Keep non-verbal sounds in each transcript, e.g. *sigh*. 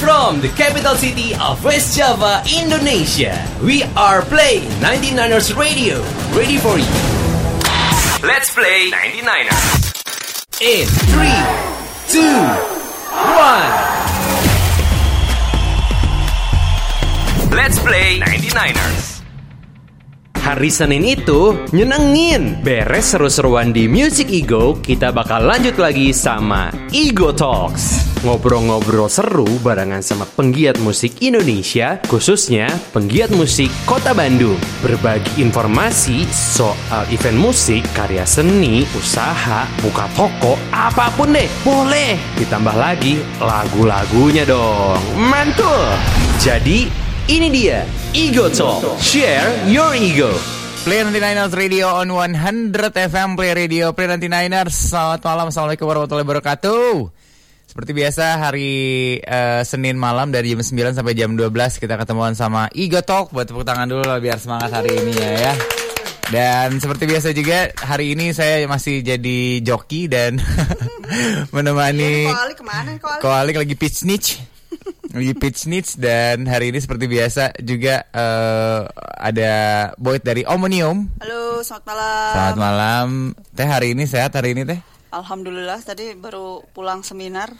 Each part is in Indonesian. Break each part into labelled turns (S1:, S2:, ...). S1: From the capital city of West Java, Indonesia, we are playing 99ers Radio. Ready for you.
S2: Let's play 99ers.
S1: In 3, 2, 1.
S2: Let's play 99ers.
S1: Hari Senin itu nyenengin. Beres seru-seruan di Music Ego, kita bakal lanjut lagi sama Ego Talks. Ngobrol-ngobrol seru barengan sama penggiat musik Indonesia, khususnya penggiat musik Kota Bandung. Berbagi informasi soal event musik, karya seni, usaha, buka toko, apapun deh, boleh. Ditambah lagi lagu-lagunya dong. Mantul. Jadi, ini dia Ego Talk. Share your ego.
S3: Play 99ers Radio on 100 FM Play Radio Play 99ers Selamat malam Assalamualaikum warahmatullahi wabarakatuh Seperti biasa hari eh, Senin malam dari jam 9 sampai jam 12 Kita ketemuan sama Igo Talk Buat tepuk tangan dulu lah biar semangat hari ini ya ya dan seperti biasa juga hari ini saya masih jadi joki dan *laughs* menemani
S4: Iya, Koalik kemana Koalik?
S3: Koalik lagi pitch
S4: *laughs*
S3: niche lagi pitch niche dan hari ini seperti biasa juga eh, ada Boyd dari Omnium
S4: Halo, selamat malam.
S3: Selamat malam. Teh hari ini sehat hari ini teh?
S4: Alhamdulillah tadi baru pulang seminar.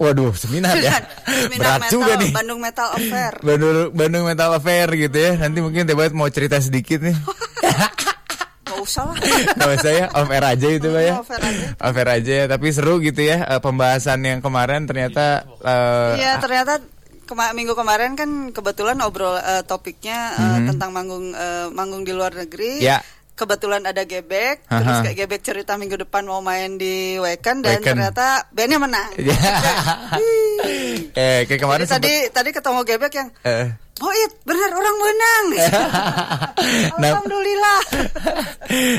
S3: Waduh,
S4: *laughs*
S3: seminar ya.
S4: seminar
S3: *laughs* Berat
S4: metal,
S3: juga nih.
S4: Bandung Metal Affair.
S3: Bandung Bandung Metal Affair gitu ya. Nanti mungkin Teh Bayat mau cerita sedikit
S4: *laughs*
S3: nih.
S4: Gak usah
S3: *laughs*
S4: lah.
S3: Nama saya off air aja itu Pak ya.
S4: Off air aja.
S3: Off air aja ya, tapi seru gitu ya eh, pembahasan yang kemarin ternyata eh,
S4: Iya,
S3: *laughs*
S4: ternyata kema- minggu kemarin kan kebetulan obrol eh, topiknya eh, tentang manggung eh, manggung di luar negeri.
S3: Mhm. Ya.
S4: Kebetulan ada Gebek,
S3: Aha.
S4: terus kayak Gebek cerita minggu depan mau main di Weekend dan
S3: Weekend.
S4: ternyata bandnya menang.
S3: ya. eh kayak kemarin
S4: Jadi tadi
S3: sempet-
S4: tadi ketemu Gebek yang
S3: eh.
S4: Oh iya, benar orang
S3: *laughs*
S4: menang.
S3: Nah,
S4: Alhamdulillah.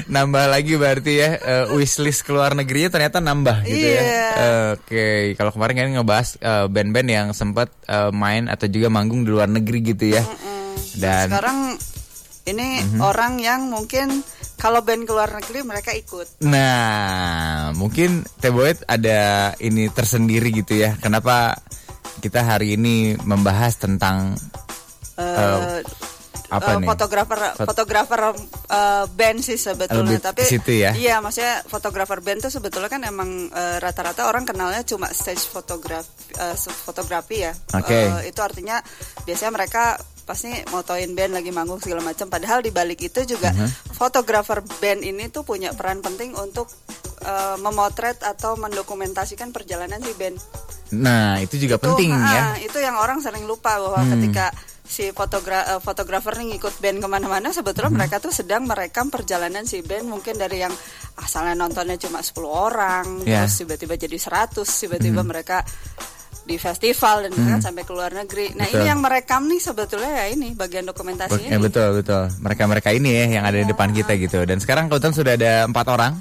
S3: nambah lagi berarti ya eh, wishlist ke luar negerinya ternyata nambah gitu ya.
S4: Iya.
S3: Eh, Oke, kalau kemarin kan ngebahas eh, band-band yang sempat eh, main atau juga manggung di luar negeri gitu ya. Dan
S4: sekarang ini
S3: Mhm.
S4: orang yang mungkin kalau band ke luar negeri mereka ikut.
S3: nah, mungkin Teboet ada ini tersendiri gitu ya. Kenapa kita hari ini membahas tentang
S4: Eh,
S3: Oh, apa
S4: eh,
S3: nih?
S4: Fotografer,
S3: Fot-
S4: fotografer eh, band sih sebetulnya,
S3: Lebih ke
S4: tapi
S3: situ ya?
S4: iya maksudnya fotografer band tuh sebetulnya kan emang eh, rata-rata orang kenalnya cuma stage photograph, eh, se- fotografi ya.
S3: Oke.
S4: Eh, itu artinya biasanya mereka pasti motoin band lagi manggung segala macam. Padahal di balik itu juga
S3: Mhm.
S1: Mm-hmm.
S4: fotografer band ini tuh punya peran penting untuk eh, memotret atau mendokumentasikan perjalanan si band.
S3: Nah, itu juga
S4: Tuh,
S3: penting
S4: ah,
S3: ya. Hmm.
S4: Itu yang orang sering lupa bahwa ketika si fotogra eh, fotografer nih ngikut band kemana-mana sebetulnya
S3: Hmm.
S4: mereka tuh sedang merekam perjalanan si band mungkin dari yang asalnya nontonnya cuma 10 orang
S3: Ya. Hmm.
S4: terus tiba-tiba jadi 100 tiba-tiba mereka di festival dan bahkan sampai ke luar negeri. Nah
S3: Betul.
S4: ini yang merekam nih sebetulnya ya ini bagian dokumentasi
S3: Oke,
S4: ini.
S3: eh,
S4: gitu.
S3: betul betul. Mereka-mereka ini ya yang ada di depan kita gitu. Dan sekarang kebetulan sudah ada empat orang.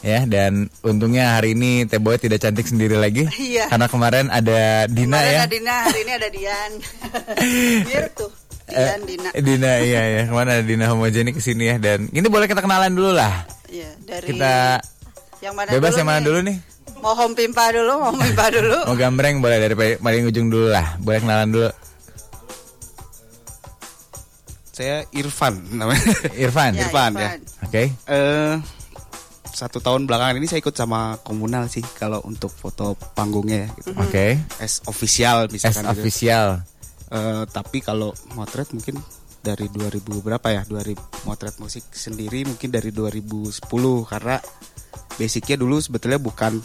S3: Ya, dan untungnya hari ini Teh Boy tidak cantik sendiri lagi.
S4: Iya.
S3: Karena kemarin ada Dina
S4: Kemarin
S3: ya.
S4: ada Dina, hari ini ada
S3: *laughs*
S4: Dian. Biar tuh
S3: Eh,
S4: Dian Dina.
S3: Dina iya ya. Kemarin ada Dina homogenik ke sini ya dan ini boleh kita kenalan dulu lah.
S4: Iya, dari
S3: Kita
S4: yang mana
S3: bebas
S4: dulu
S3: yang mana
S4: nih?
S3: dulu nih?
S4: Mau home pimpa dulu, mau
S3: *laughs*
S4: pimpa dulu.
S3: Mau gambreng boleh dari pa- paling ujung dulu lah. Boleh kenalan dulu.
S5: Saya Irfan namanya.
S3: *laughs* Irfan.
S4: Ya,
S5: Irfan, ya.
S3: Oke.
S5: Eh satu tahun belakangan ini saya ikut sama komunal sih kalau untuk foto panggungnya ya. Gitu.
S3: Mm-hmm. Oke.
S5: As official
S3: As
S5: misalkan gitu.
S3: official.
S5: Eh, tapi kalau motret mungkin dari 2000 berapa ya? 2000 motret musik sendiri mungkin dari 2010 karena basicnya dulu sebetulnya bukan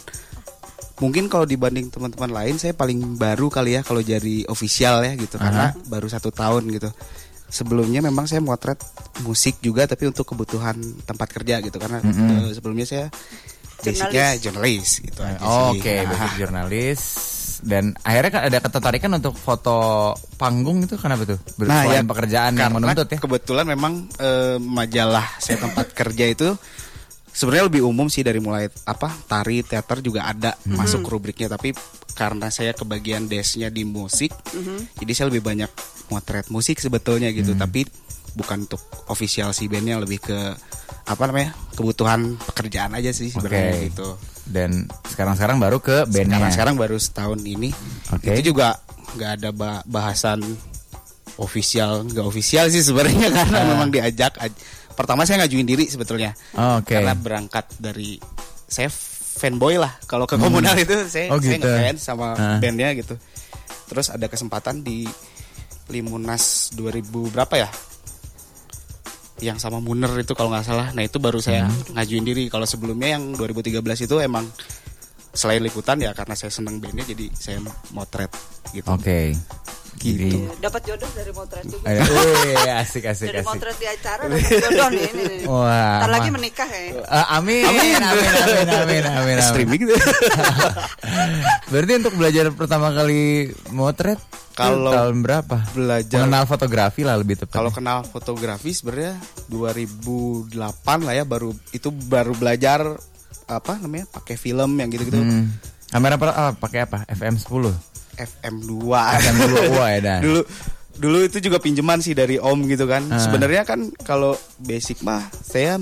S5: mungkin kalau dibanding teman-teman lain saya paling baru kali ya kalau jadi official ya gitu karena baru satu tahun gitu sebelumnya memang saya motret musik juga tapi untuk kebutuhan tempat kerja gitu karena eh, sebelumnya saya basicnya jurnalis gitu aja sih.
S3: Oke,
S5: Nah,
S3: basic jurnalis dan akhirnya kan ada ketertarikan untuk foto panggung itu kenapa tuh? Ber- selain pekerjaan yang
S5: Nah, iya. karena
S3: menuntut ya.
S5: Kebetulan memang eh, majalah saya tempat kerja itu sebenarnya lebih umum sih dari mulai apa tari teater juga ada masuk rubriknya tapi karena saya kebagian desknya di musik jadi saya lebih banyak motret musik sebetulnya gitu
S3: Hmm.
S5: tapi bukan untuk official si bandnya lebih ke apa namanya kebutuhan pekerjaan aja sih sebenarnya
S3: Oke.
S5: gitu
S3: Dan sekarang-sekarang baru ke bandnya.
S5: sekarang sekarang baru setahun ini
S3: Oke.
S5: itu juga nggak ada ba- bahasan official nggak official sih sebenarnya *laughs* karena
S3: Ah.
S5: memang diajak aj- pertama saya ngajuin diri sebetulnya
S3: Oh, oke.
S5: karena berangkat dari saya fanboy lah kalau ke komunal itu saya
S3: Oh,
S5: saya
S3: gitu.
S5: ngefans sama
S3: Ah.
S5: bandnya gitu terus ada kesempatan di Limunas 2000 berapa ya yang sama Muner itu kalau nggak salah nah itu baru saya
S3: Hmm.
S5: ngajuin diri kalau sebelumnya yang 2013 itu emang selain liputan ya karena saya seneng bandnya jadi saya motret gitu
S3: Oke. Jadi-
S4: Dapat jodoh dari motret
S5: *laughs*
S4: juga.
S3: Eh, wih, asik asik
S4: Dari
S3: asik.
S4: motret di acara dapat jodoh nih ini. nih.
S3: Wah.
S4: Ntar lagi
S3: ma-
S4: menikah ya.
S3: Eh, amin, amin, amin, amin, amin, amin,
S5: streaming gitu ya.
S3: *laughs* Berarti untuk belajar pertama kali motret itu
S5: Kalau
S3: tahun berapa?
S5: belajar-
S3: mengenal fotografi lah lebih tepat.
S5: kalau kenal fotografi sebenarnya 2008 lah ya baru itu baru belajar apa namanya pakai film yang gitu-gitu
S3: Hmm. kamera per, ah, pakai apa? FM10.
S5: FM2 *laughs*
S3: FM2 wah ya dah. Ah.
S5: dulu dulu itu juga pinjaman sih dari om gitu kan sebenarnya kan kalau basic mah saya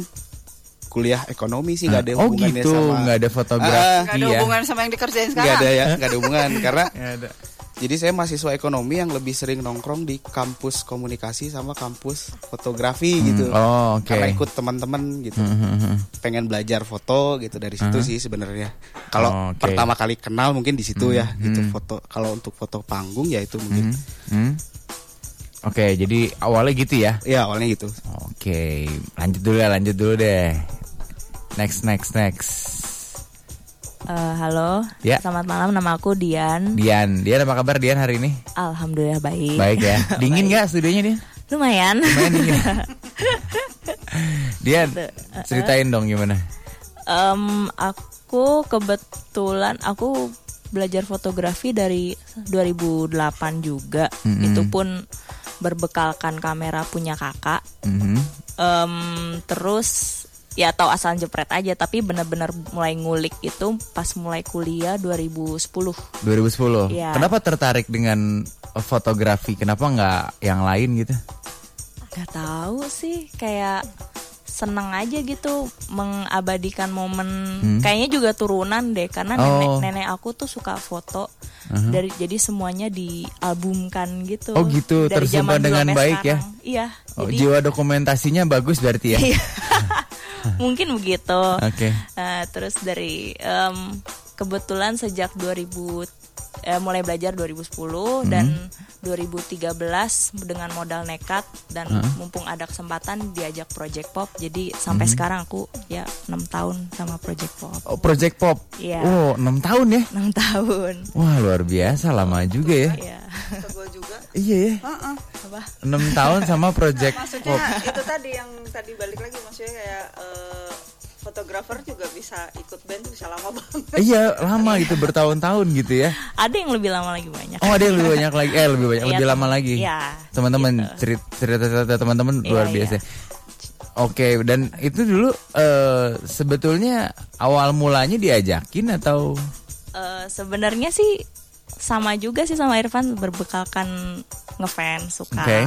S5: kuliah ekonomi sih nggak ada
S3: Oh
S5: hubungannya
S3: gitu,
S5: sama Ah,
S3: nggak ada fotografi
S4: Gak ada
S3: ya.
S4: hubungan sama yang dikerjain
S5: nggak
S4: sekarang.
S5: ada ya nggak ada hubungan karena
S3: *laughs* Nggak ada.
S5: jadi saya mahasiswa ekonomi yang lebih sering nongkrong di kampus komunikasi sama kampus fotografi gitu
S3: oh, oke. Hmm,
S5: karena ikut teman-teman gitu pengen belajar foto gitu dari situ sih sebenarnya kalau
S3: Oh, oke.
S5: pertama kali kenal mungkin di situ ya gitu foto kalau untuk foto panggung ya itu mungkin
S3: Hmm? Oke, jadi awalnya gitu ya.
S5: ya awalnya gitu
S3: Oke, lanjut dulu ya, lanjut dulu deh. Next, next, next.
S6: Eh, halo,
S3: Ya.
S6: selamat malam. Nama aku Dian.
S3: Dian, Dian apa kabar Dian hari ini?
S6: Alhamdulillah baik.
S3: Baik
S5: *laughs*
S3: ya. Dingin nggak studionya Dian?
S6: *laughs* Lumayan.
S3: Lumayan dingin. Dian,
S6: eh,
S3: ceritain dong gimana?
S6: *laughs* Em, aku kebetulan aku belajar fotografi dari 2008 juga. Itu pun berbekalkan kamera punya kakak.
S3: Mhm.
S6: Em, terus ya tahu asal jepret aja tapi benar-benar mulai ngulik itu pas mulai kuliah 2010.
S3: 2010.
S6: Iya.
S3: Kenapa tertarik dengan fotografi? Kenapa nggak yang lain gitu?
S6: Gak tahu sih, kayak seneng aja gitu mengabadikan momen. Kayaknya juga turunan deh, karena
S3: Hmm. Oh. Uh-huh.
S6: nenek-nenek aku tuh suka foto. Dari jadi semuanya dialbumkan gitu.
S3: Oh gitu,
S6: Dari zaman
S3: tersimpan
S6: dulu
S3: dengan
S6: sampai
S3: baik ya?
S6: sekarang. Iya.
S3: Oh,
S6: jadi
S3: jiwa dokumentasinya bagus berarti ya.
S6: Iya. *laughs* mungkin begitu.
S3: Oke.
S6: Nah, terus dari em, kebetulan sejak 2000 eh, mulai belajar
S3: Hmm.
S6: 2010 dan 2013 dengan modal nekat dan mumpung ada kesempatan diajak project pop. Jadi sampai sekarang aku ya 6 tahun sama project pop.
S3: Hmm. Oh, Project Pop.
S6: Iya.
S3: Oh, 6 tahun ya.
S6: 6 tahun.
S3: Wah, luar biasa lama juga ya.
S6: Iya.
S4: Ke gua juga.
S3: Iya ya.
S4: Heeh.
S3: 6 tahun sama Project
S4: Maksudnya
S3: Pop.
S4: itu tadi yang tadi balik lagi maksudnya kayak eh, fotografer juga bisa ikut band tuh bisa lama banget.
S3: Iya, lama gitu bertahun-tahun gitu ya.
S6: Ada yang lebih lama lagi banyak.
S3: Oh, ada yang lebih banyak lagi. Eh, lebih banyak,
S6: Iya,
S3: lebih lama
S6: tem-
S3: lagi.
S6: iya,
S3: Teman-teman cerita-cerita teman-teman luar
S6: iya.
S3: biasa. Oke, dan itu dulu eh, sebetulnya awal mulanya diajakin atau
S6: Eh, sebenarnya sih sama juga sih sama Irfan berbekalkan ngefans suka.
S3: Oke.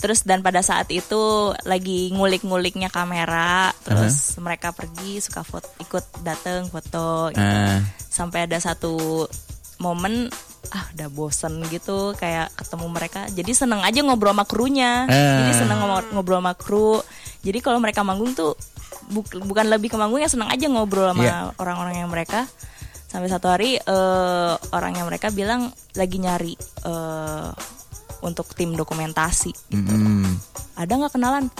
S6: Terus dan pada saat itu lagi ngulik-nguliknya kamera, terus mereka pergi suka foto, ikut dateng foto gitu.
S3: Ah.
S6: Sampai ada satu momen ah udah bosen gitu kayak ketemu mereka. Jadi seneng aja ngobrol sama krunya.
S3: Ah.
S6: Jadi seneng ngomong- ngobrol sama kru. Jadi kalau mereka manggung tuh bu- bukan lebih ke manggung ya seneng aja ngobrol sama
S3: Iya.
S6: orang-orang yang mereka sampai satu hari eh, orang yang mereka bilang lagi nyari eh, untuk tim dokumentasi gitu
S3: hmm,
S6: ada nggak kenalan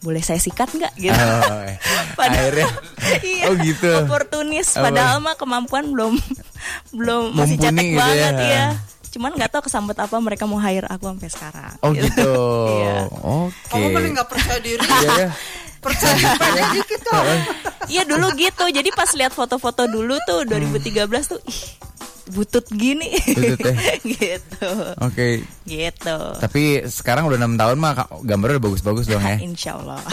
S6: boleh saya sikat nggak gitu
S3: Oh, eh. akhirnya
S6: *laughs* iya,
S3: Oh, gitu.
S6: oportunis
S3: Oh.
S6: padahal mah kemampuan belum *laughs* belum masih
S3: Mumpuni
S6: cetek
S3: gitu ya.
S6: banget iya. cuman nggak tahu kesambet apa mereka mau hire aku sampai sekarang
S3: Oh gitu.
S6: Iya.
S3: Oke.
S4: Kamu Oh, paling nggak percaya diri.
S3: *laughs* Iya ya.
S4: percaya diri dikit gitu.
S3: *laughs*
S4: dong.
S6: Iya dulu gitu. Jadi pas lihat foto-foto dulu tuh 2013 tuh ih butut gini.
S3: Butut ya.
S6: *laughs*
S3: Oh.
S6: gitu.
S3: Oke.
S6: Gitu.
S3: Tapi sekarang udah enam tahun mah Kak, gambarnya udah bagus-bagus dong ya.
S6: Insya Allah.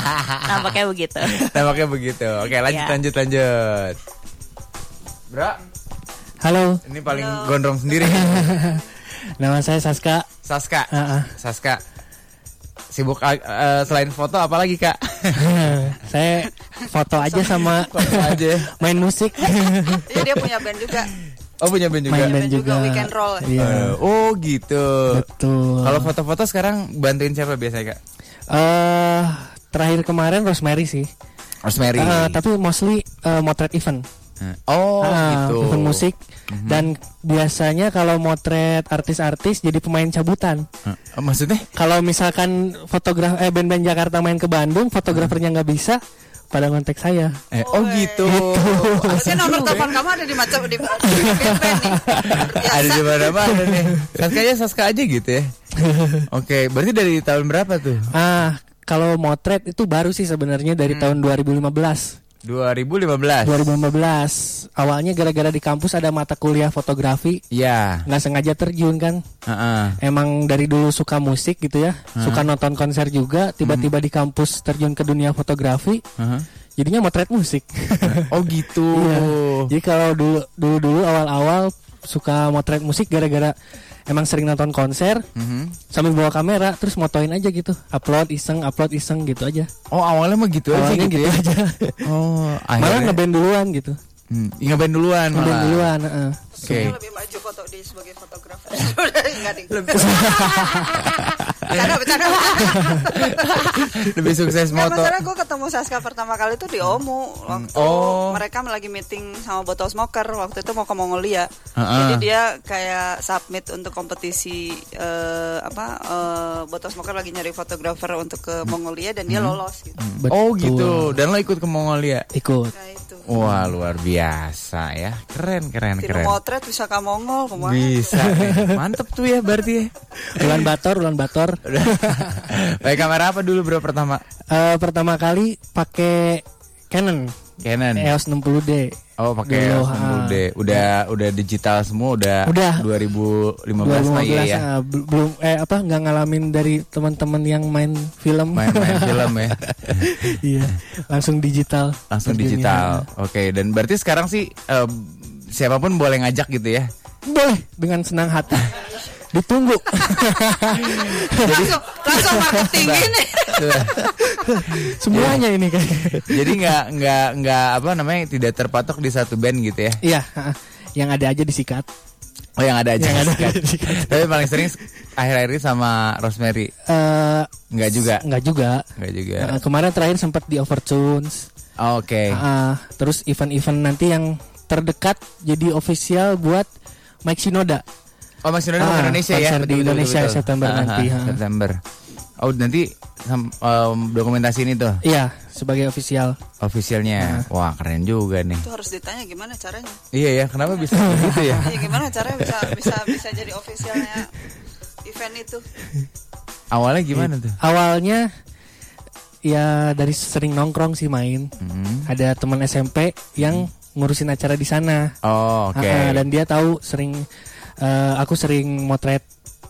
S6: *laughs* Nampaknya begitu.
S3: Tampaknya begitu. Oke, lanjut
S6: Iya.
S3: lanjut lanjut. Bro,
S7: Halo, *laughs*
S3: ini paling gondrong sendiri.
S7: nama saya Saska.
S3: Saska.
S7: Heeh.
S3: Saska. Sibuk eh, eh, selain foto apalagi, Kak?
S7: *laughs* saya foto aja sama
S3: Foto aja.
S7: *laughs* main musik.
S4: Iya dia punya band juga.
S3: Oh punya band juga.
S7: main band
S4: band juga,
S3: Nah,
S7: juga.
S4: weekend roll.
S7: Iya,
S3: Eh, oh gitu.
S7: betul.
S3: Kalau foto-foto sekarang bantuin siapa biasanya kak?
S7: Eh, terakhir kemarin Rosemary sih.
S3: Rosemary.
S7: Eh, tapi mostly eh, motret event.
S3: oh
S7: Ah,
S3: gitu.
S7: event musik dan biasanya kalau motret artis-artis jadi pemain cabutan.
S3: Eh, maksudnya?
S7: Kalau misalkan fotograf eh band-band Jakarta main ke Bandung, fotografernya nggak bisa, pada kontak saya.
S3: Eh, oh gitu.
S4: Maksudnya nomor
S7: *laughs*
S4: telepon kamu ada di macam di band-band nih.
S3: *laughs* Ada di mana-mana nih. Saska aja Saska aja gitu
S7: *laughs*
S3: ya. Oke, berarti dari tahun berapa tuh?
S7: Ah, kalau motret itu baru sih sebenarnya
S3: Hmm.
S7: dari tahun 2015.
S3: 2015.
S7: 2015 awalnya gara-gara di kampus ada mata kuliah fotografi
S3: Ya.
S7: nggak sengaja terjun kan
S3: Heeh.
S7: emang dari dulu suka musik gitu ya suka nonton konser juga tiba-tiba
S3: Hmm.
S7: di kampus terjun ke dunia fotografi
S3: Heeh.
S7: jadinya motret musik
S3: *laughs* Oh gitu.
S7: *laughs* Iya. jadi kalau dulu dulu dulu awal-awal suka motret musik gara-gara emang sering nonton konser
S3: Mhm.
S7: sambil bawa kamera terus motoin aja gitu upload iseng upload iseng gitu aja
S3: Oh awalnya mah gitu aja
S7: awalnya gitu
S3: gitu ya.
S7: aja
S3: Oh,
S7: malah
S3: akhirnya
S7: ngeband duluan gitu
S3: Hmm, ngeband duluan
S7: ngeband
S3: malah.
S7: duluan heeh.
S3: Oke.
S4: Oke. Lebih maju foto di sebagai fotografer. *laughs* Enggak ding.
S3: *laughs*
S4: Bercanda, bercanda.
S3: Lebih sukses
S4: Nggak
S3: moto.
S4: masalah gue ketemu Saska pertama kali tuh di Omu waktu
S3: Oh.
S4: mereka lagi meeting sama Botol Smoker waktu itu mau ke Mongolia.
S3: Heeh.
S4: Jadi dia kayak submit untuk kompetisi eh, apa eh, Botol Smoker lagi nyari fotografer untuk ke Mongolia dan
S3: Hmm.
S4: dia lolos gitu.
S3: Oh
S7: Betul.
S3: gitu. Dan lo ikut ke Mongolia.
S7: ikut
S4: Nah itu.
S3: Wah luar biasa ya. Keren keren
S4: Tino
S3: keren.
S4: motret bisa ke Mongol kemana?
S3: Bisa.
S7: *laughs*
S3: eh. Mantep tuh ya berarti ya.
S7: Ulan Bator, Ulan Bator.
S3: Udah. *laughs* Pakai kamera apa dulu bro pertama?
S7: Eh, pertama kali pakai Canon
S3: Canon.
S7: EOS 60D.
S3: Oh pakai
S7: Dulu,
S3: EOS
S7: ah.
S3: 60D. Udah udah digital semua udah.
S7: Udah.
S3: 2015 mah
S7: 2015
S3: iya ya.
S7: ah, bel- belum eh apa nggak ngalamin dari teman-teman yang main film. *laughs*
S3: Main-main film ya.
S7: Iya, ya. langsung digital.
S3: Langsung
S7: terjunnya.
S3: digital. Oke dan berarti sekarang sih eh, siapapun boleh ngajak gitu
S4: *laughs*
S3: ya.
S7: Boleh dengan senang hati.
S3: *laughs*
S7: Ditunggu.
S4: Langsung, langsung marketing ini.
S3: Tuh.
S7: Semuanya
S3: Iya.
S7: ini kan? kayak.
S3: Jadi nggak nggak nggak apa namanya tidak terpatok di satu band gitu ya.
S7: Iya, ah, yang ada aja disikat.
S3: Oh yang ada aja
S7: Yang ada
S3: kan?
S7: aja disikat.
S3: Tapi paling sering akhir-akhir ini sama Rosemary
S7: Eh,
S3: nggak juga. Ya.
S7: nggak juga.
S3: Nggak juga.
S7: Ah, kemarin terakhir sempat di Overtunes.
S3: Oh, Oke.
S7: Ah, terus event-event nanti yang terdekat jadi official buat Mike Shinoda.
S3: Oh Mas Indonesia
S7: Ah,
S3: Indonesia ya.
S7: konser di Indonesia September
S3: Ah, ah,
S7: nanti, ha.
S3: September. Oh nanti sam- em, dokumentasi ini tuh
S7: Iya, sebagai Ah. official.
S3: officialnya. Wah keren juga nih.
S4: Itu harus ditanya gimana caranya.
S3: Iya ya kenapa bisa begitu
S7: *laughs*
S3: ya?
S4: Iya gimana caranya bisa bisa bisa jadi officialnya event
S3: *laughs*
S4: itu?
S3: Awalnya Eh, gimana tuh?
S7: Gitu. Awalnya ya dari sering nongkrong sih main.
S3: Hmm.
S7: Ada teman SMP yang ngurusin acara di sana.
S3: Oh Hmm. oke.
S7: Ah, ah, dan dia tahu sering eh, aku sering motret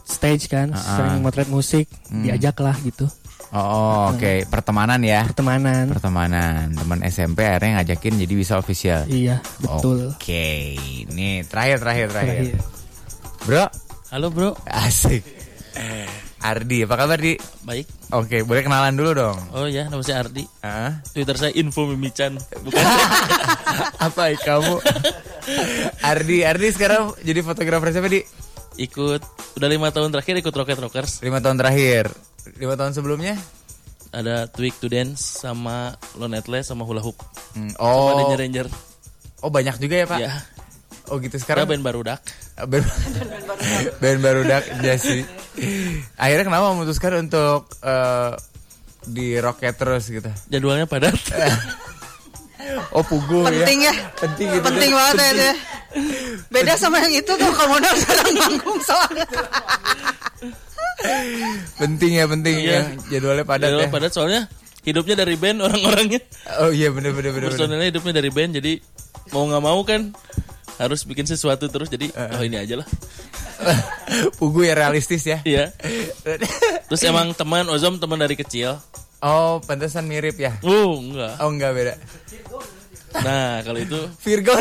S7: stage kan, sering motret musik,
S3: Hmm.
S7: diajak lah gitu.
S3: Oh, oh, oke pertemanan ya.
S7: Pertemanan.
S3: Pertemanan teman SMP akhirnya ngajakin jadi bisa official.
S7: Iya, betul.
S3: Oke, ini terakhir terakhir
S8: Iya.
S3: terakhir.
S7: Terakhir.
S3: Bro,
S8: Halo bro, Eh.
S3: asik. Ardi, apa kabar Di?
S8: baik.
S3: Oke, boleh kenalan dulu dong.
S8: Oh ya, nama saya Ardi.
S3: Hah?
S8: Twitter saya info mimican. Bukan.
S3: *laughs* apa ya kamu? Ardi, Ardi sekarang jadi fotografer siapa Di?
S8: ikut udah lima tahun terakhir ikut Rocket Rockers.
S3: Lima tahun terakhir. Lima tahun sebelumnya?
S8: Ada Twig to Dance sama Lonetle sama Hula Hoop.
S3: Hmm,
S8: Sama
S3: Oh,
S8: Danger Ranger.
S3: oh banyak juga ya Pak?
S8: Ya.
S3: Oh gitu sekarang.
S8: Karena band Barudak.
S3: band, band Barudak ya sih. Akhirnya kenapa memutuskan untuk eh, di roket terus gitu?
S8: Jadwalnya padat.
S3: Oh puguh ya.
S4: Penting ya.
S3: Penting gitu.
S4: Penting banget ya, itu ya. Beda sama yang itu tuh komodo sedang manggung soalnya.
S3: Penting ya penting
S8: Iya.
S3: yang jadwalnya padat
S8: Jadwalnya
S3: ya.
S8: padat soalnya hidupnya dari band orang-orangnya.
S3: Oh iya bener bener bener. bener.
S8: Personelnya hidupnya dari band jadi mau nggak mau kan harus bikin sesuatu terus jadi oh ini aja lah.
S3: Eh, *laughs* Pugu ya realistis ya.
S8: Iya. Terus emang teman Ozom teman dari kecil.
S3: oh pantesan mirip ya.
S8: Oh enggak.
S3: Oh enggak beda.
S8: Nah kalau itu
S3: Virgo.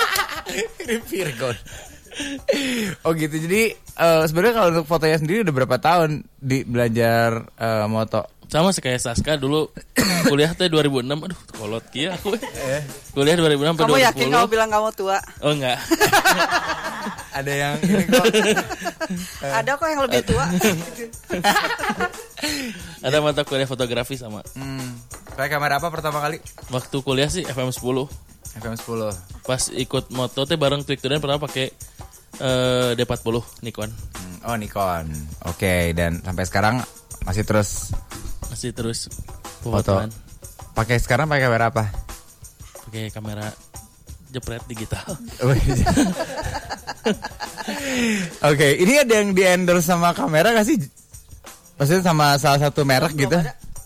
S3: *laughs* mirip Virgo. Oh gitu. Jadi eh, sebenarnya kalau untuk fotonya sendiri udah berapa tahun di belajar eh, moto?
S8: Sama sih kayak Saska
S3: *coughs*
S8: dulu kuliah teh 2006. Aduh, kolot kia aku. Eh. Kuliah 2006 sampai
S4: Kamu
S8: 2010.
S4: yakin kamu bilang kamu tua?
S8: Oh enggak.
S3: *laughs* Ada yang ini kok. Eh.
S4: Ada kok yang lebih
S8: *laughs*
S4: tua.
S8: Ada mata kuliah fotografi sama.
S3: Hmm. Pakai kamera apa pertama kali?
S8: Waktu kuliah sih FM 10.
S3: FM 10.
S8: Pas ikut moto teh bareng Twik Tudan pernah pakai eh, D40 Nikon.
S3: Hmm, Oh Nikon. Oke, dan sampai sekarang masih terus
S8: Masih terus
S3: foto.
S8: pemotongan
S3: Pakai sekarang pakai kamera apa?
S8: pakai kamera jepret
S3: *laughs*
S8: digital.
S3: Oke, ini ada yang di endorse sama kamera gak sih? Maksudnya sama salah satu merek gitu?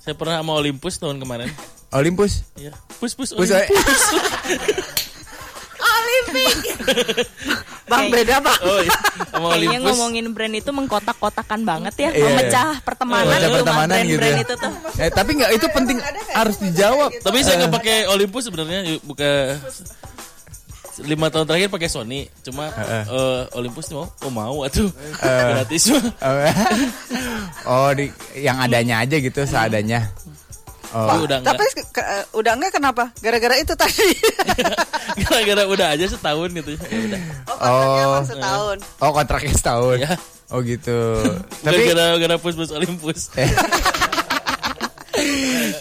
S8: Saya pernah sama Olympus tahun kemarin.
S3: Olympus.
S8: Iya. Pus pus
S3: Pus,
S8: Olympus.
S6: *laughs*
S4: Bang beda bang.
S8: Oh, iya. sama
S6: Kayaknya
S8: Olympus.
S6: ngomongin brand itu mengkotak-kotakan banget ya,
S3: Iya, iya.
S6: memecah pertemanan
S3: Memecah
S6: gitu,
S3: pertemanan
S6: brand,
S3: gitu
S6: brand
S3: ya.
S6: itu tuh.
S3: Eh, tapi nggak itu penting harus dijawab. Eh,
S8: Tapi saya nggak pakai Olympus sebenarnya yuk, buka lima tahun terakhir pakai Sony cuma eh, Olympus mau oh mau
S3: Eh.
S8: atuh gratis mah.
S3: *laughs* oh, di, yang adanya aja gitu seadanya.
S8: Tapi
S3: Oh,
S8: udah enggak
S4: Tapi ke- eh, udah enggak kenapa? Gara-gara itu tadi. *laughs*
S8: gara-gara udah aja setahun gitu ya udah
S4: Oh, kontraknya
S3: Oh.
S4: emang setahun.
S3: oh kontraknya setahun.
S8: Ya.
S3: Oh
S8: *laughs*
S3: gitu. tapi Eh,
S8: gara-gara pus pus Olympus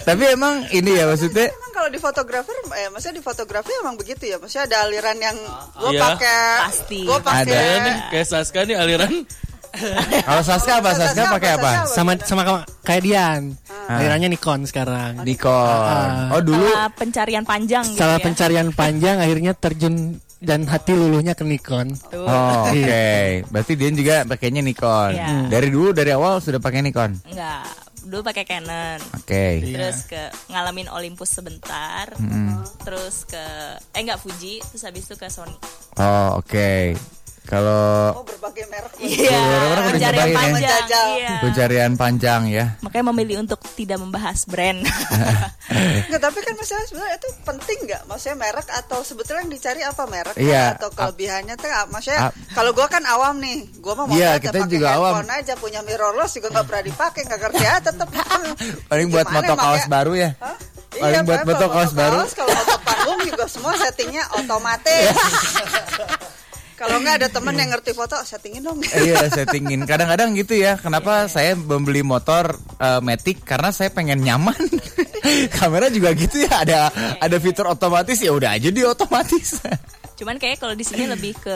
S3: tapi emang ini ya maksudnya
S4: Emang kalau di fotografer, eh, maksudnya di fotografi emang begitu ya. Maksudnya ada aliran yang gue
S8: Iya.
S4: pakai,
S6: Pasti.
S4: gue pakai.
S8: Saya nih kayak Saska nih aliran
S3: Kalau Saska apa? Saska pakai apa?
S7: sama sama kama- kayak Dian. Akhirnya Nikon sekarang.
S3: Nikon. Oh dulu
S6: Setelah pencarian panjang gitu
S7: Setelah
S6: ya.
S7: pencarian panjang akhirnya terjun dan hati luluhnya ke Nikon.
S6: Tuh.
S3: Oh, oke. Berarti dia juga pakainya Nikon.
S6: Iya.
S3: Hmm. Dari dulu dari awal sudah pakai Nikon.
S6: Enggak, dulu pakai Canon.
S3: Oke.
S6: Terus
S4: Iya.
S6: ke ngalamin Olympus sebentar. Terus ke eh enggak Fuji, terus habis itu ke Sony.
S3: Oh, oke. Kalau
S4: Oh berbagai merek.
S6: Iya,
S3: orang-orang udah
S6: pencarian
S3: nyobain ya.
S6: panjang.
S4: Menjajal.
S6: Iya.
S3: pencarian panjang ya.
S6: Makanya memilih untuk tidak membahas
S3: *laughs*
S6: brand.
S4: Nggak, tapi kan maksudnya sebenarnya itu penting nggak? Maksudnya merek atau sebetulnya yang dicari apa merek
S3: Iya.
S4: atau kelebihannya teh apa? maksudnya
S3: Ap-
S4: kalau gua kan awam nih, gua
S3: Iya,
S4: mau motret ya
S3: kita
S4: pakai
S3: juga awam.
S4: handphone aja punya mirrorless juga nggak pernah dipakai nggak ah, kerja tetap
S3: Paling buat
S4: Gimana
S3: moto
S4: emang
S3: kaos
S4: ya?
S3: baru ya.
S4: Hah?
S3: Paling buat
S4: makanya
S3: foto
S4: Iya, kan, kalau
S3: kaos baru.
S4: Kalau foto panggung juga semua settingnya
S3: *laughs*
S4: otomatis. kalau nggak ada temen yang ngerti foto, settingin dong.
S3: Eh, Iya, settingin. Kadang-kadang gitu ya. Kenapa saya membeli motor eh, matic karena saya pengen nyaman. *laughs* Kamera juga gitu ya. Ada ada fitur otomatis ya udah aja di otomatis. *laughs*
S6: Cuman kayaknya kalau di sini lebih ke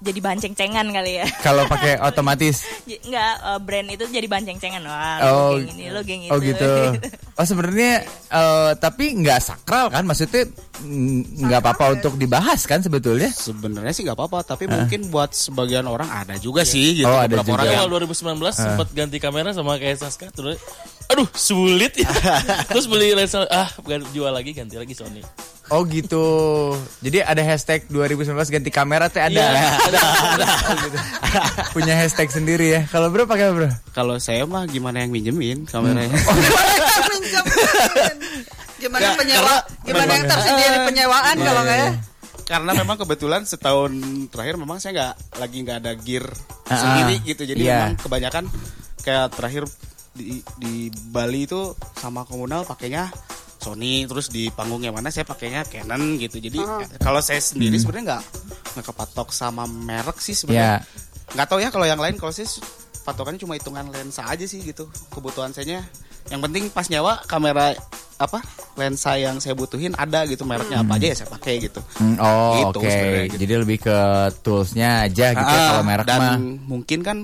S6: jadi bahan ceng-cengan kali ya. *laughs*
S3: Kalau pakai otomatis
S6: J- Enggak, eh, brand itu jadi bahan ceng-cengan. Wah,
S3: Oh,
S6: lo geng ini, lo geng itu.
S3: oh gitu.
S6: *laughs*
S3: Oh sebenarnya eh, tapi nggak sakral kan maksudnya mm, nggak apa-apa untuk dibahas kan sebetulnya.
S5: Sebenarnya sih nggak apa-apa, tapi mungkin buat sebagian orang ada juga sih gitu.
S3: Eh. Oh, ada
S5: beberapa
S3: juga. Eh.
S5: orang yang
S8: awal 2019 sempat ganti kamera sama kayak Saska terus aduh sulit
S3: *laughs*
S8: ya terus beli lensa ah jual lagi ganti lagi Sony
S3: Oh gitu. Jadi ada hashtag 2019 ganti kamera teh ada.
S8: Iya, ada,
S3: *laughs* Oh, gitu. Punya hashtag sendiri ya. Kalau bro pakai apa bro?
S5: kalau saya mah gimana yang minjemin kameranya.
S4: *laughs* gimana penyewa? Gimana yang tersedia di penyewaan
S3: Iya,
S4: kalau nggak ya?
S5: Iya, Karena memang kebetulan setahun terakhir memang saya nggak lagi nggak ada gear
S4: Ah,
S5: sendiri gitu. Jadi memang
S3: Iya.
S5: kebanyakan kayak terakhir di, di Bali itu sama komunal pakainya Sony terus di panggung yang mana saya pakainya Canon gitu. Jadi eh, kalau saya sendiri
S4: Hmm.
S5: sebenarnya nggak nggak kepatok sama merek sih sebenarnya.
S3: Iya.
S5: Nggak tahu ya kalau yang lain kalau saya su- patokannya cuma hitungan lensa aja sih gitu kebutuhan saya yang penting pas nyawa kamera apa lensa yang saya butuhin ada gitu mereknya apa aja ya saya pakai gitu
S3: Hmm, oh
S5: Gitu
S3: oke.
S5: sebenarnya, gitu.
S3: Jadi lebih ke toolsnya aja gitu ya,
S5: Ah,
S3: kalau merek
S5: dan
S3: mah.
S5: mungkin kan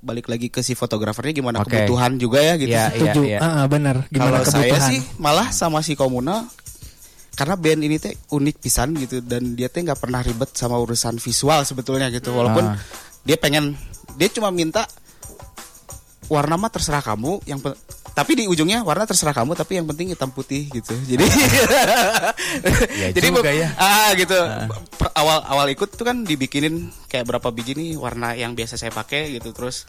S5: balik lagi ke si fotografernya gimana
S3: Oke.
S5: kebutuhan juga ya gitu
S3: Iya, iya,
S7: Tujuh.
S3: iya.
S7: Ah, ah, benar. Gimana
S5: kalau saya
S7: kebutuhan?
S5: sih malah sama si komunal karena band ini teh unik pisan gitu dan dia teh nggak pernah ribet sama urusan visual sebetulnya gitu walaupun
S3: Ah.
S5: dia pengen dia cuma minta warna mah terserah kamu yang pe- tapi di ujungnya warna terserah kamu tapi yang penting hitam putih gitu jadi
S7: *laughs*
S5: jadi bu-
S3: juga ya.
S5: ah gitu Per- awal awal ikut tuh kan dibikinin kayak berapa biji nih warna yang biasa saya pakai gitu terus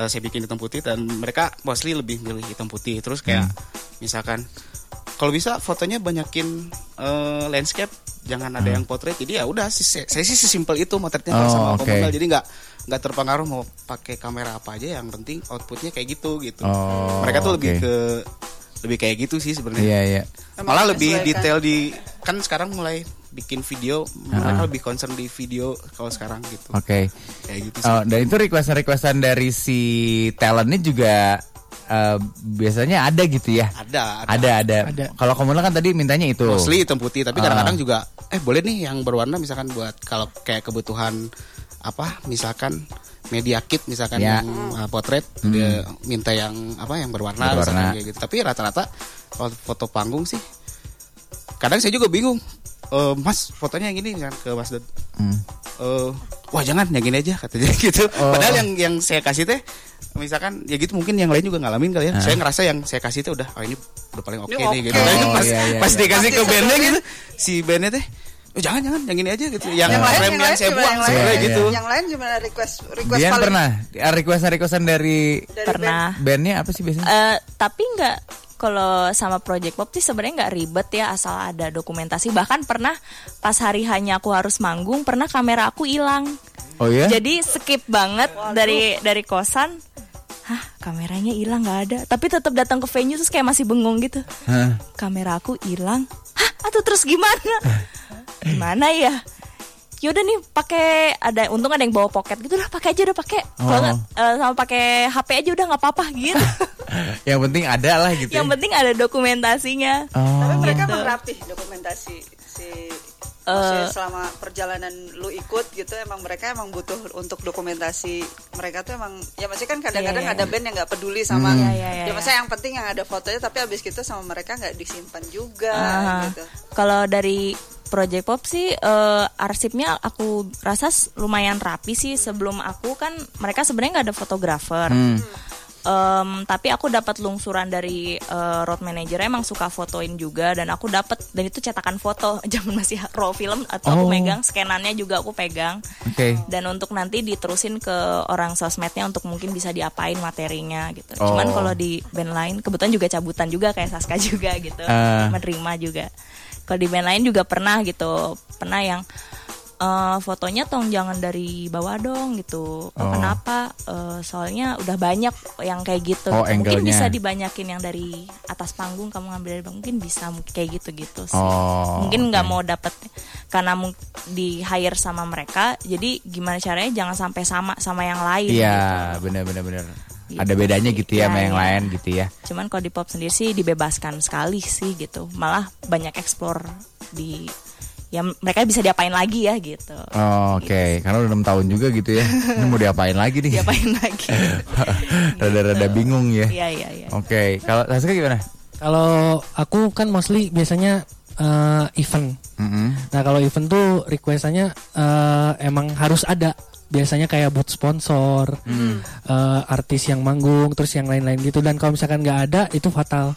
S5: eh, saya bikin hitam putih dan mereka mostly lebih milih hitam putih terus kayak
S3: Hmm.
S5: misalkan kalau bisa fotonya banyakin eh,
S3: Hmm.
S5: landscape jangan ada yang potret jadi ya udah sih, saya, saya sih sesimpel itu motretnya kalau
S3: Oh,
S5: sama
S3: oke.
S5: komunal jadi nggak nggak terpengaruh mau pakai kamera apa aja yang penting outputnya kayak gitu gitu
S3: Oh,
S5: mereka tuh lebih
S3: oke.
S5: ke lebih kayak gitu sih sebenarnya
S3: Iya iya.
S5: malah lebih
S4: Menyesuaikan.
S5: detail di kan sekarang mulai bikin video mereka lebih concern di video kalau sekarang gitu
S3: Oke.
S5: kayak gitu sih.
S3: Oh, dan itu requestan-requestan dari si talent ini juga eh, biasanya ada gitu ya.
S5: ada
S3: Ada ada.
S7: Ada.
S3: Kalau kamu kan tadi mintanya itu.
S5: mostly hitam putih tapi
S3: Ah.
S5: kadang-kadang juga eh boleh nih yang berwarna misalkan buat kalau kayak kebutuhan apa misalkan media kit misalkan
S3: Ya.
S5: yang
S3: Hmm.
S5: uh, potret dia minta yang apa yang berwarna,
S3: Berwarna.
S5: misalkan kayak gitu tapi rata-rata kalau foto panggung sih kadang saya juga bingung Eh, mas fotonya yang ini misalkan ke mas Dod
S3: Hmm.
S5: Eh, wah jangan yang gini aja katanya *laughs* gitu
S3: Oh.
S5: padahal yang yang saya kasih teh misalkan ya gitu mungkin yang lain juga ngalamin kali ya
S3: Ah.
S5: saya ngerasa yang saya kasih teh udah oh ini udah paling oke
S4: Ini
S5: nih
S4: oke.
S5: gitu Tapi
S3: Oh,
S5: pas,
S3: iya, iya,
S5: pas
S3: iya.
S5: dikasih
S4: Pas
S5: ke bandnya
S4: disodorin.
S5: gitu si bandnya teh oh jangan jangan yang ini aja gitu yang,
S4: yang lain
S5: frame
S4: yang
S5: yang
S4: lain
S5: saya
S4: gimana,
S5: buang
S4: yang lain?
S5: sebenarnya
S3: Iya,
S5: gitu
S3: iya.
S4: Yang lain gimana request request
S3: Dian
S4: paling
S3: pernah requestan-requestan dari
S4: dari
S6: pernah.
S3: bandnya apa sih biasanya?
S6: Eh, tapi nggak kalau sama Project Pop sih sebenarnya nggak ribet ya asal ada dokumentasi. Bahkan pernah pas hari hanya aku harus manggung, pernah kamera aku hilang.
S3: Oh iya.
S6: Jadi skip banget dari dari kosan. Hah, kameranya hilang nggak ada. Tapi tetap datang ke venue terus kayak masih bengong gitu.
S3: Hah.
S6: Kamera aku hilang. Hah, atau terus gimana?
S3: Eh,
S6: Gimana ya? Yaudah nih pakai ada untung ada yang bawa pocket gitu lah pakai aja udah pakai Kalau
S3: Oh.
S6: nggak, eh, sama pakai HP aja udah nggak apa-apa
S3: *laughs*
S6: gitu
S3: Yang penting ada lah gitu.
S6: yang
S3: ya.
S6: penting ada dokumentasinya Gitu.
S3: Oh.
S4: Tapi mereka merapih Kan dokumentasi si
S6: Eh.
S4: maksudnya selama perjalanan lu ikut gitu emang mereka emang butuh untuk dokumentasi mereka tuh emang ya maksudnya kan kadang-kadang
S6: Iya, iya,
S4: ada band yang nggak peduli sama
S6: Iya, iya, iya,
S4: ya maksudnya yang penting yang ada fotonya tapi abis gitu sama mereka nggak disimpan juga
S6: Ah,
S4: gitu
S6: Kalau dari Project Pop sih eh, arsipnya aku rasa s- lumayan rapi sih sebelum aku kan mereka sebenarnya nggak ada fotografer.
S3: Hmm,
S6: Em, tapi aku dapat lungsuran dari eh, road manager emang suka fotoin juga dan aku dapat dan itu cetakan foto *laughs* zaman masih raw film atau aku
S3: Oh.
S6: megang skenannya juga aku pegang
S3: Oke.
S6: dan untuk nanti diterusin ke orang sosmednya untuk mungkin bisa diapain materinya gitu.
S3: Oh.
S6: Cuman kalau di band lain kebetulan juga cabutan juga kayak Saska *laughs* juga gitu,
S3: Ah.
S6: menerima juga. Kalau di band lain juga pernah gitu, pernah yang eh, fotonya tong jangan dari bawah dong gitu. Oh,
S3: Oh.
S6: kenapa? Eh, soalnya udah banyak yang kayak gitu.
S3: Oh,
S6: mungkin
S3: angle-nya.
S6: bisa dibanyakin yang dari atas panggung kamu ngambil dari bawah mungkin bisa mungkin kayak gitu-gitu sih
S3: Oh,
S6: mungkin nggak mau dapet karena mung- di hire sama mereka jadi gimana caranya jangan sampai sama sama yang lain
S3: Iya,
S6: gitu.
S3: benar-benar benar.
S6: Gitu
S3: Ada bedanya gitu ya
S6: Iya,
S3: sama yang
S6: iya.
S3: lain gitu ya.
S6: cuman kalau di pop sendiri sih dibebaskan sekali sih gitu malah banyak explore di ya mereka bisa diapain lagi ya gitu
S3: Oh, Oke, karena udah 6 tahun juga gitu
S6: *laughs*
S3: ya. Ini mau diapain lagi nih?
S6: diapain *laughs* lagi
S3: *laughs* Rada-rada bingung ya.
S6: iya iya iya
S3: Oke, kalau Saska gimana?
S7: Kalau aku kan mostly biasanya eh, event.
S3: Mm-mm.
S7: Nah kalau event tuh requestannya eh, emang harus ada. Biasanya kayak buat sponsor,
S1: Mm.
S7: eh, artis yang manggung, terus yang lain-lain gitu. Dan kalau misalkan nggak ada itu fatal.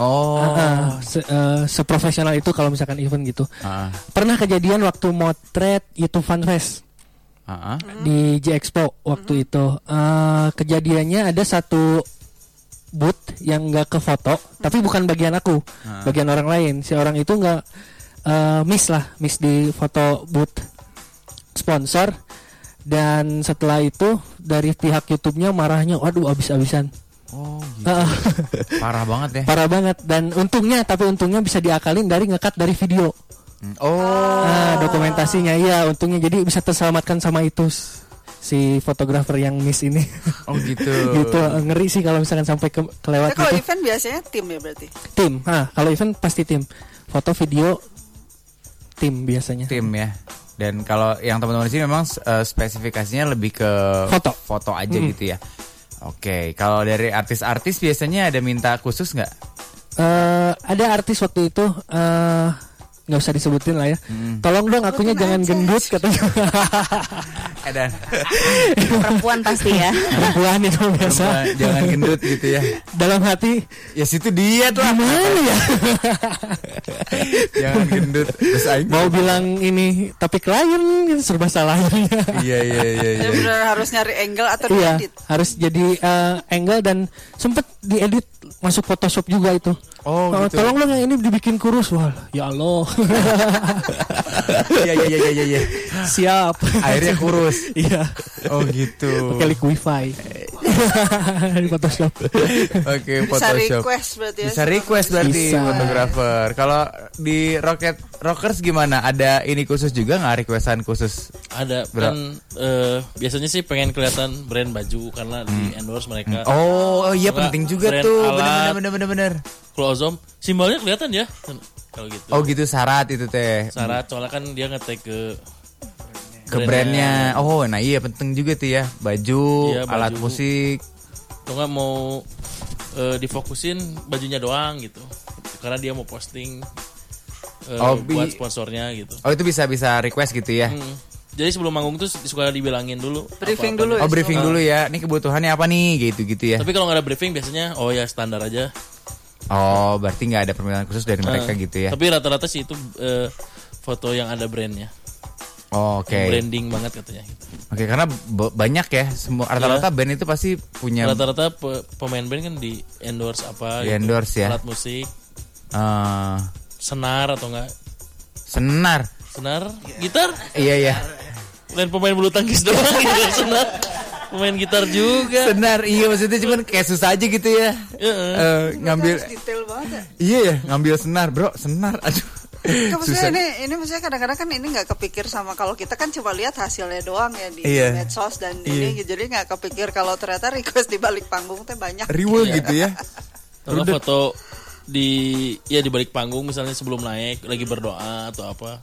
S3: Oh.
S7: Ah, ah, se- eh, seprofesional itu kalau misalkan event gitu. Pernah kejadian waktu motret itu fanfest
S3: Ah, ah.
S7: di J Expo waktu itu. Eh, kejadiannya ada satu booth yang nggak ke foto, tapi bukan bagian aku,
S3: Ah.
S7: bagian orang lain. Si orang itu nggak eh, miss lah, miss di foto booth sponsor. Dan setelah itu dari pihak YouTube-nya marahnya, waduh abis-abisan.
S3: Oh, gitu.
S7: Ah,
S3: Parah banget ya.
S7: *laughs* parah banget. Dan untungnya, tapi untungnya bisa diakalin dari ngekat dari video.
S3: Oh.
S7: Ah, dokumentasinya iya untungnya jadi bisa terselamatkan sama itu s- si fotografer yang miss ini.
S3: Oh, gitu.
S7: *laughs* gitu eh, ngeri sih kalau misalkan sampai ke kelewat
S4: tapi kalau
S7: gitu.
S4: event biasanya tim ya berarti
S7: Tim. Ah, kalau event pasti tim. Foto video tim biasanya.
S3: Tim ya. Dan kalau yang teman-teman di sini memang eh, spesifikasinya lebih ke
S7: Foto. Hmm.
S3: foto aja gitu ya. Oke, kalau dari artis-artis biasanya ada minta khusus nggak?
S7: Eh, ada artis waktu itu eh, nggak usah disebutin lah ya.
S3: Hmm.
S7: Tolong dong akunya jangan gendut
S3: *laughs*
S7: katanya.
S3: Ada.
S6: *laughs* perempuan pasti ya
S7: Perempuan itu biasa.
S3: Jangan gendut gitu ya.
S7: Dalam hati
S3: Ya situ diet lah.
S7: gimana ya?
S3: *laughs*
S7: *laughs*
S3: Jangan gendut. Terus aing
S7: Mau bilang ini tapi klien gitu, serba salah.
S3: Iya iya iya iya.
S4: benar harus nyari angle atau
S7: Iya,
S4: diedit
S7: harus jadi eh, angle dan sempet diedit masuk Photoshop juga itu.
S3: Oh,
S7: Oh,
S3: gitu.
S7: tolong dong yang ini dibikin kurus wah
S1: *laughs*
S7: ya Allah
S3: *laughs* Iya iya iya iya iya.
S7: siap
S3: Akhirnya kurus.
S7: *laughs* iya
S3: Oh gitu.
S7: pakai liquify *laughs* di Photoshop
S3: Oke,
S4: Bisa
S3: Photoshop.
S4: request berarti ya.
S3: Bisa request berarti
S7: Bisa.
S3: fotografer. Kalau di Rocket Rockers gimana? Ada ini khusus juga nggak requestan khusus?
S8: Ada
S3: Berapa?
S8: kan eh, biasanya sih pengen kelihatan brand baju karena di endorse
S3: Hmm.
S8: mereka.
S3: Oh, oh iya
S8: Nggak,
S3: penting juga
S8: brand
S3: tuh.
S8: alat.
S3: Bener bener bener bener.
S8: Kalau Ozom simbolnya kelihatan ya. Kalau gitu.
S3: Oh gitu syarat itu teh.
S8: Syarat soalnya kan dia ngetek ke
S3: Ke brandnya. Oh, nah iya penting juga tuh ya. Baju,
S8: Iya, baju.
S3: alat musik.
S8: atau nggak mau eh, difokusin bajunya doang gitu. Karena dia mau posting eh,
S3: Oh, bi-
S8: buat sponsornya gitu.
S3: Oh itu bisa bisa request gitu ya.
S8: Hmm. Jadi sebelum manggung tuh suka dibilangin dulu.
S4: Briefing
S8: apa-apa. Ah.
S4: dulu ya.
S3: Oh briefing dulu ya. Ini kebutuhannya apa nih? Gitu gitu ya.
S8: Tapi kalau nggak ada briefing biasanya oh ya standar aja.
S3: Oh berarti nggak ada permintaan khusus dari mereka
S8: Eh,
S3: gitu ya.
S8: Tapi rata-rata sih itu eh, foto yang ada brandnya.
S3: Oh, Oke.
S8: Branding banget katanya. gitu.
S3: Oke karena b- banyak ya. Semua rata-rata band itu pasti punya.
S8: Iya. Rata-rata pe- pemain band kan di endorse apa? gitu.
S3: Di endorse ya.
S8: Alat musik,
S3: eh,
S8: senar atau enggak?
S3: senar.
S8: Senar, gitar.
S3: Iya ya.
S8: Lain pemain bulu tangkis doang gitu *laughs* senar. Pemain gitar juga. Iya.
S3: Senar. Iya maksudnya cuman kayak susah aja gitu ya.
S8: Heeh.
S3: Eh, ngambil
S4: Harus detail banget ya.
S3: iya ya, ngambil senar, Bro. Senar. Aduh.
S4: Nggak, maksudnya
S3: Susah.
S4: ini ini maksudnya kadang-kadang kan ini nggak kepikir sama kalau kita kan cuma lihat hasilnya doang ya di
S3: Iya.
S4: medsos dan
S3: Iya.
S4: ini jadi nggak kepikir kalau ternyata request di balik panggung tuh banyak.
S3: *laughs*
S4: Iya.
S3: Riwel gitu ya.
S8: Iya. Atau foto di ya di balik panggung misalnya sebelum naik lagi berdoa atau apa.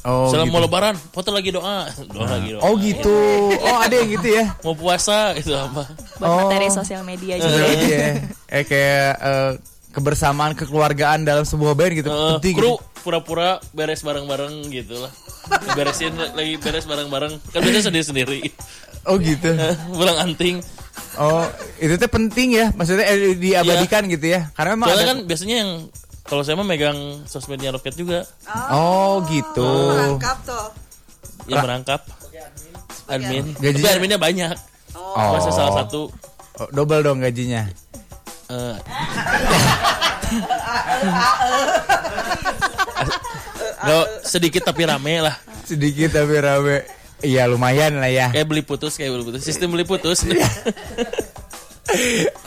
S3: Oh.
S8: Misalnya
S3: Gitu.
S8: mau lebaran, foto lagi doa, *laughs* doa lagi doa.
S3: Oh gitu.
S8: *laughs*
S3: Oh, ada yang gitu ya.
S8: Mau puasa itu apa?
S6: buat
S3: Oh.
S6: materi sosial media juga.
S3: Iya. Eh kayak eh, kebersamaan kekeluargaan dalam sebuah band gitu.
S8: Eh,
S3: Penting.
S8: kru pura-pura beres bareng-bareng gitu lah. Beresin lagi beres bareng-bareng. Kan biasanya sendiri-sendiri.
S3: Oh gitu.
S8: Pulang Eh, anting.
S3: Oh, itu teh penting ya. Maksudnya eh, diabadikan gitu ya. Karena memang
S8: Iya. Soalnya
S3: ada-
S8: kan biasanya yang kalau saya mah megang sosmednya Roket juga
S3: Oh, gitu.
S4: Merangkap tuh.
S8: yang merangkap admin.
S3: Gajinya-
S8: Tapi adminnya banyak.
S3: Oh.
S8: Masa salah satu
S3: Oh, double dong gajinya.
S8: eh,
S4: Ah,
S8: nggak, sedikit tapi rame lah.
S3: Sedikit tapi rame. Iya, lumayan lah ya.
S8: Kayak beli putus, kayak beli putus. Sistem beli putus.
S3: Iya.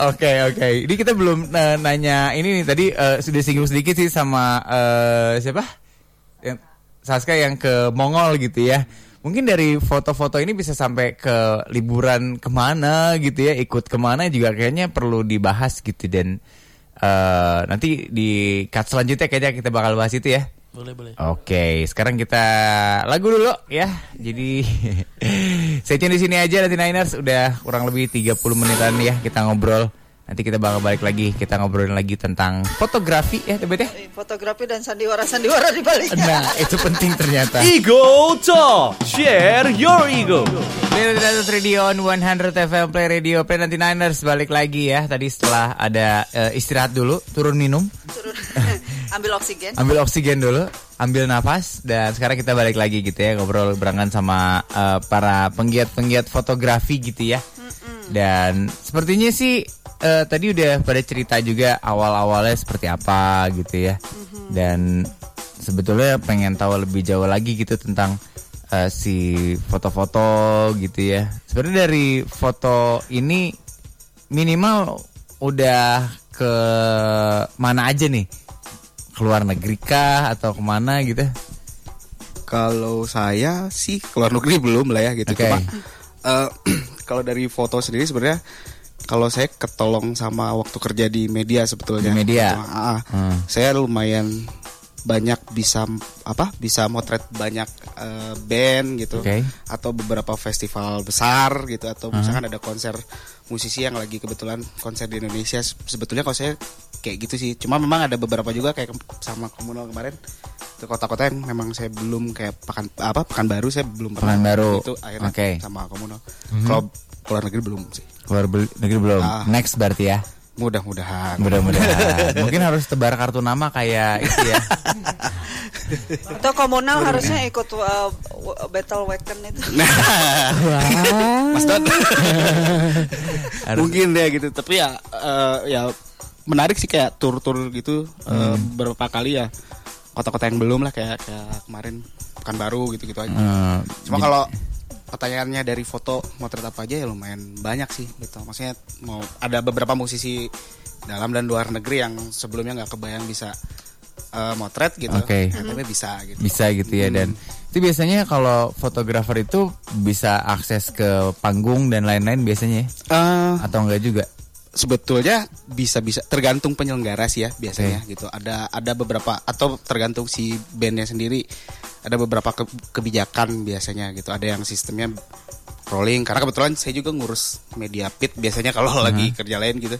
S3: Oke oke, ini kita belum eh, nanya ini nih tadi eh, sudah singgung sedikit sih sama eh, siapa? Yang Saska yang ke Mongol gitu ya. Mungkin dari foto-foto ini bisa sampai ke liburan kemana gitu ya, ikut kemana juga kayaknya perlu dibahas gitu dan eh, nanti di cut selanjutnya kayaknya kita bakal bahas itu ya.
S8: boleh, boleh.
S3: Oke, sekarang kita lagu dulu ya. Jadi *laughs* saya di sini aja nanti Niners udah kurang lebih 30 menitan ya kita ngobrol. Nanti kita bakal balik lagi, kita ngobrolin lagi tentang fotografi ya, Tebet ya.
S4: Eh, Fotografi dan sandiwara-sandiwara di baliknya.
S3: Nah, *laughs* itu penting ternyata.
S1: Ego
S5: *laughs*
S1: Talk, share your ego.
S3: Ini Niners Radio on 100 FM Play Radio Play nanti Niners balik lagi ya. Tadi setelah ada eh, istirahat dulu, turun minum,
S4: Turun. Ambil oksigen.
S3: ambil oksigen dulu, ambil nafas dan sekarang kita balik lagi gitu ya ngobrol berangan sama eh, para penggiat-penggiat fotografi gitu ya. Dan sepertinya sih eh, tadi udah pada cerita juga awal-awalnya seperti apa gitu ya. Dan sebetulnya pengen tahu lebih jauh lagi gitu tentang eh, si foto-foto gitu ya. Sebenarnya dari foto ini minimal udah ke mana aja nih? keluar negeri kah atau kemana gitu?
S5: Kalau saya sih keluar negeri belum lah ya gitu.
S3: Oke.
S5: Cuma eh, *clears throat* kalau dari foto sendiri sebenarnya kalau saya ketolong sama waktu kerja di media sebetulnya.
S3: Di media?
S5: Cuma, ah, ah,
S3: Hmm.
S5: Saya lumayan banyak bisa apa bisa motret banyak eh, band gitu
S3: Oke. Hmm.
S5: atau beberapa festival besar gitu atau misalkan ada konser musisi yang lagi kebetulan konser di Indonesia Se- sebetulnya kalau saya kayak gitu sih cuma memang ada beberapa juga kayak kem- sama komunal kemarin ke kota-kota yang memang saya belum kayak pekan apa pekan baru saya belum pernah
S3: Pekanbaru.
S5: itu akhirnya
S3: Oke.
S5: sama komunal kalau keluar negeri belum sih
S3: Keluar bel- negeri belum.
S5: Ah.
S3: Next berarti ya.
S5: mudah-mudahan *laughs*
S3: Mudah-mudahan. Mungkin harus tebar kartu nama kayak itu ya.
S4: Atau komunal harusnya ikut uh, w- battle wagon itu.
S5: Mas Dot
S3: Harus-
S5: mungkin deh gitu tapi ya eh, ya menarik sih kayak tur-tur gitu eh, beberapa kali ya kota-kota yang belum lah kayak kayak kemarin Pekanbaru gitu-gitu aja.
S3: Eh,
S5: Cuma kalau pertanyaannya dari foto motret apa aja ya lumayan banyak sih gitu. Maksudnya mau ada beberapa musisi dalam dan luar negeri yang sebelumnya nggak kebayang bisa eh, motret gitu.
S3: Oke.
S5: Nah, Tapi bisa gitu. Hmm.
S3: bisa gitu ya dan itu biasanya kalau fotografer itu bisa akses ke panggung dan lain-lain biasanya ya?
S5: Eh,
S3: atau enggak juga
S5: sebetulnya bisa-bisa tergantung penyelenggara sih ya biasanya gitu. Ada ada beberapa atau tergantung si bandnya sendiri. Ada beberapa ke- kebijakan biasanya gitu. Ada yang sistemnya rolling karena kebetulan saya juga ngurus media pit biasanya kalau lagi kerja lain gitu.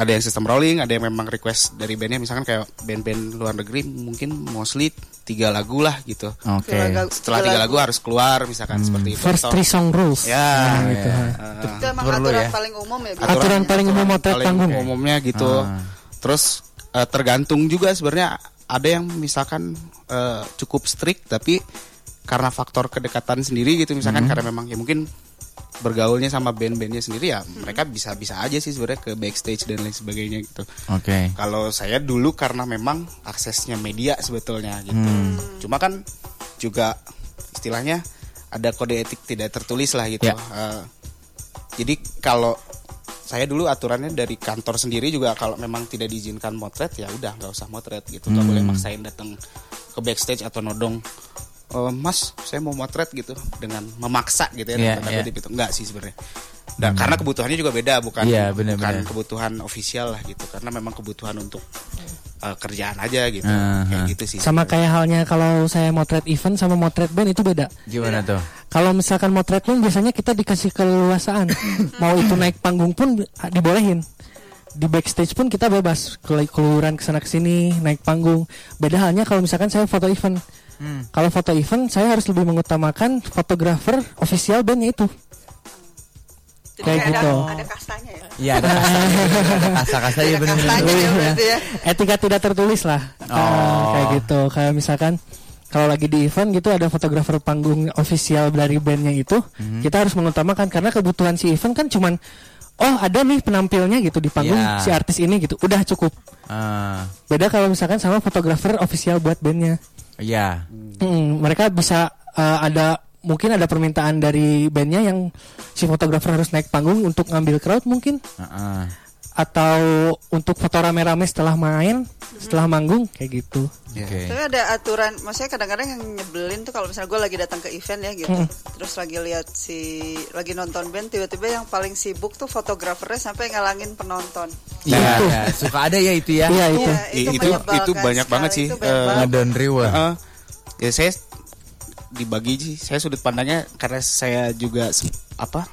S5: Ada yang sistem rolling, ada yang memang request dari bandnya misalkan kayak band-band luar negeri mungkin mostly tiga lagu lah gitu.
S3: oke
S4: Lagu-
S5: Setelah tiga lagu harus keluar misalkan seperti itu.
S7: Hmm. First
S5: Atau-
S7: three song rules.
S5: Ya,
S7: Nah, gitu.
S5: ya.
S4: Itu emang
S3: Perlu
S4: aturan
S3: ya.
S4: paling umum ya biasanya.
S7: Aturan paling umum motret
S5: gitu. paling
S7: panggung.
S5: umumnya gitu.
S3: Ah.
S5: Terus eh, tergantung juga sebenarnya ada yang misalkan eh, cukup strict tapi karena faktor kedekatan sendiri gitu misalkan
S7: Hmm.
S5: karena memang ya mungkin bergaulnya sama band-bandnya sendiri ya
S7: Hmm.
S5: mereka bisa-bisa aja sih sebenarnya ke backstage dan lain sebagainya gitu.
S3: oke
S5: Kalau saya dulu karena memang aksesnya media sebetulnya gitu.
S3: Hmm.
S5: Cuma kan juga istilahnya ada kode etik tidak tertulis lah gitu.
S3: Ya.
S5: Eh, jadi kalau saya dulu aturannya dari kantor sendiri juga kalau memang tidak diizinkan motret ya udah nggak usah motret gitu. Nggak boleh maksain datang ke backstage atau nodong. "Eh, mas, saya mau motret gitu dengan memaksa gitu ya.
S3: Iya,
S5: tanda
S3: iya.
S5: kutip itu enggak sih sebenarnya. Dan karena kebutuhannya juga beda bukan
S3: Iya,
S5: bukan
S3: benar-benar.
S5: kebutuhan official lah gitu karena memang kebutuhan untuk eh, kerjaan aja gitu
S3: Aha.
S5: kayak gitu sih
S7: Sama kayak halnya kalau saya motret event sama motret band itu beda.
S3: gimana
S7: Iya.
S3: tuh
S7: Kalau misalkan motret pun biasanya kita dikasih
S4: *laughs*
S7: keleluasaan. Mau itu naik panggung pun ah, dibolehin. Di backstage pun kita bebas Kelu- keluyuran kesana kesini naik panggung. Beda halnya kalau misalkan saya foto event. Kalau foto event saya harus lebih mengutamakan fotografer official bandnya itu.
S4: Jadi
S7: kayak
S4: kayak ada,
S7: gitu.
S4: ada kastanya ya.
S3: Iya ada kasta-kasta
S5: iya
S3: ya
S4: Ada
S3: benar-benar.
S4: kastanya ya berarti ya.
S7: etika tidak tertulis lah
S5: Oh,
S9: Oh.
S7: Ah, kayak gitu kayak misalkan kalau lagi di event gitu ada fotografer panggung official dari bandnya itu
S3: Hmm.
S7: kita harus mengutamakan karena kebutuhan si event kan cuman oh ada nih penampilnya gitu di panggung
S3: Iya.
S7: si artis ini gitu udah cukup
S3: Ah,
S7: beda kalau misalkan sama fotografer official buat bandnya
S3: Iya
S7: Mm, mereka bisa eh, ada mungkin ada permintaan dari bandnya yang si fotografer harus naik panggung untuk ngambil crowd mungkin
S3: Heeh.
S7: atau untuk foto rame-rame setelah main setelah manggung kayak gitu
S3: Oke
S4: Tapi ada aturan, maksudnya kadang-kadang yang nyebelin tuh kalau misalnya gue lagi datang ke event ya gitu,
S3: Hmm.
S4: terus lagi lihat si lagi nonton band, tiba-tiba yang paling sibuk tuh fotografernya sampai ngalangin penonton.
S3: Iya iya. suka ada ya itu ya
S7: Iya itu.
S4: Iya,
S5: itu- itu
S4: menyebalkan
S5: banyak
S4: sekali,
S5: banget sih.
S4: itu
S5: Eh,
S4: banyak banget.
S3: Ngedown riwa
S5: Heeh. ya saya dibagi sih saya sudut pandangnya karena saya juga se- apa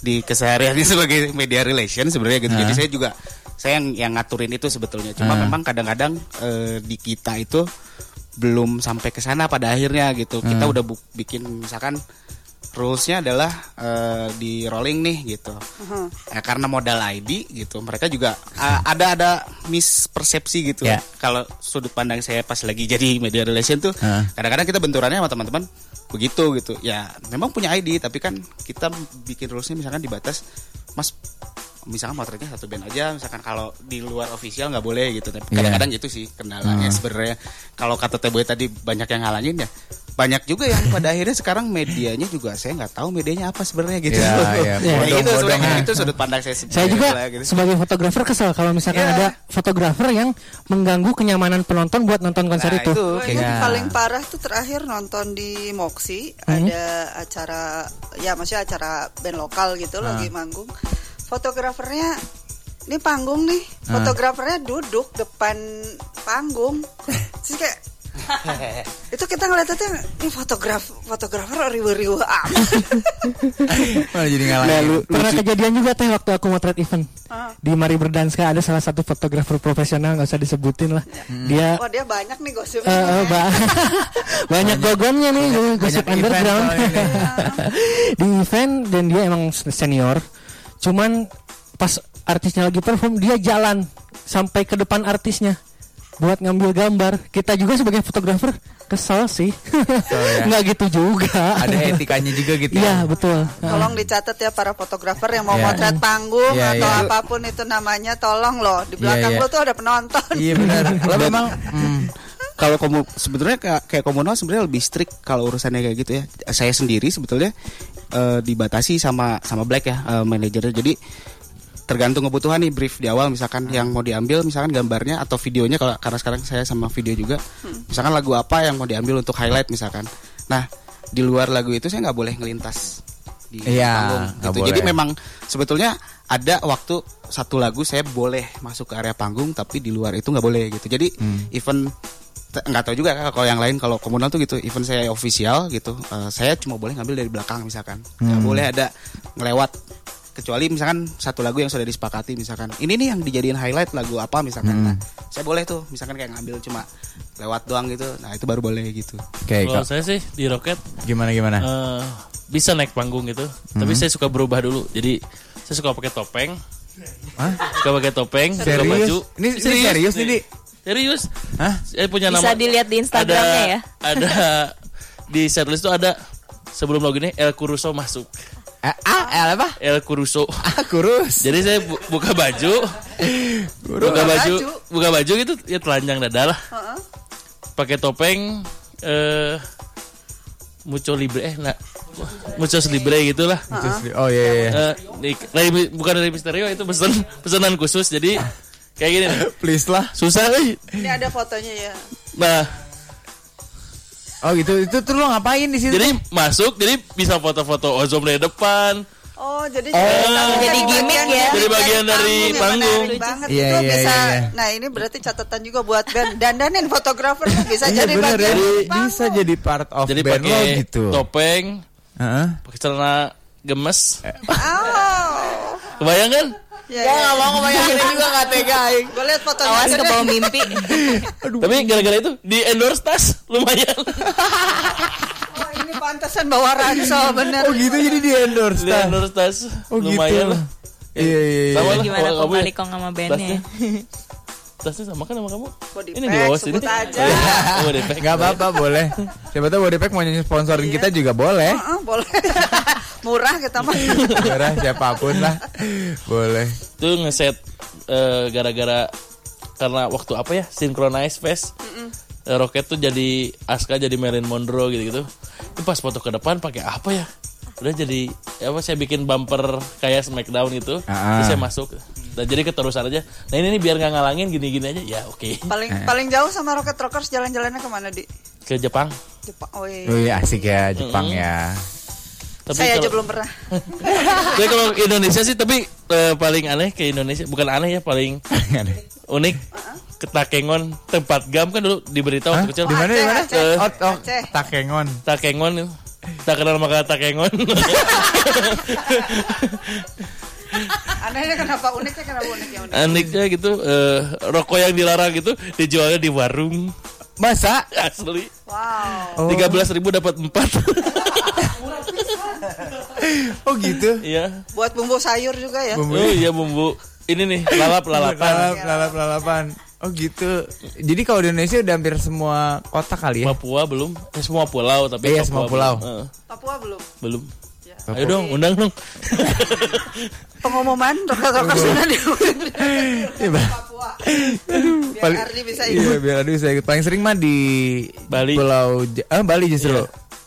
S5: di kesehariannya *laughs* sebagai media relation sebenarnya gitu jadi saya juga saya yang, yang ngaturin itu sebetulnya cuma memang kadang-kadang eh, di kita itu belum sampai ke sana pada akhirnya gitu kita udah bu- bikin misalkan rulesnya adalah eh, di rolling nih gitu Eh, karena modal ID gitu mereka juga eh, ada ada mispersepsi gitu
S3: Ya.
S5: kalau sudut pandang saya pas lagi jadi media relation tuh
S3: Heeh.
S5: kadang-kadang kita benturannya sama teman-teman begitu gitu ya memang punya ID tapi kan kita bikin rulesnya misalkan dibatas mas misalkan motretnya satu band aja misalkan kalau di luar official nggak boleh gitu tapi
S3: Iya. Hmm.
S5: kadang-kadang itu sih kendalanya sebenarnya kalau kata Teh Boy tadi banyak yang ngalangin ya banyak juga yang pada akhirnya sekarang medianya juga saya nggak tahu medianya apa sebenarnya gitu *laughs*
S3: Iya, iya.
S5: Kayak gitu
S3: Bodong-bodong
S5: sebenarnya.
S3: ya.
S5: itu sudut pandang saya
S7: Saya juga
S5: lah, gitu.
S7: sebagai fotografer kesel kalau misalkan
S5: Iya.
S7: ada fotografer yang mengganggu kenyamanan penonton buat nonton konser
S5: Nah,
S7: itu.
S5: itu.
S4: Gue
S3: Iya.
S4: ingat paling parah tuh terakhir nonton di Moxie
S7: Hmm?
S4: ada acara ya maksudnya acara band lokal gitu
S7: Nah.
S4: lagi manggung. Fotografernya ini panggung nih,
S7: Nah.
S4: fotografernya duduk depan panggung.
S7: *laughs*
S4: Terus kayak itu kita ngeliatnya tuh ini fotograf fotografer riwe-riwe amat.
S3: Malah jadi
S5: Nah,
S3: ngalahin
S7: Pernah kejadian juga teh waktu aku motret event
S4: Ah.
S7: di Mari Berdanska ada salah satu fotografer profesional nggak usah disebutin lah. Hmm. Dia
S4: Wah Iya. Oh, dia banyak nih gosipnya.
S7: eh, eh, ba- *laughs* banyak gogonnya nih gosip
S3: Iya, banyak event
S7: underground
S3: soalnya
S7: *laughs*
S3: nih.
S7: di event dan dia emang senior. Cuman pas artisnya lagi perform dia jalan sampai ke depan artisnya. buat ngambil gambar. Kita juga sebagai fotografer kesel sih. *laughs*
S3: ya.
S7: Nggak gitu juga.
S3: Ada etikanya juga gitu.
S7: Iya, betul.
S4: Tolong dicatat ya para fotografer yang mau
S3: Iya.
S4: motret panggung
S3: Iya,
S4: atau
S3: iya.
S4: apapun itu namanya tolong loh di belakang
S3: Iya, iya.
S4: lo tuh ada penonton.
S3: Iya
S4: *laughs*
S3: benar. Lo memang mm,
S5: kalau komu sebetulnya kayak, kayak komunal sebenarnya lebih strict kalau urusannya kayak gitu ya. Saya sendiri sebetulnya eh, dibatasi sama sama Black ya eh, manajernya. Jadi tergantung kebutuhan nih brief di awal misalkan yang mau diambil misalkan gambarnya atau videonya kalau karena sekarang saya sama video juga misalkan lagu apa yang mau diambil untuk highlight misalkan. Nah di luar lagu itu saya nggak boleh ngelintas di
S3: Iya,
S5: panggung
S3: nggak
S5: gitu. Jadi
S3: boleh.
S5: memang sebetulnya ada waktu satu lagu saya boleh masuk ke area panggung tapi di luar itu nggak boleh gitu. Jadi
S3: Hmm.
S5: event te- nggak tahu juga kalau yang lain kalau komunal tuh gitu event saya official gitu eh, saya cuma boleh ngambil dari belakang misalkan nggak
S3: Hmm.
S5: boleh ada ngelewat kecuali misalkan satu lagu yang sudah disepakati misalkan ini nih yang dijadiin highlight lagu apa
S3: Hmm.
S5: misalkan Nah, saya boleh tuh misalkan kayak ngambil cuma lewat doang gitu nah itu baru boleh gitu
S3: Oke,
S8: Kalau
S3: Kak.
S8: saya sih di Roket
S3: gimana gimana? Hmm.
S8: eh, bisa naik panggung gitu, tapi saya suka berubah dulu. Jadi saya suka pakai topeng.
S3: Hah?
S8: Suka pakai topeng, suka
S3: serius?
S8: baju.
S3: Ini, ini serius nih, Di.
S8: Serius?
S3: Hah?
S8: Saya punya
S6: Bisa
S8: Iya, nama.
S6: dilihat di Instagramnya
S8: ada,
S6: ya.
S8: Ada di setlist tuh ada sebelum lagu ini El Curuso masuk.
S3: Ah, ah, eh, apa?
S8: El Curuso.
S3: Ah, kurus.
S8: Jadi saya bu- buka baju, buka baju, buka baju gitu ya telanjang dada lah. Pakai topeng eh muco libre eh nah, mucos libre gitulah.
S3: Terus di- Oh iya iya.
S8: Eh, di- dari- bukan dari Misterio itu pesan pesanan khusus jadi kayak gini nih.
S3: *laughs* Please lah.
S8: Susah eh. nih.
S4: Ini ada fotonya ya.
S8: Nah,
S3: Oh gitu. Itu tuh lo ngapain di situ?
S8: jadi masuk jadi bisa foto-foto ozom dari depan.
S4: Oh, jadi
S6: Jadi gimmick ya.
S8: Jadi bagian dari panggung.
S4: Menarik banget.
S3: Iya,
S4: Itu
S3: iya,
S4: bisa.
S3: iya, iya.
S4: Nah, ini berarti catatan juga buat band. Dandanin fotografer tuh bisa
S3: Iya,
S4: jadi
S3: bener ya.
S4: bagian dari panggung.
S3: Bisa jadi part of
S8: Jadi
S3: band lo
S8: pakai
S3: gitu.
S8: topeng,
S3: Heeh.
S8: pakai celana gemes.
S4: Oh.
S8: Kebayang
S3: *laughs*
S8: kan?
S4: Ya, ya.
S3: mau ngebayangin juga gak tega aing.
S4: Gue lihat fotonya.
S6: Awas
S4: aja
S6: ke
S4: deh.
S6: bawah mimpi.
S8: Tapi gara-gara itu di endorse tas lumayan.
S4: *laughs* Oh, ini pantesan bawa ransel bener.
S3: Oh gitu jadi di endorse.
S8: di
S3: Tan.
S8: endorse tas
S3: Oh gitu.
S8: lumayan lah. Eh,
S3: Iya iya iya.
S8: Sama lah.
S6: Gimana
S8: kalau
S6: kok
S8: kamu ya.
S6: balik kong sama bandnya?
S8: tasnya. Tasnya sama kan sama kamu?
S4: Body
S8: Ini
S4: pack,
S8: di bawah sini.
S4: sebut aja.
S8: Oh, body pack.
S3: Gak apa-apa boleh. Siapa tahu Bodepek mau sponsorin kita juga boleh.
S4: Heeh, boleh. *laughs* Murah kita mah.
S3: Darah siapapun lah. Boleh.
S8: Itu ngeset eh, gara-gara karena waktu apa ya? Synchronize Fest. Eh, Roket tuh jadi Aska jadi Marilyn Monroe gitu-gitu. Itu pas foto ke depan pakai apa ya? Udah jadi ya apa saya bikin bumper kayak Smackdown gitu.
S3: Ah.
S8: Terus saya masuk. Dan jadi keterusan aja. Nah ini nih biar nggak ngalangin gini-gini aja. Ya oke.
S4: Paling
S3: Eh.
S4: paling jauh sama Rocket Rockers jalan-jalannya kemana di?
S8: Ke Jepang.
S4: Jepang. Oh, iya.
S3: Oh iya asik ya Jepang ya.
S8: Tapi
S4: Saya aja
S8: kalau-
S4: belum pernah.
S8: Tapi kalau ke Indonesia sih tapi eh, paling aneh ke Indonesia bukan aneh ya paling unik ke Takengon tempat gam kan dulu diberitahu
S3: Hah?
S8: waktu kecil Eh,
S3: Di mana di mana?
S4: Aceh,
S3: Oh, oh,
S4: Aceh.
S3: Takengon.
S8: Takengon tak kenal maka Takengon *laughs*
S4: Anehnya kenapa uniknya kenapa uniknya unik.
S8: uniknya gitu eh, rokok yang dilarang gitu dijualnya di warung
S3: Masa?
S8: asli
S4: Wow.
S8: 13.000 dapat
S3: *laughs*
S8: 4
S3: Oh gitu.
S8: iya
S4: Buat bumbu sayur juga ya.
S3: Bumbu-
S8: oh iya bumbu ini nih lalap lalapan
S3: Lalap, lalap, lalapan. Oh gitu. Jadi kalau di Indonesia udah hampir semua kota kali ya.
S8: Papua belum eh, semua pulau tapi
S3: Iya,
S8: Papua
S3: semua pulau.
S8: belum. Eh,
S4: Papua belum.
S8: belum.
S4: Ya.
S8: Ayo dong undang dong
S4: Pengumuman Rocket Rockers sudah di
S3: Iya, Bang.
S4: Papua. Biar
S3: Paling-
S4: Ardi bisa
S3: Iya,
S4: ikut.
S3: biar Ardi bisa ikut. Paling sering mah di
S8: Bali.
S3: Pulau Ja- ah, Bali justru.
S8: Iya.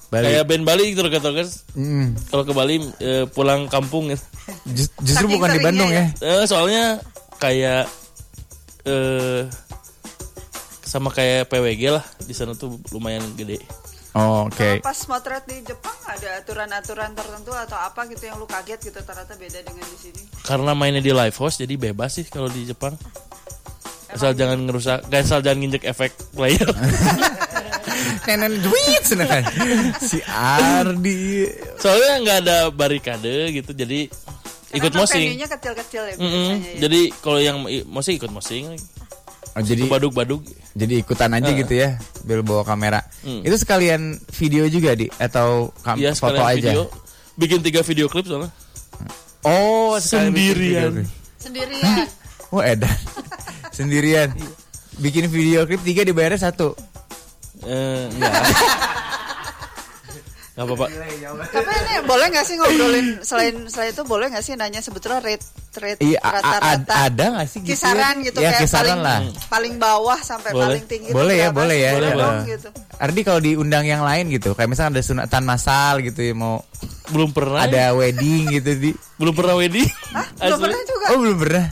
S3: Bali.
S8: kayak band Bali gitu Roket Rockers
S3: Mm,
S8: kalau ke Bali eh, pulang kampung gitu.
S3: jus- justru
S4: Saking
S3: bukan di
S4: seringnya
S3: Bandung
S4: ya.
S3: ya.
S8: Eh, soalnya kayak eh sama kayak PWG lah di sana tuh lumayan gede.
S3: Oh, Oke.
S4: Kalau Pas motret di Jepang ada aturan-aturan tertentu atau apa gitu yang lu kaget gitu ternyata beda dengan di sini.
S8: Karena mainnya di live house jadi bebas sih kalau di Jepang. Asal jangan ngerusak, gak asal jangan nginjek efek player.
S3: *laughs* Nenen duit seneng. Si Ardi.
S8: soalnya nggak ada barikade gitu jadi ikut
S4: Karena kan
S8: mosing.
S4: venue-nya kecil-kecil ya
S8: Mm-mm.
S4: biasanya ya.
S8: Jadi kalau yang i- mosing ikut mosing,
S3: Oh, jadi
S8: baduk-baduk.
S3: jadi ikutan aja
S8: Ah.
S3: gitu ya, biar bawa kamera.
S8: Mm.
S3: Itu sekalian video juga di atau kam-
S8: Iya
S3: foto
S8: sekalian
S3: aja.
S8: video. Bikin tiga video klip soalnya.
S3: Oh, sekalian bikin
S8: Sendirian.
S3: video.
S8: *laughs*
S4: sendirian.
S8: Iya.
S3: Oh, edan. Sendirian. bikin video klip tiga dibayarnya satu.
S8: Eh, enggak. Enggak apa-apa.
S4: ya, Tapi ini boleh nggak sih ngobrolin selain selain itu boleh nggak sih nanya sebetulnya rate rate
S3: Iya, a- a-
S4: rata-rata
S3: ada nggak sih gitu
S4: kisaran
S3: ya?
S4: gitu
S3: Ya,
S4: kayak
S3: kisaran
S4: paling
S3: lah.
S8: Hmm.
S4: paling bawah sampai
S8: Boleh.
S4: paling tinggi itu
S3: Boleh ya,
S4: berapa?
S3: boleh ya.
S4: Boleh
S8: Boleh.
S4: dong, gitu.
S3: Ardi kalau diundang yang lain gitu, kayak misalnya ada sunatan masal gitu ya, mau
S8: Belum pernah.
S3: ada wedding gitu di.
S8: Belum pernah wedding.
S4: Hah? Belum
S8: Asli.
S4: pernah juga.
S3: Oh belum pernah.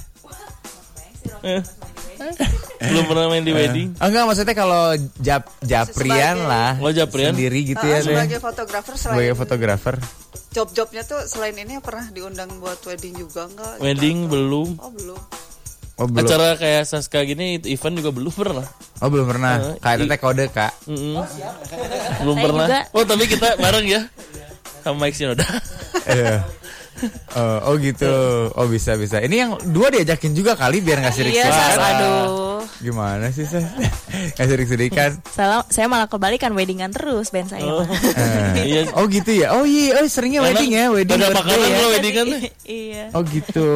S8: Belum pernah main di wedding.
S3: Oh, enggak maksudnya kalau jap japrian
S4: Sebagai-
S3: lah.
S8: Oh, japrian.
S3: Sendiri gitu ya.
S4: Ah,
S3: Teh.
S4: sebagai fotografer selain
S3: Sebagai fotografer.
S4: job-jobnya tuh selain ini pernah diundang buat wedding juga nggak?
S8: Wedding belum.
S4: Oh belum.
S3: Oh belum.
S8: Acara kayak Saska gini event juga belum pernah.
S4: Ah.
S3: Oh belum pernah.
S8: Eh,
S3: Kayak
S8: i-
S3: teteh kode kak.
S8: Mm-mm. Belum
S6: Oh, Saya
S8: pernah.
S6: juga.
S8: Oh, tapi kita bareng ya. Sama Mike Shinoda.
S3: Iya. Eh, oh gitu. Oh bisa bisa. Ini yang dua diajakin juga kali biar nggak sirik
S6: Iya, Sas, aduh.
S3: Gimana sih Sas? *laughs* Nggak sirik-sirikan.
S6: Salah- saya malah kebalikan weddingan terus band saya. mah.
S8: *laughs*
S3: Eh,
S8: Iya.
S3: Oh gitu ya. Oh iya, oh seringnya wedding ya, wedding. birthday
S8: Ada makanan
S3: ya.
S8: lo weddingan tuh.
S6: *laughs* iya.
S3: Oh
S6: *laughs*
S3: gitu.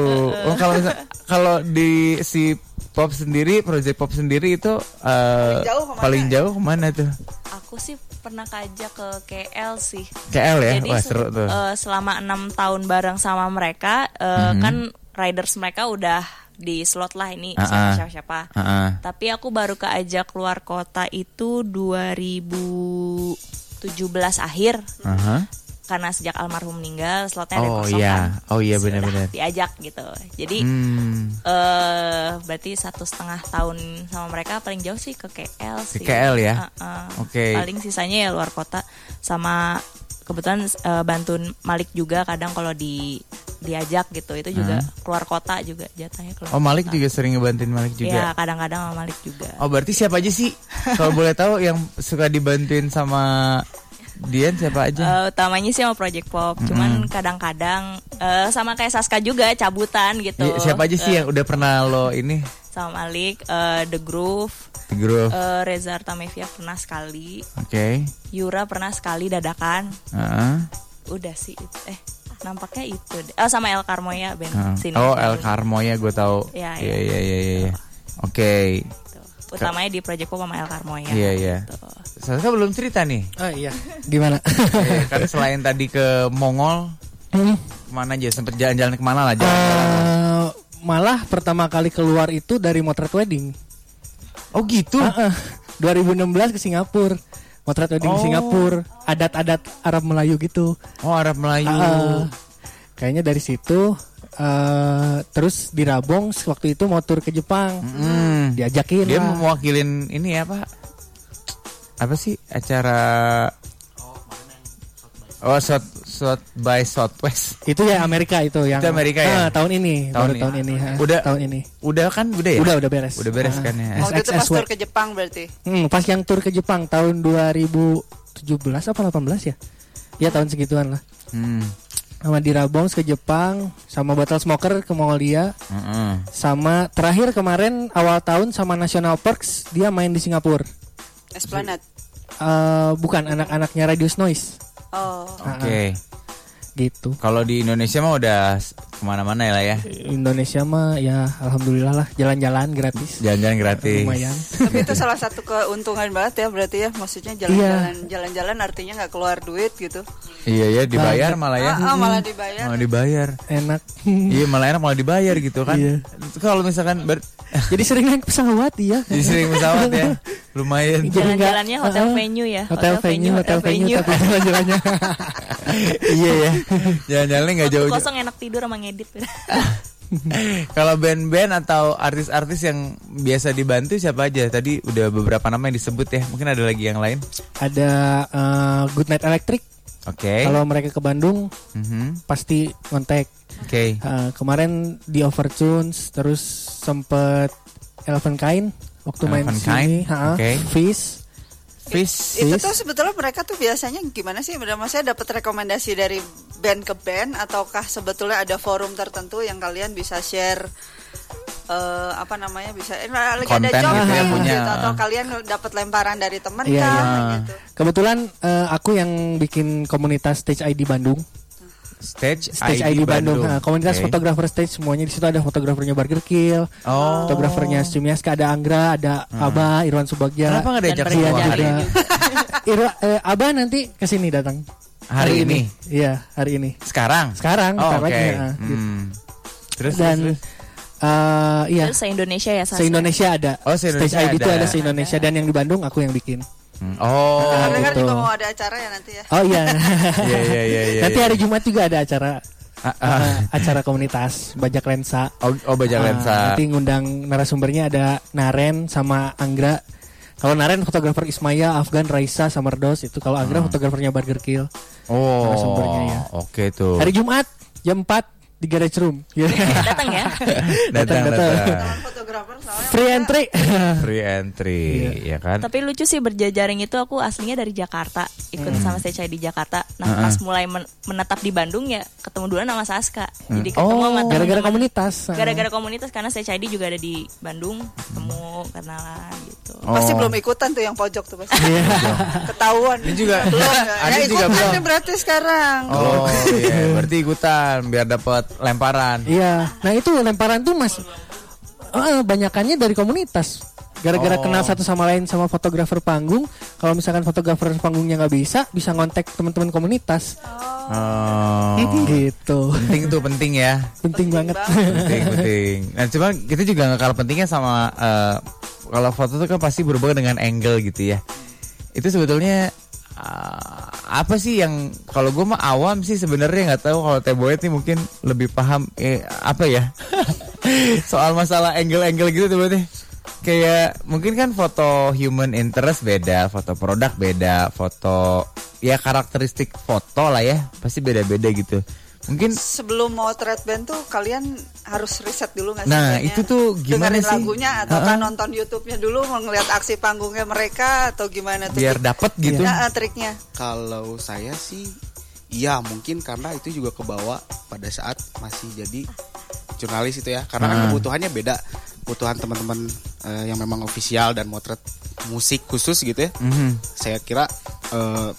S3: Oh, kalau misal- kalau di si pop sendiri, project pop sendiri itu eh,
S4: Paling jauh kemana?
S3: paling jauh kemana tuh?
S6: Aku sih pernah kajak ke KL sih.
S3: KL ya.
S6: Jadi
S3: Wah
S6: se-
S3: seru tuh.
S6: eh, selama enam tahun bareng sama mereka, eh,
S3: Mhm.
S6: kan riders mereka udah di slot lah ini
S3: Ah, ah.
S6: siapa siapa.
S3: Ah, ah.
S6: Tapi aku baru keajak keluar kota itu 2017 akhir
S3: Aha.
S6: karena sejak almarhum meninggal slotnya ada
S3: Oh
S6: kosong
S3: iya.
S6: kan.
S3: Oh iya
S6: Terus udah
S3: benar-benar.
S6: diajak gitu. Jadi
S3: Hmm.
S6: eh berarti satu setengah tahun sama mereka paling jauh sih ke KL sih.
S3: KL ya?
S6: Heeh.
S3: Oke.
S6: Paling sisanya ya luar kota sama kebetulan eh, bantuin Malik juga kadang kalau di diajak gitu itu juga keluar kota juga jatahnya keluar.
S3: Oh Malik
S6: kota.
S3: juga sering ngebantuin Malik juga.
S6: Iya kadang-kadang sama Malik juga.
S3: Oh berarti siapa aja sih? Kalau boleh tahu yang suka dibantuin sama Dian siapa aja?
S6: Eh, utamanya sih sama Project Pop, cuman kadang-kadang eh, sama kayak Saska juga cabutan gitu.
S3: Iya, Siapa aja sih
S6: Eh,
S3: yang udah pernah lo ini?
S6: sama Malik, eh, The Groove,
S3: The Groove.
S6: eh, Reza Artamevia pernah sekali,
S3: Oke.
S6: Yura pernah sekali dadakan.
S3: Heeh.
S6: Udah sih itu. Eh, nampaknya itu. deh. Oh, sama El Carmoya band
S3: Heeh.
S6: sini.
S3: Oh El Carmoya gue tahu.
S4: Ya,
S6: Iya,
S3: Iya
S6: iya.
S3: iya iya iya. Oke.
S6: Gitu. Utamanya di Project Pop sama El Carmoya.
S3: Iya iya.
S6: Gitu.
S3: Saska belum cerita nih.
S7: Oh iya. Gimana? *laughs*
S3: Iya, Karena selain tadi ke Mongol,
S7: Hmm.
S3: kemana aja? Sempet jalan-jalan kemana lah? Jalan
S7: Eh, malah pertama kali keluar itu dari Motret Wedding. Ah,
S3: Oh gitu.
S7: Heeh. 2016 ke Singapura. Motret Wedding di Singapura. Adat-adat Arab Melayu gitu.
S3: Oh Arab Melayu.
S7: Heeh. kayaknya dari situ eh, terus di Rabong waktu itu mau tur ke Jepang.
S3: Hmm.
S7: Diajakin
S3: Dia
S7: lah.
S3: mewakilin ini ya pak Apa sih acara Oh shot shot by Southwest
S7: Itu ya Amerika itu yang
S3: Itu Amerika
S7: Ah,
S3: ya?
S7: tahun ini,
S3: Tahun
S7: baru
S3: ini.
S7: tahun ini. ha,
S3: Udah-
S7: tahun ini.
S3: Udah kan udah ya
S7: Udah udah beres.
S3: Udah beres
S7: Ah,
S3: kan ya
S4: Waktu itu Oh, gitu pas
S7: SXSY.
S4: tur ke Jepang berarti.
S7: Hmm, pas yang tur ke Jepang tahun 2017 apa 18 ya? Ya tahun segituan lah.
S3: Hmm.
S7: Sama Dirabongs ke Jepang, sama Battle Smoker ke Mongolia,
S3: Mm-mm.
S7: sama terakhir kemarin awal tahun sama National Parks dia main di Singapura.
S4: Esplanade.
S7: Eh, bukan anak-anaknya Radius Noise
S4: Oh.
S7: Ah,
S3: Oke
S7: gitu.
S3: Kalau di Indonesia mah udah s- Kemana-mana ya lah ya
S7: Indonesia mah ya alhamdulillah lah jalan-jalan gratis.
S3: Jalan-jalan gratis
S7: Lumayan.
S4: Tapi itu salah satu keuntungan banget ya berarti ya. Maksudnya jalan-jalan jalan-jalan artinya nggak keluar duit gitu.
S3: Iya ya
S7: Eh,
S3: dibayar malah ya
S4: Ah, ah, malah dibayar.
S3: Malah dibayar
S7: Enak.
S3: Iya malah enak malah dibayar gitu kan
S7: Iya.
S3: Kalau misalkan ber- *laughs*
S7: Jadi sering naik pesawat iya.
S3: Jadi sering pesawat ya
S7: Jadi
S3: Lumayan
S7: nggak-
S6: *laughs* Jalan-jalannya hotel
S7: Ah, ah.
S6: venue ya.
S7: Hotel, venue, hotel venue, tapi
S3: *laughs*
S7: jalan-jalannya. *laughs*
S3: Iya ya Jalan-jalannya gak
S6: Waktu
S3: jauh
S6: kosong enak tidur sama ngedit.
S3: Kalau band-band atau artis-artis yang biasa dibantu siapa aja? Tadi udah beberapa nama yang disebut ya. Mungkin ada lagi yang lain.
S7: Ada eh, Good Night Electric.
S3: Oke.
S7: Kalau mereka ke Bandung
S3: Mhm.
S7: pasti kontak.
S3: Oke.
S7: Eh, kemarin di Overtunes terus sempet Eleven Kain waktu main
S3: Eleven
S7: di
S3: Kind,
S7: sini, ha,
S3: oke.
S7: Fish.
S3: Fish.
S4: Itu
S7: Sis.
S4: tuh sebetulnya mereka tuh biasanya gimana sih? Bener maksudnya dapat rekomendasi dari band ke band ataukah sebetulnya ada forum tertentu yang kalian bisa share eh, apa namanya bisa eh, lagi ada
S3: Konten
S4: job
S3: gitu ya,
S4: kayak
S3: punya.
S4: gitu, atau kalian dapat lemparan dari teman
S7: Iya,
S4: kah
S7: iya.
S4: gitu.
S7: Kebetulan eh, aku yang bikin komunitas Stage ID Bandung.
S3: Stage,
S7: Stage ID,
S3: ID,
S7: Bandung, Nah, komunitas
S3: Oke.
S7: fotografer stage semuanya di situ ada fotografernya Burger Kill,
S3: Oh. Hmm.
S7: fotografernya Sumiaska, ada Anggra, ada Aba, Irwan Subagja.
S3: Kenapa nggak diajak
S6: Dan
S3: semua
S7: Iya,
S3: hari,
S7: juga. *laughs* Irwa- eh, Aba nanti kesini datang.
S3: hari ini?
S7: Iya, hari ini.
S3: Sekarang?
S7: Sekarang,
S3: Oh,
S7: bentar
S3: oke.
S7: lagi, ya, gitu.
S3: Hmm. Terus,
S7: Dan
S3: terus, terus.
S7: eh, iya,
S6: Terus se Indonesia ya Sasa.
S7: se Indonesia ada.
S3: Oh, se-Indonesia
S7: Stage ID itu
S3: ada.
S7: ada se Indonesia dan yang di Bandung aku yang bikin.
S3: Hmm. Oh,
S4: Karena kan
S7: gitu.
S4: juga mau ada acara ya nanti ya.
S7: Oh
S4: *laughs*
S7: iya.
S3: Iya, iya, iya, iya,
S7: Nanti
S3: iya.
S7: hari Jumat juga ada acara
S3: Ah, ah.
S7: eh, acara komunitas Bajak Lensa.
S3: oh, oh bajak
S7: Ah,
S3: lensa.
S7: Nanti ngundang narasumbernya ada Naren sama Anggra. Kalau Naren fotografer Ismaya, Afgan, Raisa, Samardos itu. Kalau Anggra fotografernya Burger Kill.
S3: Hmm. Oh,
S7: narasumbernya ya.
S3: oke tuh.
S7: Hari Jumat jam 4 di Garage Room. Ya.
S6: Datang ya.
S3: *laughs* datang, datang.
S7: *laughs* datang. Iya.
S4: Calon fotografer soalnya
S7: Free
S4: *laughs*
S7: entry.
S3: Free entry, ya kan?
S6: Tapi lucu sih berjejaring itu aku aslinya dari Jakarta, ikut
S3: Hmm.
S6: sama Stage di Jakarta. Nah, pas mulai men- menetap di Bandung ya ketemu dulu sama Saska. Jadi ketemu sama
S3: Oh,
S6: teman-teman.
S7: Hmm. Gara-gara komunitas.
S6: gara-gara komunitas karena Stage ID juga ada di Bandung, ketemu kenalan gitu.
S4: pasti belum ikutan tuh yang pojok tuh pasti. Ketahuan.
S3: Oh. Ini juga-
S4: belum. ya.
S3: *laughs* Ada
S4: Ya,
S3: juga
S4: ikutan
S3: belum.
S4: nih berarti sekarang.
S3: Oh, iya. Berarti ikutan biar dapat lemparan.
S7: Iya. Nah itu lemparan tuh mas. Eh, banyakannya dari komunitas. Gara-gara
S3: Oh.
S7: kenal satu sama lain sama fotografer panggung. Kalau misalkan fotografer panggungnya nggak bisa, bisa ngontek teman-teman komunitas.
S3: Oh.
S7: *laughs* Gitu.
S3: penting tuh penting ya.
S7: Penting banget.
S3: Penting,
S7: *laughs*
S3: penting. Nah, cuman kita juga nggak kalah pentingnya sama eh, kalau foto tuh kan pasti berhubungan dengan angle gitu ya. Itu sebetulnya eh, apa sih yang kalau gue mah awam sih sebenarnya nggak tahu kalau Teboet nih mungkin lebih paham eh, apa ya *laughs* soal masalah angle-angle gitu tuh berarti kayak mungkin kan foto human interest beda, foto produk beda, foto ya karakteristik foto lah ya pasti beda-beda gitu. Mungkin
S4: Sebelum mau thread band tuh kalian harus riset dulu nggak sih?
S3: Nah,
S4: bandnya?
S3: itu tuh gimana
S4: Dengerin
S3: sih?
S4: lagunya atau kan
S3: Ha-ha.
S4: nonton YouTube-nya dulu mau ngeliat aksi panggungnya mereka atau gimana tuh?
S3: biar dapet gitu.
S4: Nah, eh, triknya.
S5: Kalau saya sih Iya mungkin karena itu juga kebawa pada saat masih jadi jurnalis itu ya Karena kan
S3: Ah.
S5: kebutuhannya beda Kebutuhan teman-teman eh, yang memang official dan motret musik khusus gitu ya
S3: Mhm.
S5: Saya kira eh,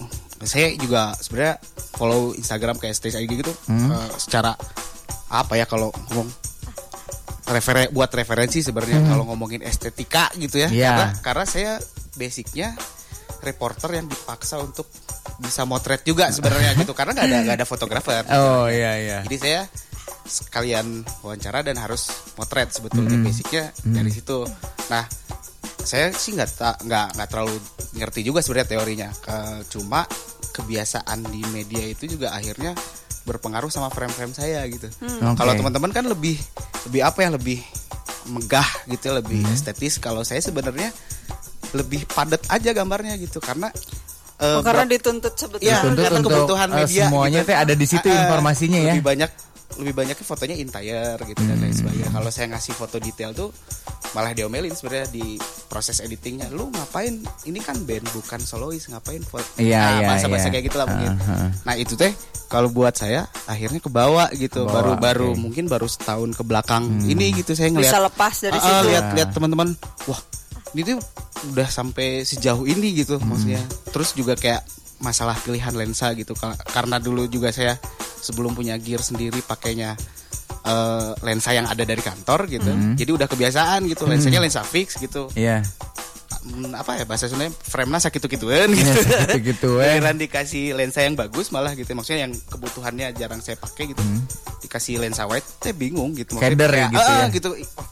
S5: saya juga sebenarnya follow Instagram kayak Stage ID gitu
S3: Hmm.
S5: eh, Secara apa ya kalau ngomong referen buat referensi sebenarnya kalau ngomongin estetika gitu ya
S3: Hmm. Iya.
S5: karena karena saya basicnya reporter yang dipaksa untuk bisa motret juga
S3: *laughs*
S5: sebenarnya gitu karena nggak ada nggak ada fotografer
S3: Oh iya iya.
S5: jadi saya sekalian wawancara dan harus motret sebetulnya
S3: Hmm.
S5: basicnya dari situ nah saya sih nggak ta- nggak nggak terlalu ngerti juga sebenarnya teorinya Ke- cuma kebiasaan di media itu juga akhirnya berpengaruh sama frame-frame saya gitu
S3: Oke.
S5: kalau teman-teman kan lebih lebih apa ya lebih megah gitu lebih estetis kalau saya sebenarnya lebih padat aja gambarnya gitu karena eh,
S4: Oh, karena
S5: ber-
S4: dituntut sebetulnya.
S5: Iya,
S3: Dituntut
S5: karena
S3: untuk,
S5: kebutuhan
S3: eh,
S5: media
S3: semuanya
S5: gitu.
S3: teh ada di situ
S5: Ah, ah,
S3: informasinya ya. Hmm.
S5: Lebih banyak lebih banyaknya fotonya interior gitu dan lain sebagainya. Kalau saya ngasih foto detail tuh malah diomelin sebenarnya di proses editingnya. Lu ngapain? Ini kan band bukan solois, ngapain foto?
S3: Iya, iya,
S5: bahasa-bahasa
S3: iya.
S5: kayak gitu lah mungkin.
S3: Ah, ah.
S5: Nah, itu teh kalau buat saya akhirnya kebawa gitu.
S3: Kebawa,
S5: Baru-baru
S3: oke. Hmm.
S5: mungkin baru setahun ke belakang ini gitu saya ngeliat
S4: Bisa lepas
S5: Ah,
S4: dari
S5: ah,
S4: situ.
S5: lihat lihat teman-teman wah ini tuh udah sampai sejauh ini gitu maksudnya terus juga kayak masalah pilihan lensa gitu Ka- karena dulu juga saya sebelum punya gear sendiri pakainya eh, lensa yang ada dari kantor gitu jadi udah kebiasaan gitu lensanya lensa fix gitu
S3: Iya.
S5: Hmm, apa ya bahasa Sundanya frame nasa gitu gituan gitu
S3: Iya, *laughs* Gitu-gituan.
S5: Giliran dikasih lensa yang bagus malah gitu maksudnya yang kebutuhannya jarang saya pakai gitu dikasih lensa wide saya bingung gitu
S3: Header
S5: kayak,
S3: Hmm. ya gitu
S5: "Ah,
S3: ya."
S5: gitu i- oh,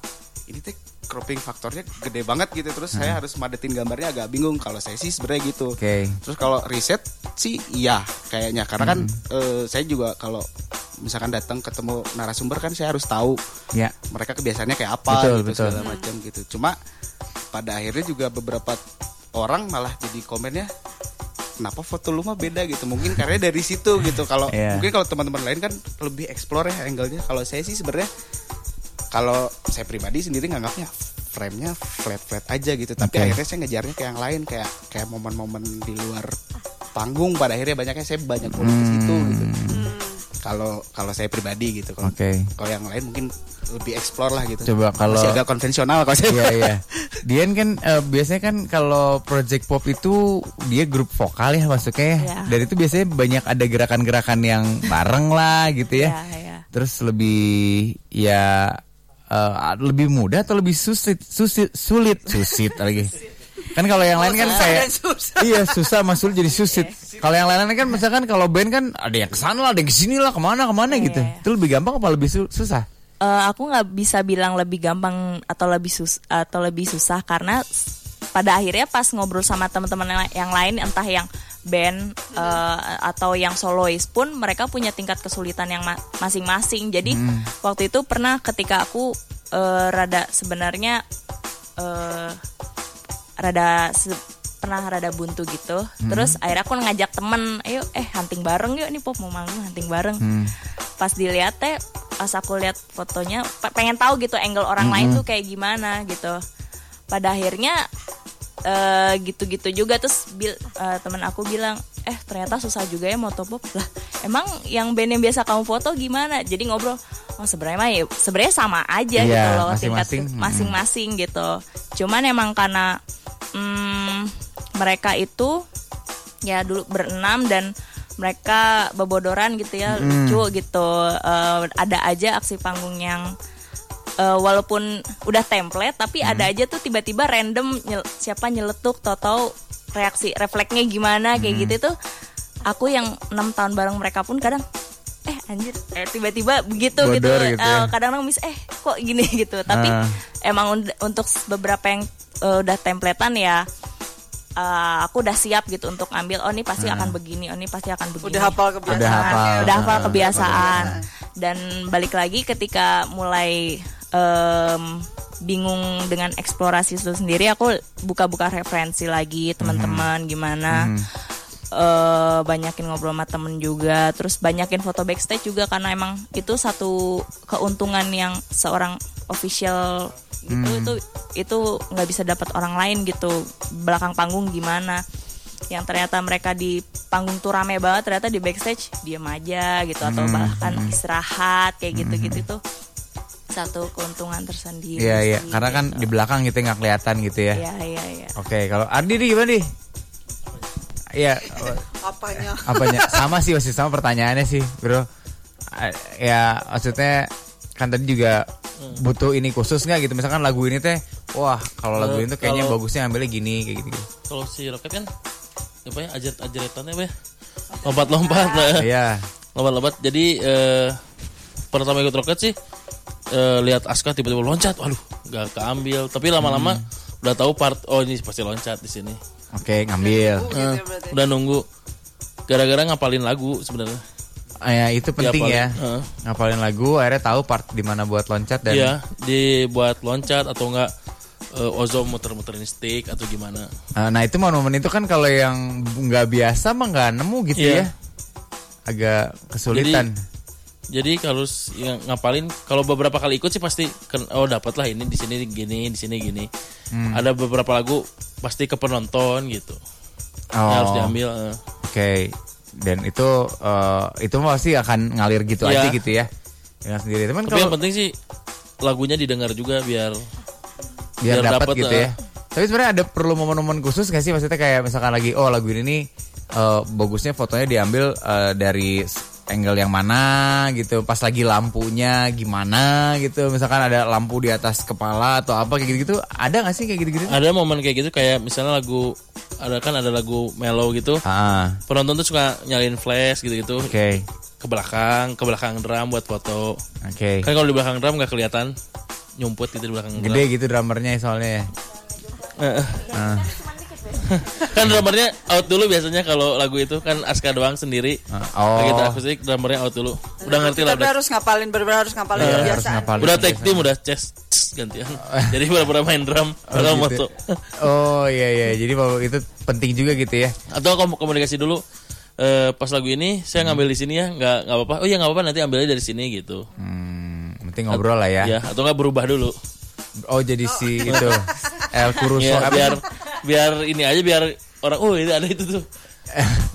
S5: ini teh cropping faktornya gede banget gitu terus saya harus madetin gambarnya agak bingung kalau saya sih sebenarnya gitu
S3: Hmm. Oke.
S5: terus kalau riset sih iya kayaknya karena kan
S3: Hmm.
S5: eh, saya juga kalau misalkan datang ketemu narasumber kan saya harus tahu
S3: Ya.
S5: mereka kebiasaannya kayak apa
S3: Betul,
S5: gitu
S3: betul.
S5: segala macam gitu. Cuma pada akhirnya juga beberapa orang malah jadi komennya kenapa foto lu mah beda gitu. Mungkin karena dari
S3: *laughs*
S5: situ gitu. Kalau
S3: Iya.
S5: mungkin kalau teman-teman lain kan lebih explore ya angle-nya. Kalau saya sih sebenarnya kalau saya pribadi sendiri nganggapnya frame-nya flat-flat aja gitu. Tapi
S3: Oke.
S5: akhirnya saya ngejarnya ke yang lain kayak kayak
S3: Hmm.
S5: momen-momen di luar panggung pada akhirnya banyaknya saya banyak fokus itu gitu. kalau kalau saya pribadi gitu kalau
S3: Oke.
S5: kalau yang lain mungkin lebih explore lah gitu
S3: Coba kalau-
S5: masih agak konvensional kalau saya *laughs*
S3: Iya iya. Dian kan eh, biasanya kan kalau project pop itu dia grup vokal ya masuknya ya.
S6: Iya.
S3: Dan itu biasanya banyak ada gerakan-gerakan yang bareng lah gitu ya.
S6: Iya, iya.
S3: Terus lebih ya eh, lebih mudah atau lebih susit susit sulit susit lagi. Kan kalau yang lain kan
S4: Susah
S3: kayak
S4: dan susah.
S3: Iya susah Mas Sul jadi susit.
S6: Iya,
S3: Kalau yang lain kan misalkan kalau band kan ada yang kesana lah, ada yang kesini lah, kemana kemana
S6: Iya,
S3: gitu.
S6: iya.
S3: Itu lebih gampang apa lebih su- susah?
S6: Eh, aku nggak bisa bilang lebih gampang atau lebih sus atau lebih susah karena s- pada akhirnya pas ngobrol sama teman-teman yang la- yang lain entah yang band eh, atau yang solois pun mereka punya tingkat kesulitan yang ma- masing-masing. Jadi waktu itu pernah ketika aku eh, rada sebenarnya eh, rada se- pernah rada buntu gitu. Terus akhirnya aku ngajak temen, ayo eh hunting bareng yuk nih pop mau manggung hunting bareng.
S3: Hmm.
S6: Pas dilihat teh, pas aku lihat fotonya, pe- pengen tahu gitu angle orang lain tuh kayak gimana gitu. Pada akhirnya eh, gitu-gitu juga terus bil, eh, temen aku bilang eh ternyata susah juga ya moto pop lah emang yang band yang biasa kamu foto gimana jadi ngobrol oh sebenarnya mah ya- sebenarnya sama aja
S3: Iya,
S6: gitu loh tingkat
S3: masing-masing.
S6: ke- masing-masing gitu cuman emang karena mm, mereka itu ya dulu berenam dan mereka bobodoran gitu ya
S3: Hmm.
S6: lucu gitu Eh, ada aja aksi panggung yang eh, walaupun udah template tapi
S3: Hmm.
S6: ada aja tuh tiba-tiba random nyel- siapa nyeletuk tahu reaksi refleksnya gimana
S3: Hmm.
S6: kayak gitu tuh aku yang enam tahun bareng mereka pun kadang eh anjir eh, tiba-tiba begitu gitu,
S3: Bodor gitu ya.
S6: Eh, kadang-kadang miss eh kok gini *laughs* gitu tapi
S3: Ah.
S6: emang und- untuk beberapa yang eh, udah templatean ya eh, aku udah siap gitu untuk ambil oh ini pasti akan begini oh ini pasti akan begini
S4: Udah hafal kebiasaan.
S3: Udah hafal.
S6: udah hafal kebiasaan dan balik lagi ketika mulai em, bingung dengan eksplorasi itu sendiri aku buka-buka referensi lagi teman-teman gimana Eh, banyakin ngobrol sama temen juga terus banyakin foto backstage juga karena emang itu satu keuntungan yang seorang official gitu
S3: Hmm.
S6: itu itu nggak bisa dapat orang lain gitu belakang panggung gimana yang ternyata mereka di panggung tuh rame banget ternyata di backstage diem aja gitu atau
S3: Hmm,
S6: bahkan istirahat kayak gitu-gitu tuh satu keuntungan tersendiri
S3: Iya Hmm. iya,
S6: sih,
S3: karena kan
S6: gitu.
S3: di belakang gitu nggak kelihatan gitu ya.
S6: iya iya iya
S3: Oke, kalau Ardi di gimana di? Iya,
S4: Apanya?
S3: apanya? Sama sih, masih sama pertanyaannya sih, bro. Ah, Ya maksudnya kan tadi juga
S8: Hmm.
S3: butuh ini khusus nggak gitu? Misalkan lagu ini teh, wah kalau lagu ini tuh kayaknya
S8: Eh, Kalau-
S3: bagusnya ambilnya gini kayak gitu.
S8: Kalau si Roket kan apa ya ajaret-ajaretannya apa ya? Lompat-lompat. nah.
S3: Iya.
S8: lompat-lompat jadi eh, pertama ikut roket sih eh, lihat Aska tiba-tiba loncat waduh nggak keambil tapi lama-lama
S3: Hmm.
S8: udah tahu part oh ini pasti loncat di sini
S3: Oke, ngambil.
S4: Gitu
S8: Eh.
S4: ya berarti.
S8: udah nunggu gara-gara ngapalin lagu sebenarnya
S3: Ah, Ya, itu penting
S8: Iya,
S3: ya.
S8: paling. Heeh.
S3: Ngapalin lagu, akhirnya tahu part di mana buat loncat dan
S8: iya dibuat loncat atau enggak eh, Ozo muter-muterin stick atau gimana
S3: Ah, nah itu momen itu kan kalau yang nggak biasa mah nggak nemu gitu
S8: Iya.
S3: ya. Agak kesulitan.
S8: jadi kalau s- yang ngapalin kalau beberapa kali ikut sih pasti ken- oh dapat lah ini di sini gini di sini gini
S3: Hmm.
S8: ada beberapa lagu pasti ke penonton gitu Yang harus
S3: Oh, Oke.
S8: diambil eh.
S3: Dan itu eh, itu pasti akan ngalir gitu
S8: Iya.
S3: aja gitu ya. Dengan sendiri. Teman
S8: Tapi yang
S3: Kan kalau
S8: penting sih lagunya didengar juga biar
S3: biar
S8: biar
S3: dapat
S8: dapet,
S3: gitu
S8: eh.
S3: ya. Tapi sebenarnya ada perlu momen-momen khusus gak sih maksudnya kayak misalkan lagi oh lagu ini nih eh, bagusnya fotonya diambil eh, dari s- angle yang mana gitu, pas lagi lampunya gimana gitu. Misalkan ada lampu di atas kepala atau apa kayak gitu-gitu, ada gak sih kayak gitu-gitu?
S8: ada momen kayak gitu kayak misalnya lagu ada kan ada lagu mellow gitu.
S3: Ah,
S8: Penonton tuh suka nyalain flash gitu-gitu
S3: oke,
S8: ke belakang, ke belakang drum buat foto.
S3: oke.
S8: Kan kalau di belakang drum nggak kelihatan nyumput gitu di belakang
S3: Gede
S8: drum.
S3: gitu drummernya soalnya. Ah, ya.
S8: Eh, eh. kan drummernya out dulu biasanya kalau lagu itu kan Aska doang sendiri.
S3: Oh.
S8: Kita akustik drummernya out dulu. Udah ngerti
S4: Kita
S8: lah udah.
S4: harus ngapalin benar harus ngapalin
S3: Iya, harus
S4: kebiasaan.
S3: ngapalin
S8: Udah take
S3: biasanya.
S8: team udah chest chest,
S3: *laughs*
S8: gantian. Jadi pura-pura main drum, pura
S3: gitu. Oh iya iya, jadi bahwa itu penting juga gitu ya.
S8: atau kom- komunikasi dulu eh, pas lagu ini saya ngambil di sini ya nggak nggak apa-apa oh iya nggak apa-apa nanti ambilnya dari sini gitu
S3: Hmm, penting ngobrol lah ya.
S8: ya atau nggak berubah dulu
S3: Oh jadi si itu El Kuruso
S8: ya,
S3: apa?
S8: biar biar ini aja biar orang oh ini ada itu tuh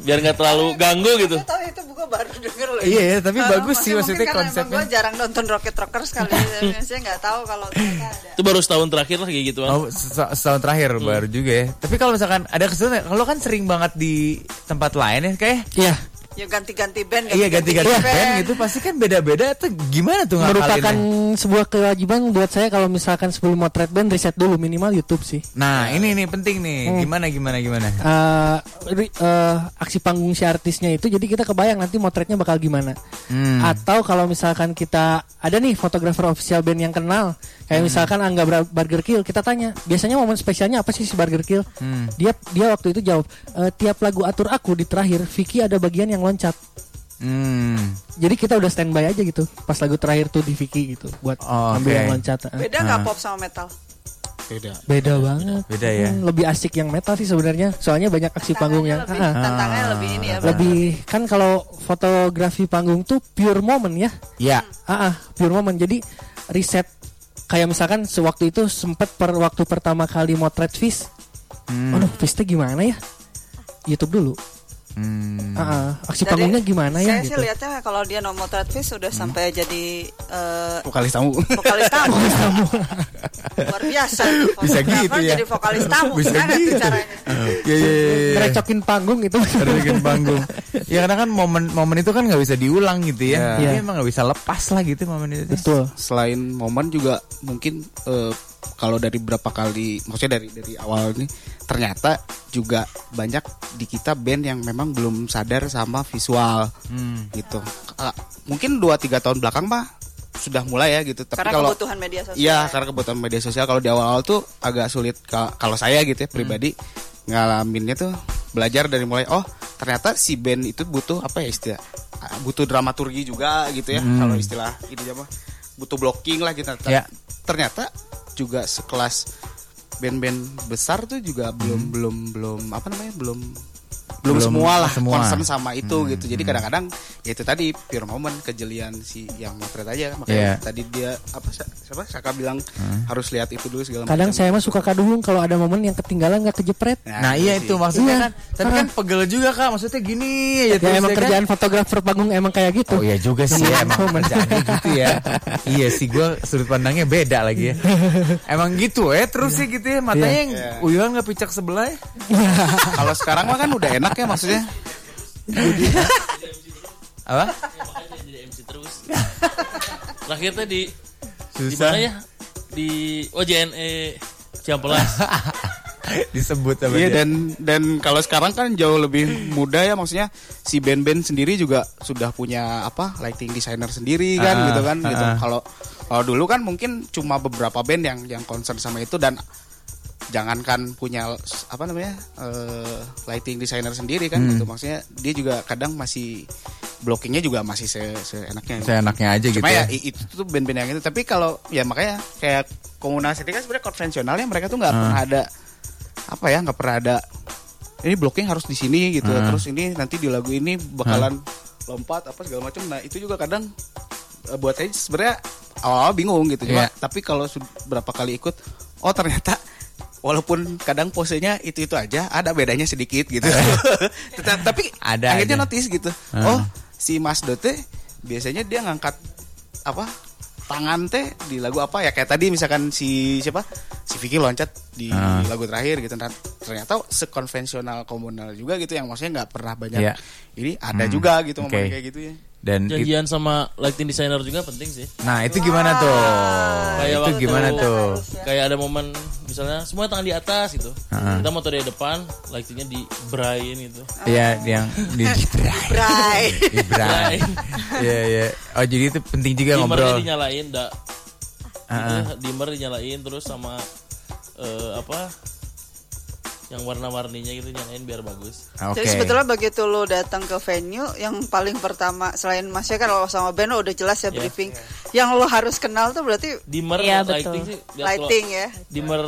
S8: biar nggak terlalu ganggu gitu
S4: Tahu itu buku gue baru denger loh.
S3: Iya, iya, tapi
S4: Eh,
S3: bagus sih, maksudnya
S4: mungkin karena emang
S3: konsepnya.
S4: Gue jarang nonton Rocket Rockers kali,
S3: *laughs*
S4: ya. saya nggak tahu kalau ternyata ada.
S8: Itu baru setahun terakhir lah kayak Iya. gitu. Bang.
S3: Oh, se- se- setahun terakhir baru juga ya. Tapi kalau misalkan ada kesulitan, kalau kan sering banget di tempat lain ya kayak
S7: Iya,
S4: Ya ganti-ganti band.
S3: iya ganti-ganti band gitu pasti kan beda-beda tuh gimana tuh ya?
S7: merupakan
S3: ngakalinnya?
S7: sebuah kewajiban buat saya kalau misalkan sebelum motret band riset dulu minimal YouTube sih.
S3: Nah, ini nih penting nih.
S8: Hmm.
S3: Gimana gimana gimana?
S7: eh ri- eh, aksi panggung si artisnya itu jadi kita kebayang nanti motretnya bakal gimana
S3: Hmm.
S7: atau kalau misalkan kita ada nih fotografer official band yang kenal kayak
S3: Hmm.
S7: misalkan Angga Bra- Burger Kill kita tanya biasanya momen spesialnya apa sih si Burger Kill
S3: Hmm.
S7: dia dia waktu itu jawab "Eh, tiap lagu atur aku di terakhir Vicky ada bagian yang loncat
S3: Hmm.
S7: jadi kita udah standby aja gitu pas lagu terakhir tuh di Vicky gitu buat ambil
S3: Oh, oke. Nah.
S7: yang loncat Eh,
S4: Beda nggak pop sama metal?
S5: beda
S7: beda banget
S3: Beda ya.
S7: Hmm, lebih asik yang metal sih sebenarnya soalnya banyak aksi panggung yang
S4: lebih,
S7: Ah, ah.
S4: tantangannya lebih ini ya.
S7: lebih kan kalau fotografi panggung tuh pure moment ya
S3: Ya.
S7: ah ah, pure moment jadi riset kayak misalkan sewaktu itu sempat per waktu pertama kali motret fish aduh fish teh gimana ya YouTube dulu
S3: Hmm.
S7: ah ah, aksi
S4: Jadi,
S7: panggungnya
S3: Nah,
S7: gimana ya
S3: iya,
S4: Saya sih
S7: gitu
S4: lihatnya kalau dia no motret fish sudah
S3: Hmm.
S4: sampai jadi eh,
S5: vokalis tamu
S4: vokalis
S3: *laughs*
S4: tamu. Luar biasa.
S3: Bisa
S4: Fotografer
S3: gitu ya.
S4: Jadi vokalis tamu.
S3: Bisa
S4: Bisa
S3: gitu.
S4: gitu. caranya.
S3: Ya ya ya, ya.
S7: Ngerecokin panggung itu
S3: Ada bikin
S7: *laughs*
S3: panggung. Ya karena kan momen momen itu kan nggak bisa diulang gitu
S7: Iya.
S3: ya. Jadi emang nggak bisa lepas lah gitu momen itu. tuh.
S7: betul
S5: selain momen juga mungkin eh, kalau dari berapa kali maksudnya dari dari awal ini ternyata juga banyak di kita band yang memang belum sadar sama visual
S3: Hmm.
S5: gitu K- mungkin 2 3 tahun belakang mah sudah mulai ya gitu tapi
S4: Karena
S5: kalau
S4: kebutuhan media sosial.
S5: Iya, karena kebutuhan media sosial kalau di awal-awal tuh agak sulit Ka- kalau saya gitu ya pribadi ngalaminnya tuh belajar dari mulai oh ternyata si band itu butuh apa ya istilah ah, butuh dramaturgi juga gitu ya kalau istilah ini apa butuh blocking lah gitu. Ter-
S3: Ya.
S5: Ternyata juga sekelas band-band besar tuh juga belum belum belum apa namanya belum belum,
S3: Belum
S5: semua lah
S3: semua.
S5: concern sama itu gitu. Jadi kadang-kadang ya itu tadi pure moment kejelian si yang motret aja
S3: Iya.
S5: makanya tadi dia apa Sa- siapa Saka bilang harus lihat itu dulu segala
S7: *laughs* kadang
S5: macam.
S7: saya mah suka kadulung kalau ada momen yang ketinggalan nggak kejepret
S3: Nah iya itu maksudnya
S7: Iya.
S3: kan. Tapi kan pegel juga kak. Maksudnya gini aja
S7: ya
S3: terus
S7: emang
S3: ya kan.
S7: kerjaan fotografer panggung emang kayak gitu
S3: Oh iya juga sih ya, emang kerjaannya gitu ya. iya sih gue sudut pandangnya beda lagi
S7: *laughs*
S3: ya. Emang gitu ya terus sih gitu
S7: Iya.
S3: ya matanya yang uyuan nggak picak sebelah.
S7: *laughs*
S3: Ya.
S5: Kalau sekarang mah kan udah enak ya maksudnya.
S3: Apa?
S8: Makanya jadi MC terus. Terakhir tadi di
S3: Susah
S8: mana ya? Di oh JNE
S3: *laughs*
S8: Ciampelas.
S3: disebut sama
S5: Iya
S3: dia.
S5: dan dan kalau sekarang kan jauh lebih mudah ya maksudnya si band-band sendiri juga sudah punya apa lighting designer sendiri kan
S3: Ah,
S5: gitu kan
S3: ah,
S5: gitu.
S3: ah.
S5: Kalau kalau dulu kan mungkin cuma beberapa band yang yang concern sama itu dan jangankan punya apa namanya eh, lighting designer sendiri kan
S3: Hmm.
S5: gitu maksudnya dia juga kadang masih blockingnya juga masih se seenaknya gitu.
S3: Saya enaknya aja gitu.
S5: Cuma ya,
S3: Ya.
S5: i- itu tuh band-band yang itu. Tapi kalau ya makanya kayak komunal city kan sebenarnya konvensionalnya mereka tuh nggak
S3: Ah.
S5: pernah ada apa ya nggak pernah ada ini blocking harus di sini gitu.
S7: Hmm.
S3: Hmm.
S5: Terus ini nanti di lagu ini bakalan lompat apa segala macam. Nah itu juga kadang eh, buat saya sebenarnya awal-awal bingung gitu. Cuma
S3: Iya.
S5: tapi kalau sud- berapa kali ikut, oh ternyata walaupun kadang posenya itu itu aja ada bedanya sedikit
S3: *laughs*
S5: gitu Tetap- tapi
S3: Ada
S5: akhirnya
S3: aja.
S5: notice gitu
S3: Ah.
S7: Ah.
S5: oh si Mas Dote biasanya dia ngangkat apa tangan teh di lagu apa ya kayak tadi misalkan si siapa si Vicky loncat di
S3: Ah.
S5: lagu terakhir gitu Nah, ternyata sekonvensional komunal juga gitu yang maksudnya nggak pernah banyak
S3: Iya.
S5: ini ada
S3: Hmm.
S5: juga gitu momen
S3: Oke.
S5: kayak gitu ya
S3: Dan it-
S8: Janjian sama lighting designer juga penting sih.
S3: nah itu gimana tuh?
S8: Kayak
S3: itu
S8: waktu-
S3: gimana tuh?
S8: Kayak ada momen misalnya semua tangan di atas gitu. Kita motor di depan, lightingnya di brain gitu.
S3: Iya yang di Bray.
S4: Bray.
S3: Di Bray.
S8: Bray.
S3: Iya iya. Oh jadi itu penting juga
S8: dimmernya
S3: ngobrol.
S8: dinyalain dak Gitu, dimmer dinyalain terus sama eh, apa yang warna-warninya gitu nyalain biar bagus
S3: Ah, Oke.
S4: Jadi sebetulnya begitu lo datang ke venue yang paling pertama selain masnya kan kalau sama band lo udah jelas
S8: Iya.
S4: ya briefing. Yang lo harus kenal tuh berarti
S8: dimmer
S6: Iya, betul.
S8: lighting sih ya, kalau
S4: lighting ya.
S8: dimmer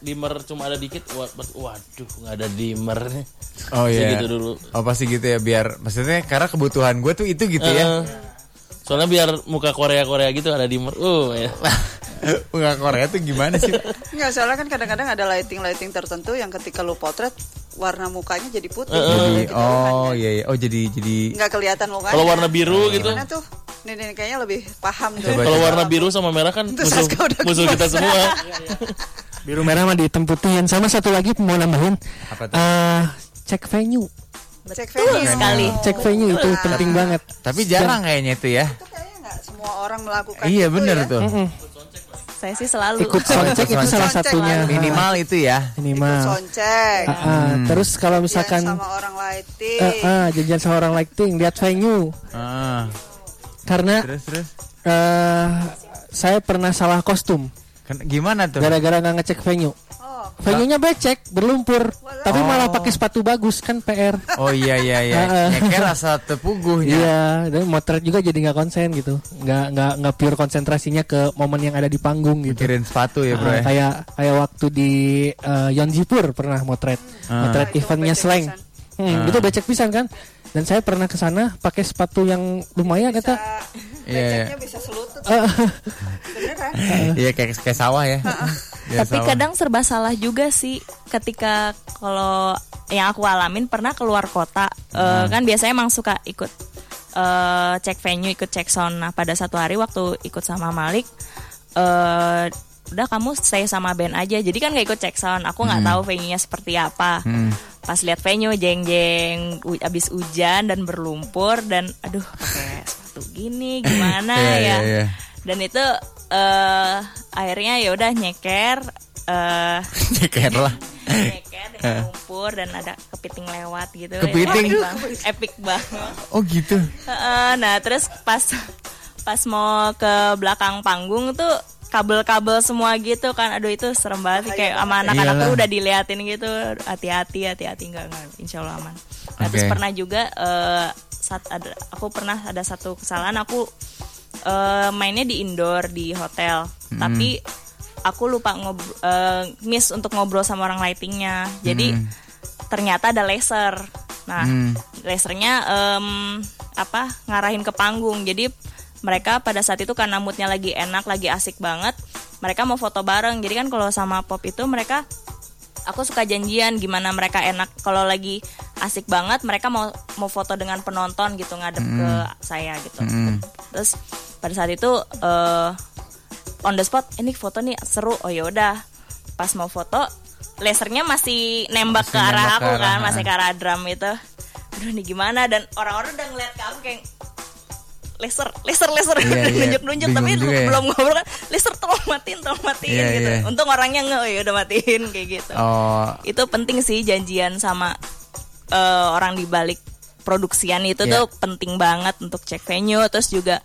S8: dimmer cuma ada dikit wa- wa- waduh nggak ada dimmernya
S3: Oh iya.
S8: Segitu dulu.
S3: Oh pasti gitu ya biar maksudnya karena kebutuhan gue tuh itu gitu ya. *laughs*
S8: Eh, soalnya biar muka Korea Korea gitu ada dimmer uh ya
S3: Enggak Korea tuh gimana sih? Pak?
S4: Enggak, soalnya kan kadang-kadang ada lighting-lighting tertentu yang ketika lu potret warna mukanya jadi
S8: Eh,
S4: putih.
S3: Jadi,
S4: Gitu,
S3: oh
S4: kan.
S3: iya iya. Oh jadi jadi
S4: Nggak kelihatan mukanya.
S8: Kalau warna biru gitu.
S4: Gimana tuh? Nih, nih, kayaknya lebih paham tuh.
S3: Iya, Coba,
S8: *laughs* Kalau warna biru sama merah kan
S4: Terus
S8: musuh,
S4: Saskia udah
S8: musuh kita
S4: kemas.
S7: *laughs*
S8: semua.
S4: iya.
S7: Biru merah mah di hitam putih. Sama satu lagi mau nambahin.
S3: Apa tuh?
S7: Eh, cek venue.
S4: Cek venue
S6: sekali.
S7: Cek venue itu penting banget.
S3: tapi jarang kayaknya itu ya.
S4: Nah. Itu kayaknya nggak semua orang melakukan
S3: Iya
S4: itu
S3: bener
S4: ya. kan gitu.
S3: tuh.
S6: Saya sih selalu.
S7: Ikut soundcheck itu salah
S4: Soundcheck
S7: satunya.
S4: lah.
S3: Minimal itu ya.
S7: Minimal.
S4: Soncek.
S7: Ah, ah.
S3: Hmm.
S7: Terus kalau misalkan
S4: Misalkan sama orang lighting.
S7: eh, ah, jajan sama orang lighting, lihat venue.
S3: Ah,
S7: Karena
S3: terus terus.
S7: eh, saya pernah salah kostum
S3: Ken- Gimana tuh?
S7: gara-gara nggak ngecek venue.
S4: Oh,
S7: Venue-nya becek, berlumpur, tapi malah pakai sepatu bagus kan PR.
S3: Oh iya iya iya.
S7: *laughs* Ah, ah.
S3: Nyeker rasa ya. tepuguhnya.
S7: Iya, dan motret juga jadi nggak konsen gitu, nggak nggak nggak pure konsentrasinya ke momen yang ada di panggung gitu.
S3: Mikirin sepatu ya bro
S7: Ah,
S3: ya.
S7: kayak kayak waktu di eh, Yonjipur pernah motret,
S3: Ah.
S7: motret
S4: Ah, Itu
S7: eventnya
S4: becek
S7: Slang.
S4: pisan.
S7: Hmm, Itu becek pisan kan? Dan saya pernah ke sana pakai sepatu yang lumayan
S4: bisa,
S7: kata
S3: Iya, iya.
S4: beceknya bisa kan? selutut. Beneran.
S3: Iya kayak kayak sawah ya. Kayak
S6: Tapi
S3: sawah.
S6: kadang serba salah juga sih ketika kalau yang aku alamin pernah keluar kota Eh, kan biasanya emang suka ikut eh, cek venue, ikut cek sound. Nah pada satu hari waktu ikut sama Malik, eh, udah kamu stay sama band aja. Jadi kan nggak ikut cek sound. Aku nggak tahu venue-nya seperti apa.
S9: Hmm.
S7: Hmm.
S6: Pas lihat venue jeng-jeng, u- abis hujan dan berlumpur dan aduh pakai sepatu
S3: *laughs*
S6: gini gimana
S3: Iya,
S6: ya
S3: iya, iya.
S6: dan itu eh akhirnya ya udah nyeker
S3: *laughs*
S6: eh
S3: Nyeker lah. Eh.
S6: nyeker dengan lumpur dan ada kepiting lewat gitu
S3: Kepiting?
S6: Ya, epic banget, epic banget.
S3: Oh gitu.
S6: Heeh, nah terus pas pas mau ke belakang panggung tuh kabel-kabel semua gitu kan aduh itu serem banget sih kayak sama anak-anak tuh
S3: Iyalah.
S6: udah diliatin gitu hati-hati hati-hati enggak enggak insyaallah aman nah, terus
S3: Oke.
S6: pernah juga eh, saat ada aku pernah ada satu kesalahan aku eh, mainnya di indoor di hotel tapi aku lupa ngobrol miss untuk ngobrol sama orang lightingnya jadi
S3: Hmm.
S6: ternyata ada laser nah lasernya em, apa ngarahin ke panggung jadi mereka pada saat itu karena moodnya lagi enak lagi asik banget mereka mau foto bareng jadi kan kalau sama pop itu mereka aku suka janjian gimana mereka enak kalau lagi asik banget mereka mau mau foto dengan penonton gitu ngadep ke saya gitu
S3: Hmm.
S6: terus pada saat itu eh, on the spot ini foto nih seru oh yaudah pas mau foto lasernya masih nembak ke
S3: Masih
S6: arah
S3: nembak ke
S6: aku kan
S3: arah,
S6: masih ke arah drum itu aduh ini gimana dan orang-orang udah ngeliat ke aku kayak laser laser laser *laughs*
S3: Iya,
S6: udah
S3: iya.
S6: nunjuk-nunjuk tapi
S3: Bingung juga ya.
S6: belum ngobrol kan laser tolong matiin tolong matiin
S3: Iya,
S6: gitu
S3: iya.
S6: untung orangnya nge oh ya udah matiin kayak gitu
S3: Oh
S6: itu penting sih janjian sama eh, orang di balik produksian itu
S3: Iya.
S6: tuh penting banget untuk cek venue terus juga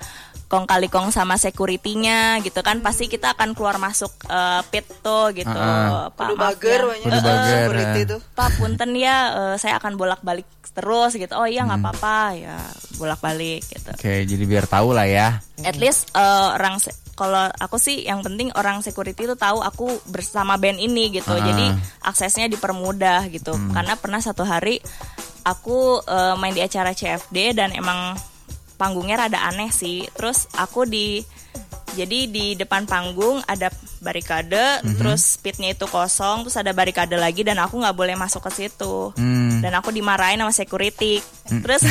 S6: kong kali kong sama security-nya gitu kan pasti kita akan keluar masuk eh, pit tuh gitu
S3: Ah,
S6: Pak,
S4: Kudu
S6: maaf ya.
S4: bager
S6: Eh,
S4: banyak.
S3: Kudu bager,
S4: security
S3: ah.
S4: tuh.
S6: Pak punten ya eh, saya akan bolak-balik terus gitu oh iya nggak apa-apa ya bolak-balik gitu
S3: oke jadi biar tahu lah ya.
S6: at least uh, orang se- kalau aku sih yang penting orang security itu tahu aku bersama band ini gitu
S3: Ah.
S6: jadi aksesnya dipermudah gitu karena pernah satu hari aku uh, main di acara CFD dan emang panggungnya rada aneh sih terus aku di jadi di depan panggung ada barikade terus pitnya itu kosong terus ada barikade lagi dan aku nggak boleh masuk ke situ
S3: Hmm.
S6: dan aku dimarahin sama security
S3: *laughs*
S6: terus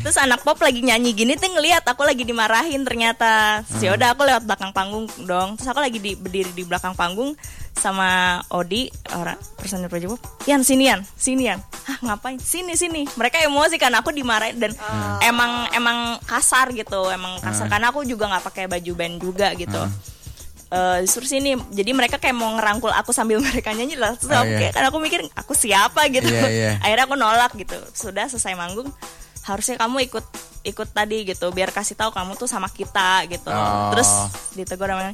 S6: terus anak pop lagi nyanyi gini tuh ngelihat aku lagi dimarahin ternyata Terus
S3: Hmm.
S6: yaudah aku lewat belakang panggung dong terus aku lagi di, berdiri di belakang panggung sama Odi orang personil Project Pop Yan sini Yan sini Yan Hah ngapain sini sini mereka emosi karena aku dimarahin dan
S3: Hmm.
S6: emang emang kasar gitu emang kasar karena aku juga nggak pakai baju band juga gitu
S3: Hmm.
S6: eh suruh sini jadi mereka kayak mau ngerangkul aku sambil *laughs* mereka nyanyi lah terus
S3: Oh,
S6: aku
S3: iya.
S6: kayak- kan aku mikir aku siapa gitu
S3: Iya, iya.
S6: *laughs* akhirnya aku nolak gitu sudah selesai manggung harusnya kamu ikut ikut tadi gitu biar kasih tahu kamu tuh sama kita gitu
S3: Oh.
S6: terus ditegur sama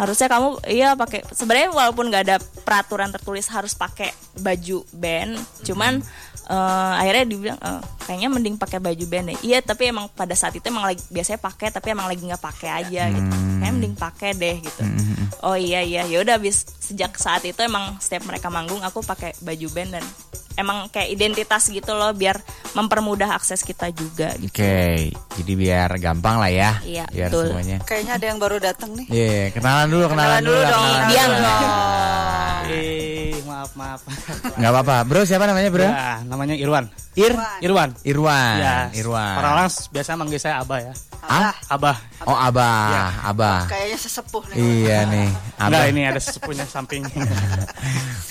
S6: harusnya kamu iya pakai sebenarnya walaupun nggak ada peraturan tertulis harus pakai baju band cuman
S3: Hmm.
S6: eh, akhirnya dibilang "Eh, kayaknya mending pakai baju band deh iya tapi emang pada saat itu emang lagi biasanya pakai tapi emang lagi nggak pakai aja gitu
S3: Hmm.
S6: kayaknya mending pakai deh gitu oh iya iya ya udah habis sejak saat itu emang setiap mereka manggung aku pakai baju band dan emang kayak identitas gitu loh biar mempermudah akses kita juga gitu.
S3: Oke, jadi biar gampang lah ya.
S6: Iya,
S3: biar
S6: betul.
S3: semuanya.
S4: Kayaknya ada yang baru datang nih.
S3: Iya, kenalan dulu, kenalan,
S4: Kenalan dulu
S3: lah,
S4: dong,
S3: kenalan
S6: Diam.
S3: dulu lah.
S4: Ah.
S5: Eh, maaf maaf.
S3: Nggak apa-apa. Bro, siapa namanya, Bro?
S9: Ya, namanya Irwan.
S3: Ir
S9: Irwan.
S5: Ah,
S3: Irwan.
S9: Ya,
S3: Irwan.
S9: Orang-orang biasa manggil saya Abah ya.
S3: Ah?
S9: Abah. Iya.
S3: Oh, Abah, Abah.
S4: Kayaknya sesepuh nih.
S3: Iya nih,
S9: Enggak,
S3: Abah.
S9: ini ada sepupunya
S5: *laughs*
S9: samping.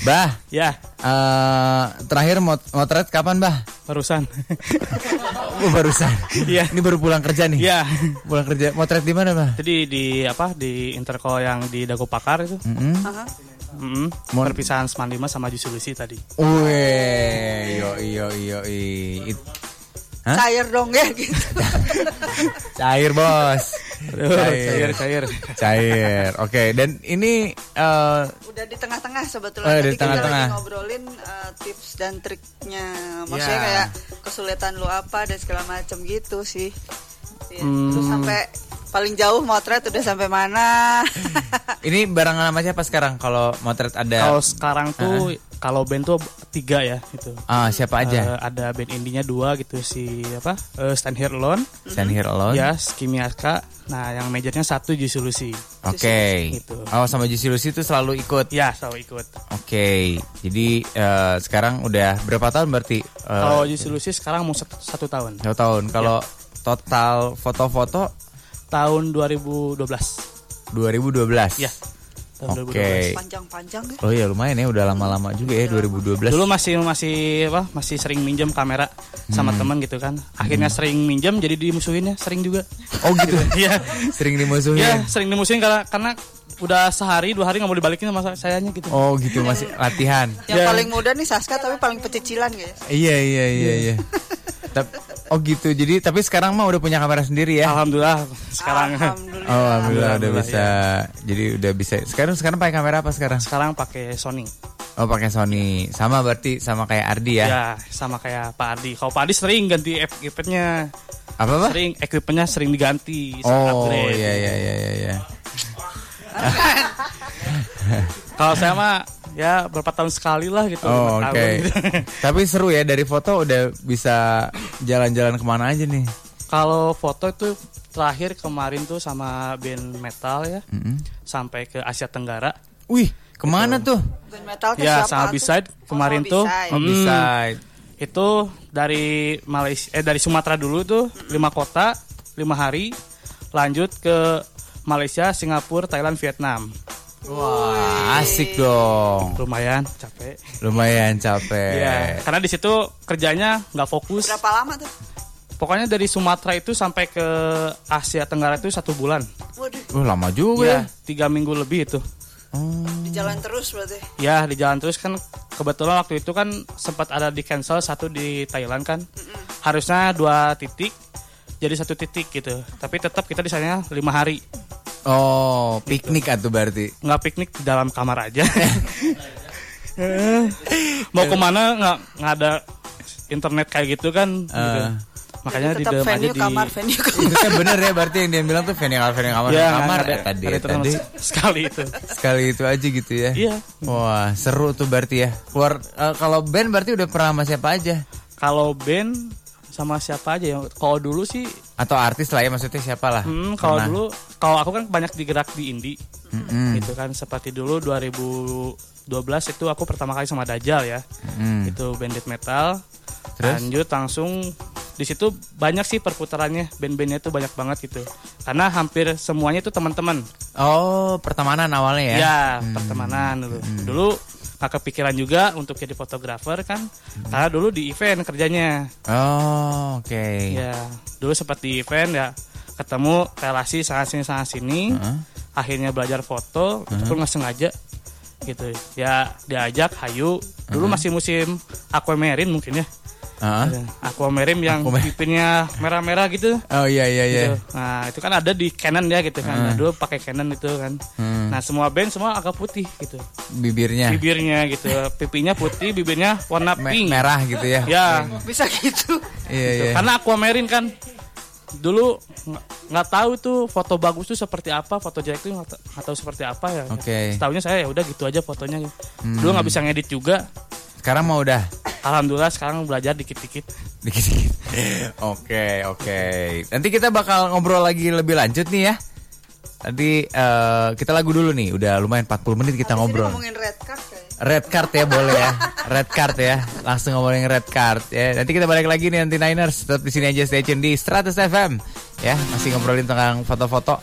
S3: Bah,
S9: ya,
S3: eh, terakhir mot- motret kapan, Bah?
S9: barusan.
S3: *laughs* Oh, barusan.
S9: Iya.
S3: Ini baru pulang kerja nih.
S9: ya.
S3: Pulang kerja. Motret di mana, Bah?
S9: Jadi di apa di Interco yang di Dago Pakar itu.
S5: Mm-hmm.
S3: Mm-mm.
S9: Mm-mm.
S4: Uh-huh.
S3: Mon-
S9: Perpisahan 95 sama Jusulusi tadi.
S3: Weh, yo yo yo i. It- Hah?
S4: Cair dong ya gitu.
S3: Cair bos,
S9: Cair, cair.
S3: cair. Oke, dan ini eh,
S4: Udah di tengah-tengah sebetulnya.
S3: Oh,
S4: Tadi
S3: di
S4: kita
S3: tengah-tengah.
S4: lagi ngobrolin eh, tips dan triknya. Maksudnya
S3: Ya.
S4: kayak kesulitan lu apa dan segala macam gitu sih. Iya.
S3: Hmm.
S4: Terus sampai paling jauh motret udah sampai mana?
S3: ini barang nama siapa sekarang? Kalau motret ada
S9: Kalau sekarang tuh kalau band tuh tiga ya gitu.
S3: ah siapa aja?
S9: Eh, ada band indinya dua gitu si apa? eh, Stand Here Alone,
S3: Stand here alone.
S9: Yes, Kimiaska. Nah, yang majornya satu Jusulusi.
S3: Oke.
S9: Gitu.
S3: Oh sama Juicy Lucy itu selalu ikut. Oke.
S9: Ya, selalu ikut.
S3: Jadi eh, sekarang udah berapa tahun berarti? Eh,
S9: Kalau Jusulusi sekarang mau sat- satu tahun.
S3: dua tahun. Kalau total foto-foto
S9: Tahun 2012.
S3: 2012.
S9: Ya. Tahun
S3: Oke.
S9: 2012.
S4: Panjang-panjang ya.
S3: Oh iya lumayan ya udah lama-lama juga ya 2012.
S9: Dulu masih masih apa? Masih sering minjem kamera sama
S3: Hmm.
S9: teman gitu kan. Akhirnya sering minjem jadi dimusuhinnya sering juga.
S3: Oh gitu.
S9: *laughs* Iya.
S3: Sering dimusuhin.
S9: Iya, sering dimusuhin karena karena udah sehari dua hari nggak mau dibalikin sama sa- sayanya gitu.
S3: Oh gitu masih latihan.
S9: Ya.
S4: Yang paling muda nih Saska tapi paling pecicilan guys.
S3: Iya iya iya iya. Tap- oh gitu. Jadi tapi sekarang mah udah punya kamera sendiri ya.
S9: Alhamdulillah sekarang
S3: Oh,
S4: Alhamdulillah.
S3: alhamdulillah udah bisa.
S9: iya.
S3: Jadi udah bisa. Sekarang sekarang pakai kamera apa sekarang?
S9: sekarang pakai Sony.
S3: Oh, pakai Sony. Sama berarti sama kayak Ardi ya.
S9: Ya, sama kayak Pak Adi. Kalau Pak Adi sering ganti equipmentnya,
S3: Apa apa?
S9: sering equipmentnya sering diganti, sering
S3: Oh
S9: upgrade.
S3: iya iya iya iya. iya.
S9: Kalau saya mah ya berapa tahun sekali lah gitu.
S3: Oh
S9: lima
S3: oke.
S9: tahun *laughs* gitu.
S3: *laughs* Tapi seru ya dari foto udah bisa jalan-jalan kemana aja nih.
S9: Kalau foto itu terakhir kemarin tuh sama band metal ya, sampai ke Asia Tenggara.
S3: Wih kemana tuh?
S4: Band metal tuh
S9: Ya,
S4: Oh, siapa
S9: sama
S4: tuh?
S9: B-side kemarin
S4: Oh,
S9: tuh.
S4: B-side.
S9: Hmm.
S3: Bisa.
S9: Itu dari Malaysia, eh dari Sumatera dulu tuh lima kota, lima hari, lanjut ke Malaysia, Singapura, Thailand, Vietnam.
S3: Wah asik dong.
S9: Lumayan capek.
S3: Lumayan capek.
S9: Iya, karena di situ kerjanya nggak fokus.
S4: Berapa lama tuh?
S9: Pokoknya dari Sumatera itu sampai ke Asia Tenggara itu satu bulan.
S4: Waduh,
S3: Wah lama juga. ya.
S9: Iya, tiga minggu lebih itu.
S4: di jalan terus berarti.
S9: Ya di jalan terus kan kebetulan waktu itu kan sempat ada di cancel satu di Thailand kan harusnya dua titik jadi satu titik gitu tapi tetap kita di sana lima hari
S3: Oh,
S9: Gitu.
S3: piknik atau berarti?
S9: nggak piknik di dalam kamar
S3: *laughs*
S9: aja Eh, mau kemana nggak nggak ada internet kayak gitu kan gitu.
S3: Eh.
S9: makanya
S4: Jadi
S9: di
S4: tetap
S9: dalam aja
S4: venue
S9: di *laughs*
S4: kamar, venue kamar.
S3: Itu kan bener ya berarti yang dia bilang tuh venue kamar venue kamar
S9: ya,
S3: kamar
S9: nggak ada,
S3: ya, tadi
S9: nggak ada
S3: ya,
S9: internet *laughs*
S3: tadi
S9: sekali itu
S3: sekali itu aja gitu ya.
S9: Iya.
S3: Wah seru tuh berarti ya. Keluar eh, kalau band berarti udah pernah sama siapa aja
S9: kalau band sama siapa aja ya kalau dulu sih
S3: atau artis lah ya maksudnya siapa lah?
S9: Hmm, kalau
S3: Pernah.
S9: dulu kalau aku kan banyak digerak di indie.
S3: Mm-mm.
S9: Gitu kan seperti dulu 2012 itu aku pertama kali sama Dajal ya.
S3: Mm.
S9: Itu bandit metal.
S3: Terus?
S9: Lanjut langsung di situ banyak sih perputarannya band-bandnya itu banyak banget gitu. Karena hampir semuanya itu teman-teman.
S3: Oh pertemanan awalnya ya. Hmm.
S9: Ya, pertemanan dulu. Dulu nggak kepikiran juga untuk jadi fotografer kan.
S3: Hmm.
S9: Karena dulu di event kerjanya.
S3: Oh oke.
S9: Ya, dulu sempat di event ya ketemu relasi sana sini sana sini.
S3: Heeh.
S9: Akhirnya belajar foto,
S3: Hmm.
S9: tapi nggak sengaja gitu. Ya diajak Hayu. Dulu masih musim aquamarine mungkin ya.
S3: Hmm. Heeh.
S9: Aquamarine yang
S3: Aquamarine.
S9: pipinya merah-merah gitu.
S3: Oh iya iya iya.
S9: Gitu. Nah, itu kan ada di Canon ya gitu kan. Nah, dulu pakai Canon itu kan.
S3: Hmm.
S9: Nah, semua band semua agak putih gitu.
S3: Bibirnya
S9: Bibirnya gitu, pipinya putih, bibirnya warna
S3: Me-
S9: pink.
S3: merah gitu ya.
S9: Ya,
S4: Bisa gitu.
S3: Iya
S9: Gitu.
S3: iya.
S9: Karena aquamarine kan dulu nggak- nggak tahu tuh foto bagus tuh seperti apa, foto jelek tuh nggak ta- nggak tahu seperti apa ya.
S3: Oke. Hmm.
S9: Setahunya saya ya udah gitu aja fotonya. Dulu nggak bisa ngedit juga.
S3: Sekarang mau udah.
S9: alhamdulillah sekarang belajar dikit-dikit
S3: Dikit-dikit. *laughs* Oke, oke. Nanti kita bakal ngobrol lagi lebih lanjut nih ya. Tadi eh, kita lagu dulu nih, udah lumayan 40 menit kita
S4: Habis ini
S3: ngobrol.
S4: ngomongin red card kayaknya.
S3: Red card ya boleh ya. Red card ya. Langsung ngomongin red card ya. Nanti kita balik lagi nih nanti Niners tetap di sini aja stay tune di Stratus FM ya. Masih ngobrolin tentang foto-foto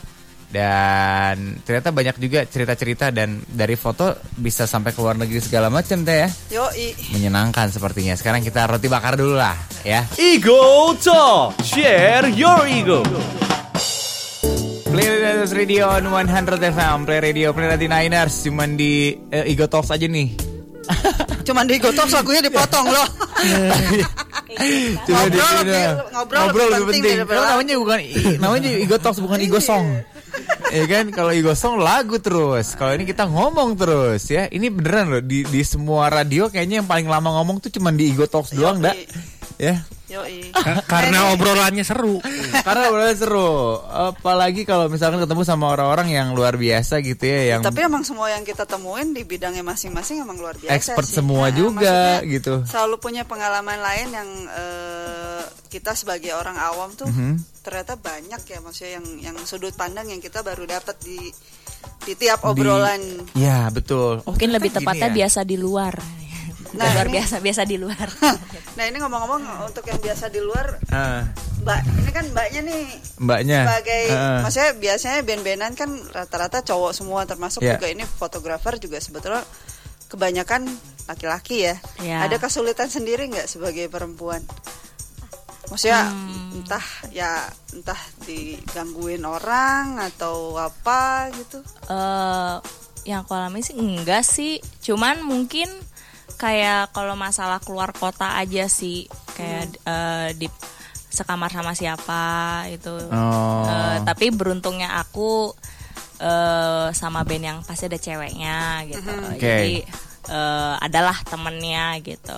S3: dan ternyata banyak juga cerita-cerita dan dari foto bisa sampai ke luar negeri segala macam teh ya. *laughs*
S4: Yoi.
S3: Menyenangkan sepertinya. Sekarang kita roti bakar dulu lah ya.
S1: Ego Talk, share your ego.
S3: Play Radio Radio on 100 FM Play Radio Play Radio Niners Cuman di eh, Ego Talks aja nih
S4: Cuman di Gotox lagunya
S3: Iya.
S4: dipotong loh.
S3: Cuma di
S4: Ngobrol
S3: sini
S4: lebih-
S3: doang.
S4: ngobrol lebih
S3: lebih
S4: penting
S3: penting
S4: daripada
S3: Karena
S4: lagu.
S3: namanya bukan i- Namanya Ego Talks bukan Ego
S4: *laughs*
S3: Song Ya kan Kalau Ego Song lagu terus Kalau ini kita ngomong terus ya Ini beneran loh Di, di semua radio kayaknya yang paling lama ngomong tuh cuman di Ego Talks doang dak Ya
S4: Yoi.
S7: Ka- karena obrolannya seru.
S3: Karena beneran seru Apalagi kalau misalkan ketemu sama orang-orang yang luar biasa gitu ya Yang
S4: Tapi emang semua yang kita temuin di bidangnya masing-masing emang luar biasa.
S3: expert
S4: sih.
S3: semua
S4: Nah,
S3: juga
S4: maksudnya
S3: gitu
S4: Selalu punya pengalaman lain yang eh, kita sebagai orang awam tuh
S3: Mhm.
S4: ternyata banyak ya maksudnya yang yang sudut pandang yang kita baru dapat di di tiap obrolan.
S3: Ya betul.
S6: Mungkin lebih
S3: Gini
S6: tepatnya
S3: ya.
S6: biasa di luar.
S4: kan Nah,
S6: luar
S4: ini-
S6: biasa biasa di luar.
S4: *laughs* Nah ini ngomong-ngomong untuk yang biasa di luar,
S3: Ah,
S4: mbak ini kan mbaknya nih
S3: mbaknya.
S4: sebagai
S3: Ah.
S4: maksudnya biasanya band-bandan kan rata-rata cowok semua termasuk
S3: Ya.
S4: juga ini fotografer juga sebetulnya kebanyakan laki-laki ya.
S6: Ya.
S4: Ada kesulitan sendiri nggak sebagai perempuan? Maksudnya
S6: Hmm.
S4: entah ya entah digangguin orang atau apa gitu.
S6: eh yang aku alami sih enggak sih cuman mungkin kayak kalau masalah keluar kota aja sih kayak
S4: Hmm.
S6: eh, di sekamar sama siapa itu
S3: Oh.
S6: Eh, tapi beruntungnya aku eh sama band yang pasti ada ceweknya gitu
S3: Oke.
S4: Hmm.
S6: jadi eh, adalah temennya gitu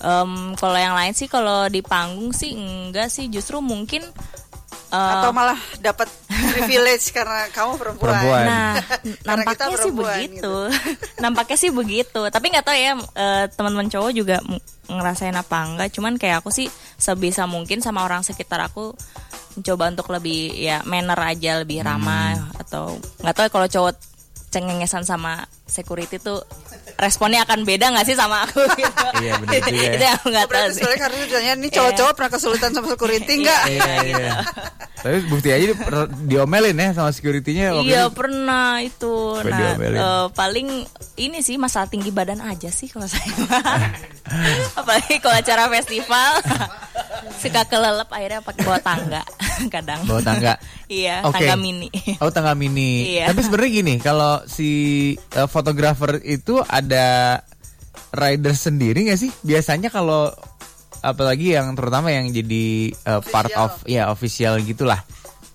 S6: Em, kalau yang lain sih kalau di panggung sih enggak sih justru mungkin eh,
S4: Atau malah dapat
S6: *laughs*
S4: privilege karena kamu perempuan.
S3: Perempuan.
S6: Nah,
S4: Karena kita
S6: nampaknya sih
S4: perempuan, gitu.
S6: begitu. *laughs* nampaknya sih begitu. Tapi nggak tahu ya eh, teman-teman cowok juga m- ngerasain apa enggak. Cuman kayak aku sih sebisa mungkin sama orang sekitar aku mencoba untuk lebih ya manner aja lebih
S3: Hmm.
S6: ramah atau nggak tahu ya kalau cowok cengengesan sama security tuh responnya akan beda nggak sih sama
S4: *laughs*
S6: aku gitu.
S3: Iya, bener
S6: *laughs*
S3: juga ya.
S6: Itu yang aku nggak tahu
S4: Oh, Berarti
S6: sih. Iya.
S4: sebenarnya karena ditanya, ini cowok-cowok pernah kesulitan sama
S6: *laughs*
S4: security enggak?
S3: Iya, iya. Tapi bukti aja di- diomelin ya sama security-nya waktu
S6: Iya
S3: itu.
S6: pernah itu.
S3: Sampai
S6: Nah,
S3: diomelin.
S6: eh, paling ini sih masalah tinggi badan aja sih kalau saya.
S3: *laughs*
S6: Apalagi kalau acara festival *laughs* suka kelelep akhirnya pakai bawa tangga *laughs* kadang.
S3: Bawa
S6: *laughs*
S3: tangga.
S6: iya,
S3: Oke.
S6: tangga mini.
S3: Oh tangga mini.
S6: Iya.
S3: Tapi sebenarnya gini, kalau si eh, fotografer itu ada rider sendiri nggak sih? Biasanya kalau apalagi yang terutama yang jadi eh, part
S4: Official.
S3: of ya official gitulah.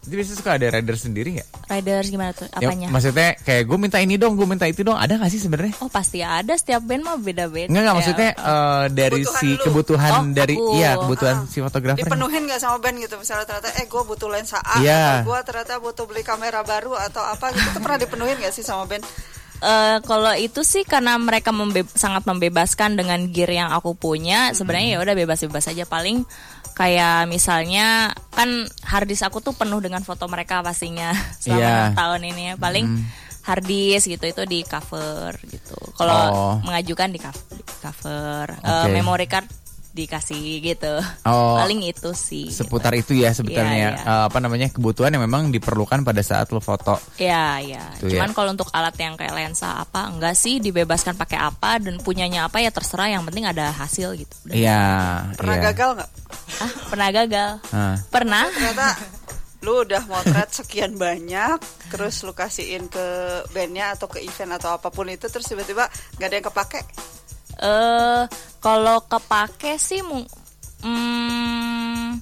S3: Itu biasanya suka ada rider sendiri nggak?
S6: Riders gimana tuh?
S3: Ya,
S6: Apanya?
S3: maksudnya kayak gue minta ini dong, gue minta itu dong. Ada nggak sih sebenarnya?
S6: Oh pasti ada setiap band mah beda-beda.
S3: Enggak enggak maksudnya eh, dari
S4: Kebutuhan
S3: si
S4: lu.
S3: kebutuhan
S6: Oh,
S3: dari
S6: aku. ah.
S3: iya kebutuhan si fotografer.
S4: dipenuhin nggak sama band gitu misalnya ternyata eh gue butuh lensa A
S3: Iya.
S4: atau gue ternyata butuh beli kamera baru atau apa gitu itu pernah dipenuhin nggak sih sama band
S6: Eh, kalau itu sih karena mereka membe- sangat membebaskan dengan gear yang aku punya
S3: Mm-hmm.
S6: sebenarnya ya udah bebas-bebas aja paling kayak misalnya kan harddisk aku tuh penuh dengan foto mereka pastinya *laughs* selama
S3: Iya. Mm-hmm.
S6: enam tahun ini ya paling harddisk gitu itu di cover gitu kalau
S3: Oh.
S6: mengajukan di cov- di cover Eh,
S3: Oke.
S6: memory card dikasih gitu
S3: Oh.
S6: paling itu sih
S3: Seputar itu ya sebenarnya
S6: Iya, iya.
S3: eh, apa namanya kebutuhan yang memang diperlukan pada saat lo foto.
S6: Ya, ya.
S3: Tuh
S6: Cuman
S3: ya.
S6: kalau untuk alat yang kayak lensa apa enggak sih dibebaskan pakai apa dan punyanya apa ya terserah yang penting ada hasil gitu. Udah.
S3: Iya.
S4: pernah
S3: iya.
S4: gagal nggak
S6: Ah, pernah gagal.
S3: Ah.
S6: Pernah?
S4: ternyata lu udah motret sekian banyak terus lu kasihin ke bandnya atau ke event atau apapun itu terus tiba-tiba nggak ada yang kepake
S6: Eh, kalau kepake sih mung- hmm,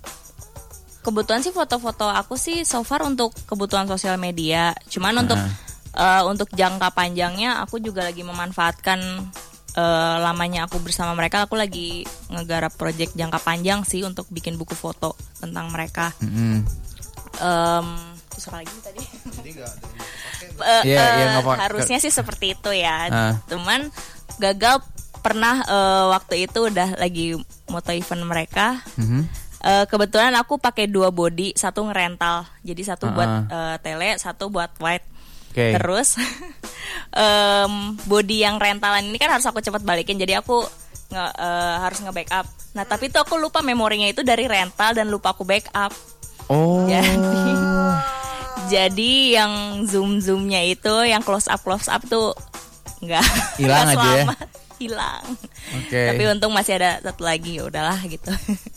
S6: kebutuhan sih foto-foto aku sih so far untuk kebutuhan sosial media. Cuman untuk eh, untuk jangka panjangnya aku juga lagi memanfaatkan eh, lamanya aku bersama mereka. Aku lagi ngegarap project jangka panjang sih untuk bikin buku foto tentang mereka.
S3: Mm.
S6: Em, terus apa lagi tadi? *laughs* Eh, eh,
S3: Iya, iya, nggak apa-
S6: harusnya sih seperti itu ya.
S3: Ah.
S6: Cuman gagal pernah eh, waktu itu udah lagi moto event mereka.
S3: Mhm.
S6: Eh, kebetulan aku pakai dua body, satu ngerental. Jadi satu buat eh, tele, satu buat white.
S3: Ah, Oke.
S6: Terus *laughs* em, body yang rentalan ini kan harus aku cepat balikin. Jadi aku nge- eh, harus nge-backup. Nah, tapi itu aku lupa memorinya itu dari rental dan lupa aku backup.
S3: Oh.
S6: *laughs* Jadi, jadi yang zoom zoomnya itu, yang close up close up tuh nggak
S3: Hilang
S6: nggak
S3: aja ya?
S6: selamat. hilang.
S3: Oke.
S6: Tapi untung masih ada satu lagi, ya udahlah gitu.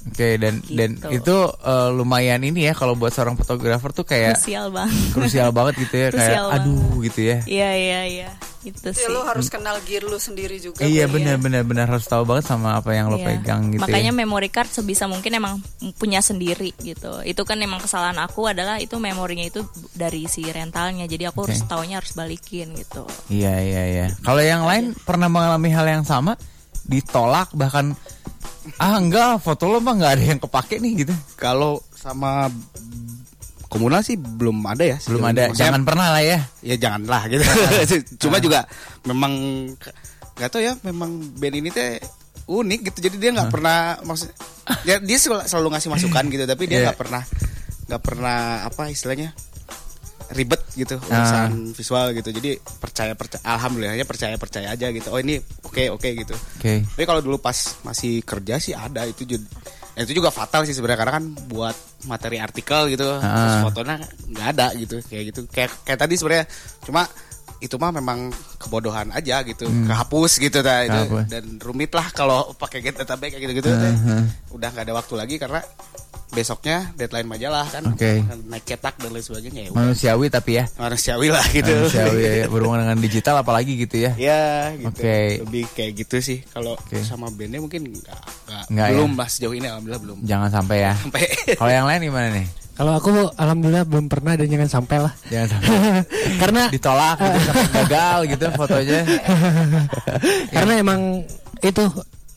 S3: Oke dan dan
S6: Gitu.
S3: itu eh, lumayan ini ya kalau buat seorang fotografer tuh kayak
S6: *laughs* Sial bang.
S3: krusial banget gitu ya kayak
S6: Krusial
S3: aduh gitu ya.
S6: Iya iya iya, itu
S4: Itu
S6: sih.
S4: ya lu harus kenal gear lu sendiri juga. ya.
S3: Iya
S4: Bang.
S3: benar benar benar harus tahu banget sama apa yang lo
S6: Iya.
S3: pegang gitu.
S6: Makanya
S3: ya.
S6: memory card sebisa mungkin emang punya sendiri gitu. Itu kan emang kesalahan aku adalah itu memorinya itu dari si rentalnya. Jadi aku harus taunya harus balikin gitu.
S3: Iya iya iya. Kalau yang lain pernah mengalami hal yang sama ditolak bahkan ah enggak foto lo mah nggak ada yang kepake nih gitu.
S5: Kalau sama komunal sih belum ada ya.
S3: Belum
S5: sejauh
S3: ada.
S5: ini. Maksudnya
S3: Jangan pernah lah ya. Ah.
S5: ya janganlah gitu. *laughs* Cuma juga memang nggak tahu ya, memang band ini teh unik gitu. Jadi dia
S3: Ah.
S5: nggak pernah maksud dia, dia sel- selalu ngasih masukan gitu, tapi dia
S3: Iya.
S5: nggak pernah nggak pernah apa istilahnya ribet gitu
S3: Ah.
S5: urusan visual gitu. Jadi percaya percaya alhamdulillahnya percaya percaya aja gitu. Oh ini oke oke gitu.
S3: Oke.
S5: Tapi kalau dulu pas masih kerja sih ada itu juga Eh, itu juga fatal sih sebenarnya karena kan buat materi artikel gitu
S3: Ah.
S5: terus fotonya nggak ada gitu kayak gitu kayak kayak tadi sebenarnya cuma itu mah memang kebodohan aja gitu kehapus gitu dah itu
S3: Hmm. Kehapus. Ah,
S5: dan rumit lah kalau pakai get database kayak gitu gitu udah nggak ada waktu lagi karena besoknya deadline majalah kan
S3: Oke.
S5: naik cetak dan lain sebagainya ya udah.
S3: Manusiawi tapi ya.
S5: manusiawi lah gitu
S3: Manusiawi
S5: *laughs*
S3: ya, ya. berhubungan dengan digital apalagi gitu ya.
S5: Ya gitu.
S3: Oke.
S5: Lebih kayak gitu sih. Kalau
S3: Oke.
S5: sama bandnya mungkin nggak nggak
S3: Nggak
S5: belum
S3: ya?
S5: lah sejauh ini alhamdulillah belum.
S3: Jangan sampai ya.
S5: Sampai
S3: Kalau yang lain gimana nih?
S7: *laughs* Kalau aku alhamdulillah belum pernah dan jangan sampai lah.
S3: Jangan sampai
S7: *laughs* Karena
S3: ditolak
S7: *laughs*
S3: gitu sampai gagal gitu fotonya. Iya.
S7: karena emang itu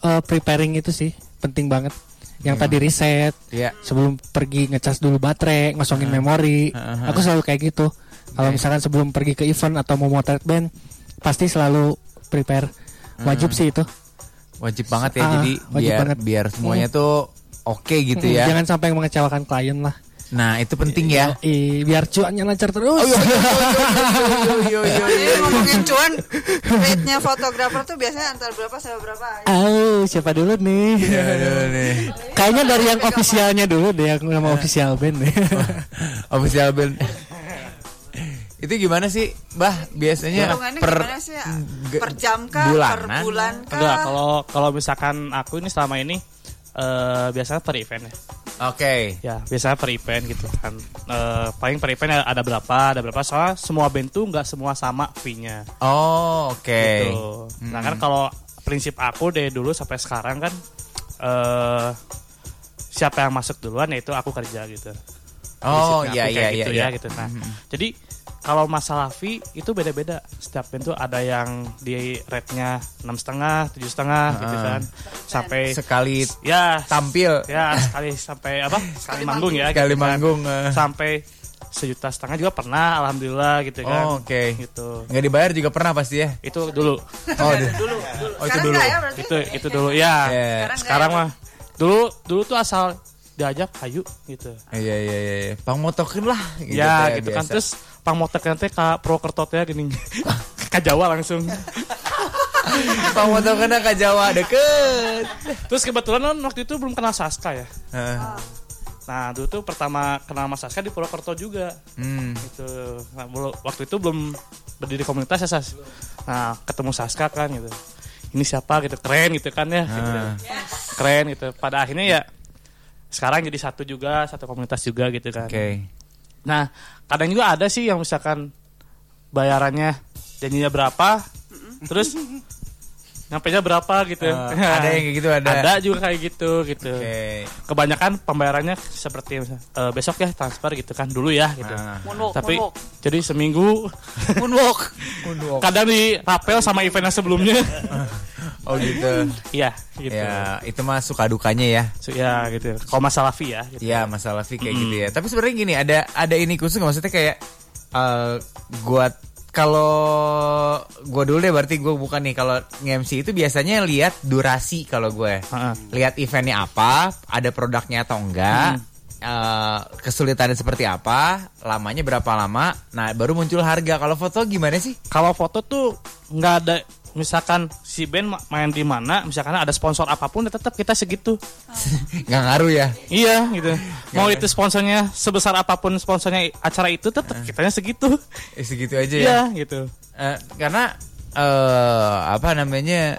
S7: eh, preparing itu sih penting banget. Yang tadi riset
S3: Iya.
S7: sebelum pergi ngecas dulu baterai, ngosongin memori. Aku selalu kayak gitu.
S3: Iya.
S7: Kalau misalkan sebelum pergi ke event atau mau motret band, pasti selalu prepare. Wajib sih itu.
S3: Wajib banget ya
S7: Ah,
S3: jadi
S7: wajib
S3: biar
S7: banget.
S3: biar semuanya tuh oke gitu
S7: Mm,
S3: ya.
S7: Jangan sampai mengecewakan klien lah.
S3: Nah, itu penting ya. Oh,
S7: Ih, biar cuannya lancar terus. iya,
S3: iya.
S7: *laughs*
S4: Soalnya ngomongin cuan, rate-nya fotografer tuh biasanya antara berapa sampai berapa?
S7: Oh, siapa dulu nih?
S3: Aduh, Iya, nih.
S7: Kayaknya dari yang ofisialnya dulu deh, yang nama official band nih.
S3: Oh. Official band. itu gimana sih, Bah? Biasanya
S4: Hitungannya
S3: per
S4: gimana sih? ya? Per jam kah? Per
S3: bulanan?
S4: bulan kah?
S9: Enggak, kalau kalau misalkan aku ini selama ini eh biasanya per event ya.
S3: Oke.
S9: Ya, biasanya per event gitu kan. Eh, paling per event ada berapa, ada berapa. Soalnya semua band tuh nggak semua sama fee-nya.
S3: Oh, oke. Hmm.
S9: Gitu. Nah kan kalau prinsip aku dari dulu sampai sekarang kan eh siapa yang masuk duluan yaitu aku kerja gitu.
S3: Oh, iya
S9: Prinsipnya aku
S3: iya iya.
S9: kayak gitu
S3: iya.
S9: ya gitu. Nah, jadi kalau masalah fee itu beda-beda. Setiap band tuh ada yang di rate-nya enam setengah, tujuh setengah gitu kan, sampai
S3: Sekali
S9: ya
S3: tampil,
S9: ya sekali sampai
S3: *laughs*
S9: apa sekali manggung ya
S3: sekali
S9: gitu kan.
S3: manggung eh.
S9: sampai sejuta setengah juga pernah alhamdulillah gitu kan
S3: Oh, oke.
S9: gitu
S3: nggak dibayar juga pernah pasti ya.
S9: itu dulu
S3: Oh, di- oh itu
S4: Sekarang
S3: dulu.
S4: enggak ya berarti?
S9: itu itu dulu ya
S3: Iya.
S9: sekarang mah dulu dulu tuh asal diajak ayo gitu
S3: Iya iya iya. iya. Pang motokin lah.
S9: ya
S3: teh,
S9: gitu kan
S3: biasa.
S9: terus pamotek nanti kak Prokertot ya gini
S3: *laughs*
S9: ke Jawa langsung
S3: Pang motokin ke Jawa deket.
S9: terus kebetulan kan waktu itu belum kenal Saska ya
S3: Heeh.
S9: nah dulu tuh pertama kenal sama Saska di Purwokerto juga
S3: Hmm.
S9: gitu Nah, belu- waktu itu belum berdiri komunitas ya Sas nah ketemu Saska kan gitu ini siapa gitu keren gitu kan ya gitu.
S3: Ah.
S9: keren gitu pada akhirnya ya sekarang jadi satu juga satu komunitas juga gitu kan
S3: Oke.
S9: Nah, kadang juga ada sih yang misalkan bayarannya janjinya berapa, terus
S3: *laughs*
S9: nyampe berapa gitu.
S3: Eh, ada yang kayak gitu, ada.
S9: Ada juga kayak gitu gitu.
S3: Oke.
S9: Kebanyakan pembayarannya seperti misalnya, "Eh, besok ya transfer gitu kan dulu ya gitu.
S3: Ah.
S4: Moonwalk,
S9: Tapi
S4: moonwalk.
S9: jadi seminggu *laughs* moonwalk.
S3: Moonwalk.
S9: Kadang di rapel sama eventnya
S3: *laughs*
S9: sebelumnya.
S3: Oh gitu.
S9: Iya gitu.
S3: Ya, itu mah suka dukanya ya.
S9: So, ya gitu. Kalau masalah fee ya. Gitu.
S3: Ya, masalah fee kayak gitu ya. Tapi sebenarnya gini, ada ada ini khusus nggak? maksudnya kayak eh buat kalau gue dulu deh berarti gue bukan nih kalau nge-MC itu biasanya lihat durasi kalau gue
S9: Heeh.
S3: lihat eventnya apa ada produknya atau enggak eh, kesulitannya seperti apa lamanya berapa lama nah baru muncul harga kalau foto gimana sih
S9: Kalau foto tuh nggak ada misalkan si band ma- main di mana, misalkan ada sponsor apapun ya tetap kita segitu.
S4: Ah.
S3: nggak ngaruh ya
S9: Iya gitu. Mau itu sponsornya sebesar apapun sponsornya acara itu tetap kitanya segitu.
S3: Eh, segitu Ah. aja ya
S9: Iya gitu.
S3: Eh, karena eh apa namanya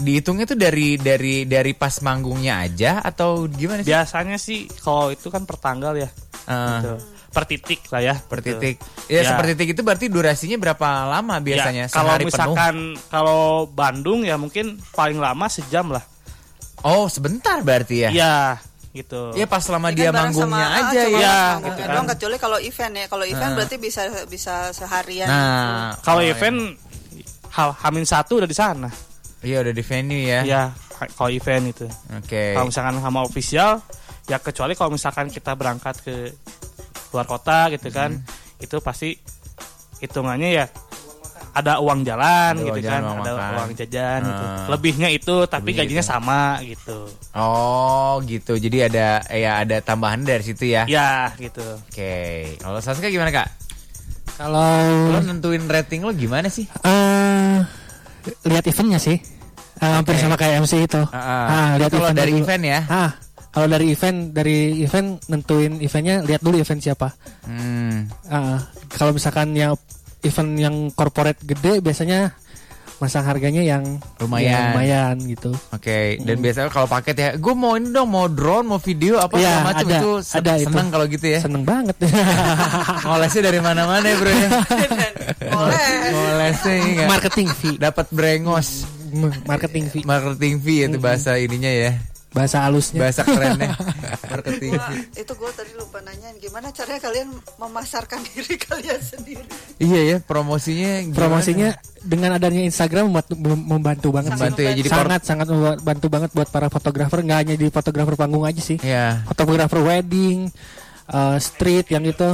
S3: dihitungnya tuh dari dari dari pas manggungnya aja atau gimana sih?
S9: Biasanya sih kalau itu kan per tanggal ya.
S3: Eh,
S9: Gitu. Per titik lah ya.
S3: per
S9: gitu.
S3: titik. Ya,
S9: Ya.
S3: seperti titik itu berarti durasinya berapa lama biasanya?
S9: Ya, kalau
S3: Sehari
S9: misalkan kalau Bandung ya mungkin paling lama sejam lah.
S3: penuh. Oh, sebentar berarti ya.
S9: Iya, gitu.
S3: Ya pas lama
S4: Ini
S3: dia
S4: kan bareng
S3: manggungnya
S4: sama- ah,
S3: aja ya.
S4: cuma
S9: Iya,
S4: manggungnya
S9: gitu
S4: doang,
S9: kan.
S4: kecuali kalau event ya. Kalau event berarti bisa bisa seharian.
S3: Nah,
S9: Kalau
S3: oh,
S9: event ha- Hamin satu udah di sana.
S3: iya udah di venue ya.
S9: Iya, ha- kalau event itu.
S3: Oke.
S9: Kalau misalkan sama official ya kecuali kalau misalkan kita berangkat ke luar kota gitu kan,
S3: Hmm.
S9: itu pasti hitungannya ya ada uang jalan
S3: Ada
S9: gitu
S3: uang jalan,
S9: kan,
S3: uang
S9: ada
S3: Iya, makan.
S9: uang jajan gitu.
S3: Ah.
S9: Lebihnya itu tapi
S3: Lebihnya
S9: gajinya sama gitu.
S3: Oh, gitu. Jadi ada ya ada tambahan dari situ ya.
S9: Ya, gitu.
S3: Oke. Kalau Saska gimana, Kak?
S7: Kalau
S3: Lo nentuin rating lo gimana sih?
S7: eh lihat eventnya sih. Eh, hampir
S3: Oke.
S7: sama kayak MC itu.
S3: Ah, ah.
S7: Ah, lihat
S3: Kalau
S7: event
S3: dari
S7: dulu.
S3: event ya?
S7: Ah, kalau dari event dari event nentuin eventnya lihat dulu event siapa.
S3: Hmm.
S7: Ah, kalau misalkan yang event yang corporate gede biasanya masang harganya yang
S3: Lumayan.
S7: yang lumayan gitu.
S3: Oke, dan biasanya kalau paket ya, gue mau ini dong, mau drone, mau video, apa
S7: Iya,
S3: segala macam
S7: ada,
S3: itu se-
S7: ada itu.
S3: seneng kalau gitu ya.
S7: Seneng banget.
S3: *laughs* Ngolesnya dari mana-mana ya
S7: *laughs*
S3: bro ya.
S4: Boleh.
S3: Ngolesnya ini nggak-
S7: marketing fee. Hmm,
S3: dapat brengos,
S7: Marketing fee. Hmm.
S3: marketing fee itu bahasa ininya ya,
S7: Bahasa halusnya.
S3: bahasa
S7: *laughs*
S3: kerennya, marketing
S4: Wah,
S3: fee.
S4: itu gue tadi lupa nanyain gimana caranya kalian memasarkan *laughs* diri kalian sendiri.
S3: Iya ya, promosinya. gimana?
S7: promosinya dengan adanya Instagram membantu, mem- membantu banget sih.
S3: Membantu ya, jadi
S7: sangat sangat membantu banget buat para fotografer nggak hanya di fotografer panggung aja sih
S3: Ya,
S7: fotografer wedding eh, street yang itu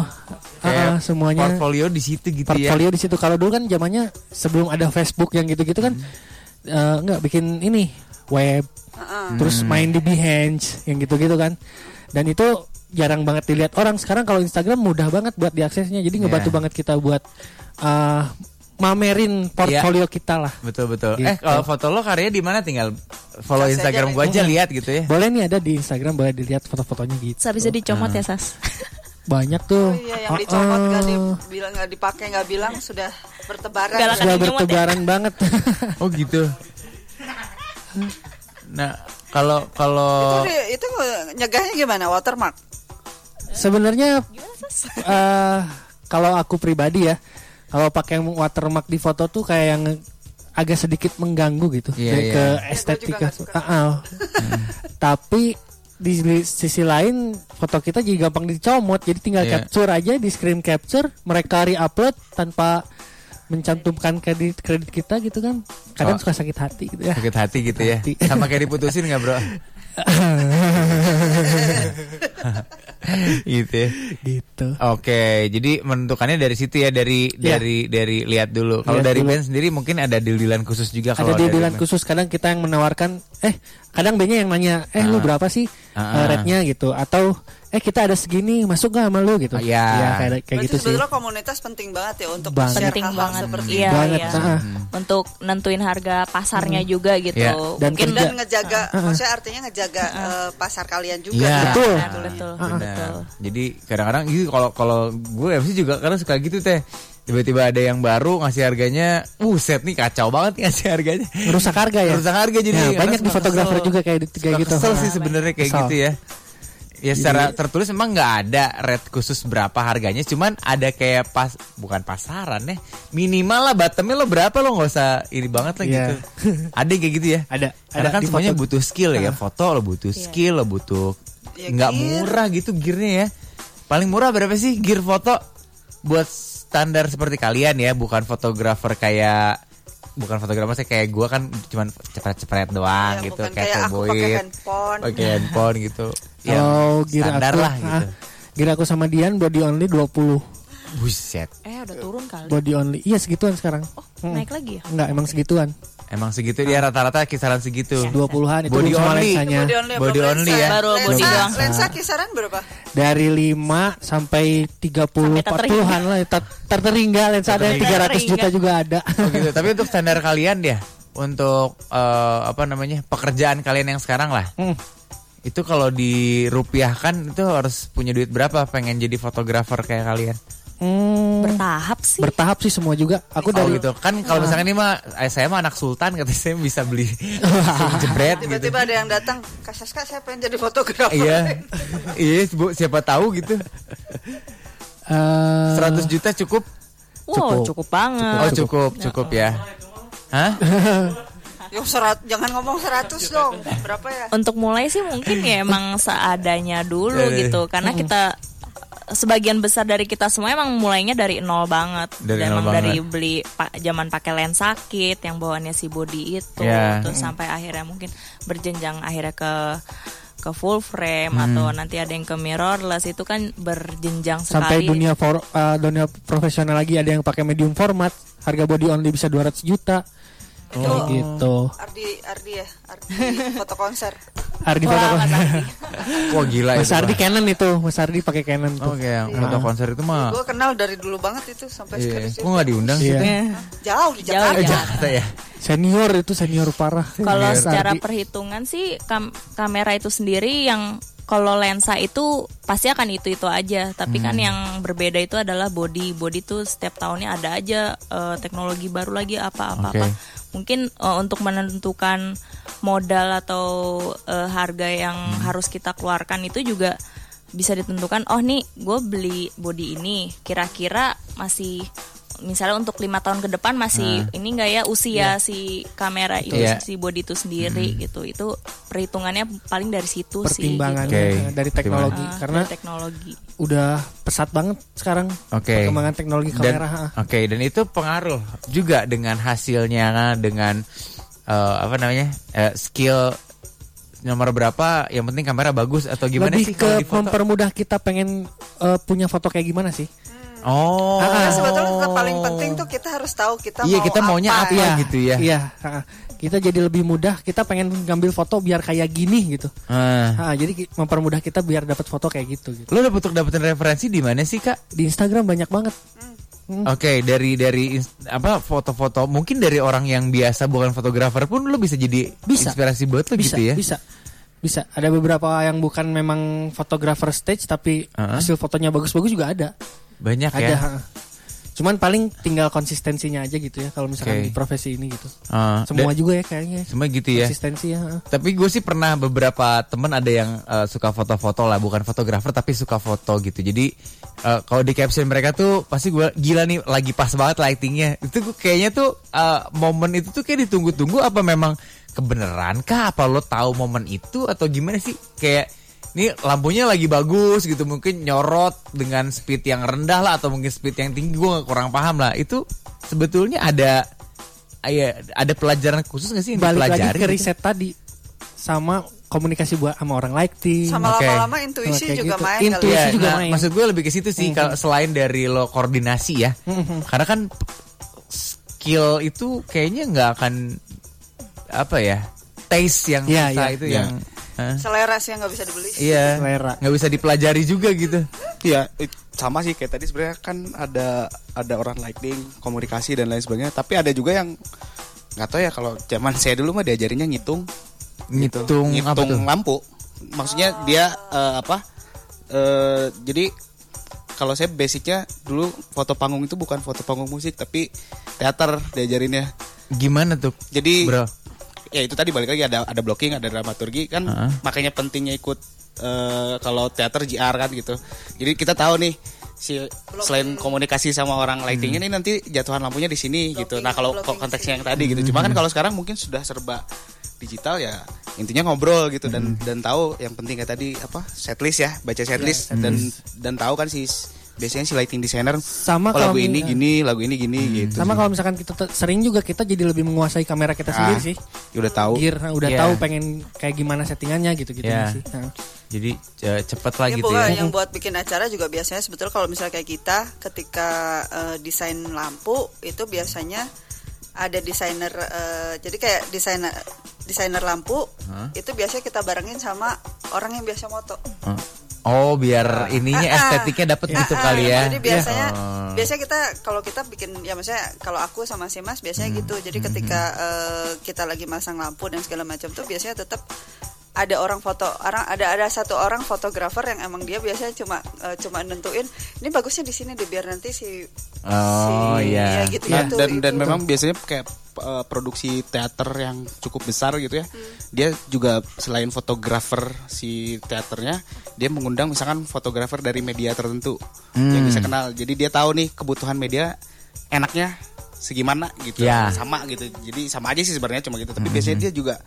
S7: Ah, ah,
S3: kayak
S7: semuanya
S3: portfolio di situ gitu ya.
S7: portfolio di situ kalau dulu kan zamannya sebelum ada Facebook yang gitu-gitu kan eh, nggak bikin ini web terus
S3: Hmm.
S7: main di Behance yang gitu-gitu kan dan itu jarang banget dilihat orang sekarang kalau Instagram mudah banget buat diaksesnya jadi ngebantu
S3: Yeah.
S7: banget kita buat eh, mamerin portfolio kita lah
S3: Betul betul.
S7: Gitu.
S3: Eh, kalau foto lo karyanya di mana? Tinggal follow
S4: Kasih aja
S3: Instagram
S4: deh.
S3: gue aja lihat gitu ya.
S7: boleh nih ada di Instagram boleh dilihat foto-fotonya gitu
S6: Bisa bisa dicomot ya Sas.
S7: banyak tuh
S4: Oh iya, yang
S7: Ah,
S4: dicopot nggak
S7: ah,
S3: oh.
S4: dibilang nggak dipakai nggak bilang sudah bertebaran.
S6: Galak.
S7: sudah
S6: Akan dicomot ya.
S7: bertebaran banget
S3: *laughs* Oh gitu. Nah, kalau
S4: Itu,
S3: kalau
S4: di- itu nyegahnya gimana? Watermark.
S7: Sebenarnya eh, kalau aku pribadi ya, kalau pakai watermark di foto tuh kayak yang agak sedikit mengganggu gitu
S3: Iya,
S7: dari
S3: iya.
S7: ke
S3: Ya,
S7: estetika. Ah, ah. Tapi di li- sisi lain foto kita jadi gampang dicomot, jadi tinggal
S3: Iya.
S7: capture aja di screen capture, mereka re-upload tanpa mencantumkan kredit kredit kita gitu kan. Kadang
S3: Oh.
S7: suka sakit hati gitu ya.
S3: sakit hati gitu ya.
S7: Hati.
S3: Sama kayak diputusin
S7: *laughs*
S3: nggak bro? *laughs* gitu ya.
S7: gitu.
S3: Oke, jadi menentukannya dari situ ya dari
S7: Iya.
S3: dari dari lihat dulu. Kalau
S7: Lihat
S3: dari
S7: dulu.
S3: band sendiri mungkin ada deal-dealan khusus juga
S7: ada
S3: Nah, kalau
S7: deal-dealan
S3: dari band.
S7: khusus kadang kita yang menawarkan eh kadang bandnya yang nanya eh lu berapa sih eh,
S3: Ah.
S7: rate-nya gitu atau eh kita ada segini masuk gak sama lu gitu
S3: Ah, iya.
S7: kayak kayak
S4: Berarti
S7: gitu sih
S4: sebetulnya komunitas penting banget ya untuk
S7: Banget.
S4: share
S6: Penting
S4: hal-hal
S6: banget.
S4: seperti
S6: Iya,
S7: banget
S6: iya.
S7: ah.
S6: Untuk nentuin harga pasarnya juga gitu.
S3: Iya.
S7: Dan
S6: Mungkin
S7: kerja-
S4: Hmm. dan ngejaga maksudnya artinya ngejaga eh, pasar kalian juga
S3: Iya.
S4: kan?
S7: Betul.
S6: Benar, betul.
S3: Benar.
S6: betul.
S3: Jadi kadang-kadang gitu kalau kalau gue MC juga kadang suka gitu teh. Tiba-tiba ada yang baru ngasih harganya, buset nih kacau banget nih ngasih harganya.
S7: Merusak harga ya
S3: Rusak harga jadi
S7: Ya,
S3: kadang
S7: banyak
S3: suka
S7: di fotografer
S3: kesel.
S7: juga kayak di- kayak
S3: Suka
S7: gitu
S3: kesel sih
S7: Ah.
S3: sebenarnya kayak
S7: Kesel.
S3: gitu ya ya secara tertulis emang nggak ada rate khusus berapa harganya cuman ada kayak pas bukan pasaran ya minimal lah bottomnya lo berapa lo nggak usah ini banget lah
S7: Iya.
S3: gitu ada yang kayak gitu ya
S7: Ada,
S3: karena
S7: ada
S3: kan
S7: di
S3: semuanya
S7: foto.
S3: butuh skill ya foto lo butuh skill lo butuh
S4: Iya. Ya,
S3: nggak
S4: gear.
S3: murah gitu gearnya ya paling murah berapa sih gear foto buat standar seperti kalian ya bukan fotografer kayak bukan fotografer saya kayak gua kan cuman cepret-cepret doang
S4: Ya,
S3: gitu
S4: bukan
S3: kayak
S4: kayak aku
S3: tomboy
S4: pakai handphone. Iya.
S3: pakai
S4: *laughs*
S3: handphone gitu
S7: kalau
S3: Yang
S7: gira
S3: standar
S7: aku
S3: lah
S7: ah,
S3: gitu
S7: gira aku sama Dian body only 20
S3: Buset.
S6: Eh udah turun kali.
S7: Body only. Iya segituan sekarang.
S6: Oh naik lagi ya?
S7: Enggak, emang segituan.
S3: Emang segitu dia rata-rata kisaran segitu.
S7: 20-an itu
S3: Body
S7: sama
S3: only.
S7: lensanya.
S4: Body only,
S3: Body
S4: belum
S3: only
S4: lensa.
S3: ya.
S6: Baru body
S4: lensa,
S6: doang.
S4: lensa kisaran berapa?
S7: Dari 5 sampai 30
S6: Sampai tak
S7: 40-an lah ya. Ter- terteringgal lensa ada yang
S6: Terteringgal.
S7: 300 juta juga ada.
S3: Oh gitu. Tapi untuk standar kalian dia untuk eh, apa namanya? pekerjaan kalian yang sekarang lah.
S7: Hmm.
S3: Itu kalau dirupiahkan itu harus punya duit berapa pengen jadi fotografer kayak kalian?
S7: Hmm,
S6: Bertahap sih.
S7: bertahap sih semua juga. Aku
S3: Oh
S7: dari
S3: gitu. Kan kalau misalkan ini mah eh, saya mah anak sultan katanya saya bisa
S7: *laughs*
S3: beli langsung jebret gitu.
S4: Tiba-tiba ada yang datang, Kak Saska saya pengen jadi fotografer.
S3: Iya.
S4: *laughs*
S3: Iya, Bu, siapa tahu gitu.
S7: eh,
S3: 100 juta cukup?
S6: Wow
S7: Oh, Cukup.
S6: cukup banget.
S3: Oh, cukup, cukup ya. Hah?
S7: *laughs*
S4: Yo, serat, jangan ngomong 100 dong. Berapa ya?
S6: Untuk mulai sih mungkin ya emang seadanya dulu
S3: Eh.
S6: gitu karena kita sebagian besar dari kita semua emang mulainya dari nol banget.
S3: Dari
S6: Dan
S3: nol
S6: emang
S3: banget.
S6: dari beli pa- zaman pakai lens sakit yang bawaannya si body itu
S3: Ya.
S6: terus sampai akhirnya mungkin berjenjang akhirnya ke ke full frame atau nanti ada yang ke mirrorless itu kan berjenjang sekali.
S7: sampai dunia for, eh, dunia profesional lagi ada yang pakai medium format, harga body only bisa 200 juta.
S4: Oh.
S7: Kayak
S3: Oh,
S7: gitu.
S4: Ardi, Ardi ya, Ardi foto
S3: *laughs*
S4: konser.
S7: Ardi foto
S6: Wah, Mas
S7: *laughs*
S6: Ardi.
S3: Wah gila
S7: Mas
S3: itu.
S7: Ardi
S3: mah.
S7: Canon itu, Mas Ardi pakai Canon tuh.
S3: Oke, yang
S7: Iya.
S3: foto konser itu mah.
S4: Gue kenal dari dulu banget itu
S3: Iya,
S4: sampai sekarang
S3: kok nggak diundang sih?
S7: Iya.
S3: Teh?
S4: jauh di
S6: Jauh,
S4: Jakarta.
S6: jauh.
S3: Jakarta ya.
S7: Senior itu senior parah.
S3: *laughs*
S6: Kalau
S7: Mas
S6: secara
S7: Ardi.
S6: perhitungan sih kam- kamera itu sendiri yang kalau lensa itu pasti akan itu-itu aja, tapi kan
S3: Hmm.
S6: yang berbeda itu adalah body. Body tuh setiap tahunnya ada aja eh, teknologi baru lagi apa-apa apa.
S3: Oke.
S6: Mungkin eh, untuk menentukan modal atau eh, harga yang
S3: Hmm.
S6: harus kita keluarkan itu juga bisa ditentukan. Oh nih, gue beli body ini kira-kira masih misalnya untuk lima tahun ke depan masih ini enggak ya usia si kamera itu
S3: Nah. Iya.
S6: si body itu sendiri
S3: Hmm.
S6: gitu itu perhitungannya paling dari situ
S7: pertimbangannya
S6: sih gitu.
S3: Oke.
S7: dari teknologi
S6: Ah,
S7: karena
S6: dari teknologi
S7: udah pesat banget sekarang
S3: Oke.
S7: perkembangan teknologi
S3: Dan
S7: kamera. ah. ha.
S3: oke, dan itu pengaruh juga dengan hasilnya dengan eh, apa namanya? eh, skill nomor berapa yang penting kamera bagus atau gimana
S7: Lebih
S3: sih
S7: ke
S3: kalau di foto?
S7: mempermudah kita pengen eh, punya foto kayak gimana sih? Ah,
S3: Oh.
S4: Karena sebetulnya yang paling penting tuh kita harus tahu kita
S3: Iya,
S4: mau
S3: kita maunya apa.
S4: ya.
S3: Iya, gitu ya.
S7: Iya. ha. Kita jadi lebih mudah. Kita pengen ngambil foto biar kayak gini gitu.
S3: Eh,
S7: Ha, jadi ki- mempermudah kita biar dapat foto kayak gitu. gitu.
S3: Lo dapet dapetin referensi di mana sih, Kak?
S7: Di Instagram banyak banget.
S3: Oke, dari dari ins- apa foto-foto mungkin dari orang yang biasa bukan fotografer pun lo bisa jadi
S7: Bisa.
S3: inspirasi buat lo
S7: Bisa,
S3: gitu ya.
S7: bisa, bisa. Ada beberapa yang bukan memang fotografer stage tapi
S3: Ha-ha.
S7: hasil fotonya bagus-bagus juga ada.
S3: Ah. Banyak
S7: ada
S3: ya.
S7: ha. cuman paling tinggal konsistensinya aja gitu ya kalau misalkan
S3: Oke.
S7: di profesi ini gitu
S3: Ah,
S7: semua
S3: dan-
S7: juga ya kayaknya
S3: semua gitu ya.
S7: konsistensi ya ha.
S3: Tapi gue sih pernah beberapa temen ada yang eh, suka foto-foto lah, bukan fotografer tapi suka foto gitu. Jadi eh, kalau di caption mereka tuh pasti gue gila nih lagi pas banget lightingnya. Itu gua kayaknya tuh eh, momen itu tuh kayak ditunggu-tunggu apa memang kebenaran kah? Apa lo tahu momen itu atau gimana sih? Kayak ini lampunya lagi bagus gitu mungkin nyorot dengan speed yang rendah lah atau mungkin speed yang tinggi gue kurang paham lah. Itu sebetulnya ada ya, ada pelajaran khusus gak sih yang
S7: balik lagi
S3: dipelajari
S7: ke
S3: gitu?
S7: riset tadi sama komunikasi buat sama orang lighting
S4: Sama
S3: Oke.
S4: lama-lama intuisi
S7: Kayak
S4: juga
S7: gitu.
S4: main
S7: Intuisi.
S4: kali. ya.
S3: Iya,
S7: juga
S3: nah,
S7: main. Hmm.
S3: maksud gue lebih ke situ sih kalau selain dari lo koordinasi ya. Karena kan skill itu kayaknya nggak akan apa ya? Taste yang
S7: Iya,
S3: susah
S7: iya,
S3: itu
S5: iya.
S3: yang Hah?
S4: Selera sih yang nggak bisa dibeli.
S3: Iya.
S7: Selera.
S3: Nggak bisa dipelajari juga gitu.
S5: Iya, it- sama sih kayak tadi sebenarnya kan ada ada orang lighting, komunikasi dan lain sebagainya. Tapi ada juga yang nggak tahu ya kalau zaman saya dulu mah diajarinnya ngitung, gitu.
S3: Ngitung, apa tuh?
S5: lampu. Maksudnya dia eh, apa? Eh, jadi kalau saya basicnya dulu foto panggung itu bukan foto panggung musik tapi teater diajarinnya.
S3: Gimana tuh?
S5: Jadi
S3: Bro.
S5: ya itu tadi balik lagi ada ada blocking ada dramaturgi kan
S3: Heeh.
S5: makanya pentingnya ikut eh, kalau teater JR kan gitu jadi kita tahu nih si selain komunikasi sama orang lighting ini nanti jatuhan lampunya di sini gitu nah kalau
S4: blocking
S5: konteksnya yang tadi gitu cuma
S3: Hmm.
S5: kan kalau sekarang mungkin sudah serba digital ya intinya ngobrol gitu
S3: Mm-hmm. Iya,
S5: dan dan tahu yang penting kayak tadi apa setlist ya baca setlist dan dan tahu kan si biasanya si lighting designer oh,
S7: Sama
S5: lagu
S7: kalau-
S5: ini
S7: eh.
S5: gini lagu ini gini
S3: Mm-hmm.
S5: gitu
S7: Sama kalau misalkan kita te- sering juga kita jadi lebih menguasai kamera
S5: Ah,
S7: kita sendiri sih.
S5: ya udah tahu
S7: Gear nah, udah
S3: Iya.
S7: tahu pengen kayak gimana settingannya gitu-gitu
S3: Iya.
S7: sih. Nah.
S3: Jadi eh, cepet lah
S4: Ya,
S3: gitu ya.
S4: pokoknya yang buat bikin acara juga biasanya sebetulnya kalau misalnya kayak kita ketika eh, desain lampu itu biasanya ada desainer eh, jadi kayak desainer desainer lampu itu biasanya kita barengin sama orang yang biasa moto.
S3: Oh biar ininya
S4: Ah, ah.
S3: estetiknya
S7: Iya.
S3: dapet gitu
S4: Ah, ah,
S3: kali ya. Oh.
S4: Jadi biasanya
S9: Ah.
S4: biasanya kita kalau kita bikin ya maksudnya kalau aku sama si Mas biasanya
S9: Hmm.
S4: gitu. Jadi ketika eh, kita lagi masang lampu dan segala macam tuh biasanya tetap ada orang foto orang ada ada satu orang fotografer yang emang dia biasanya cuma eh, cuma nentuin ini bagusnya di sini deh biar nanti si
S3: Oh,
S4: si-
S3: iya.
S4: ya gitu
S5: Nah,
S4: gitu,
S5: dan dan
S4: itu.
S5: memang biasanya kayak eh, produksi teater yang cukup besar gitu ya.
S4: Hmm.
S5: Dia juga selain fotografer si teaternya, dia mengundang misalkan fotografer dari media tertentu
S3: Hmm.
S5: yang bisa kenal. Jadi dia tahu nih kebutuhan media enaknya segimana gitu.
S3: Ya. Hmm.
S5: Sama gitu. Jadi sama aja sih sebenarnya cuma gitu. Tapi biasanya dia juga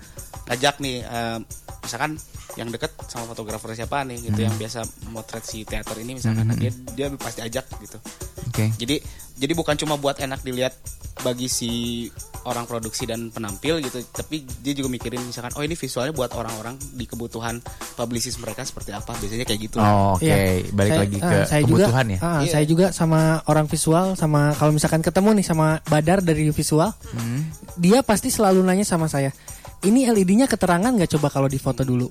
S5: ngajak nih eh, misalkan yang deket sama fotografer siapa nih
S3: Hmm.
S5: gitu yang biasa motret si teater ini misalkan Nah, dia dia pasti ajak gitu.
S3: Oke.
S5: Jadi jadi bukan cuma buat enak dilihat bagi si orang produksi dan penampil gitu, tapi dia juga mikirin misalkan oh ini visualnya buat orang-orang di kebutuhan publisis mereka seperti apa. Biasanya kayak gitu.
S3: Oh, Oke,
S7: Iya.
S3: balik
S7: Saya-
S3: lagi
S7: ah,
S3: ke
S7: saya
S3: kebutuhan
S7: juga,
S3: ya.
S7: ah,
S4: Iya.
S5: Iya.
S7: Saya juga sama orang visual sama kalau misalkan ketemu nih sama Badar dari visual,
S3: Hmm.
S7: dia pasti selalu nanya sama saya. Ini LED-nya keterangan nggak coba kalau difoto dulu?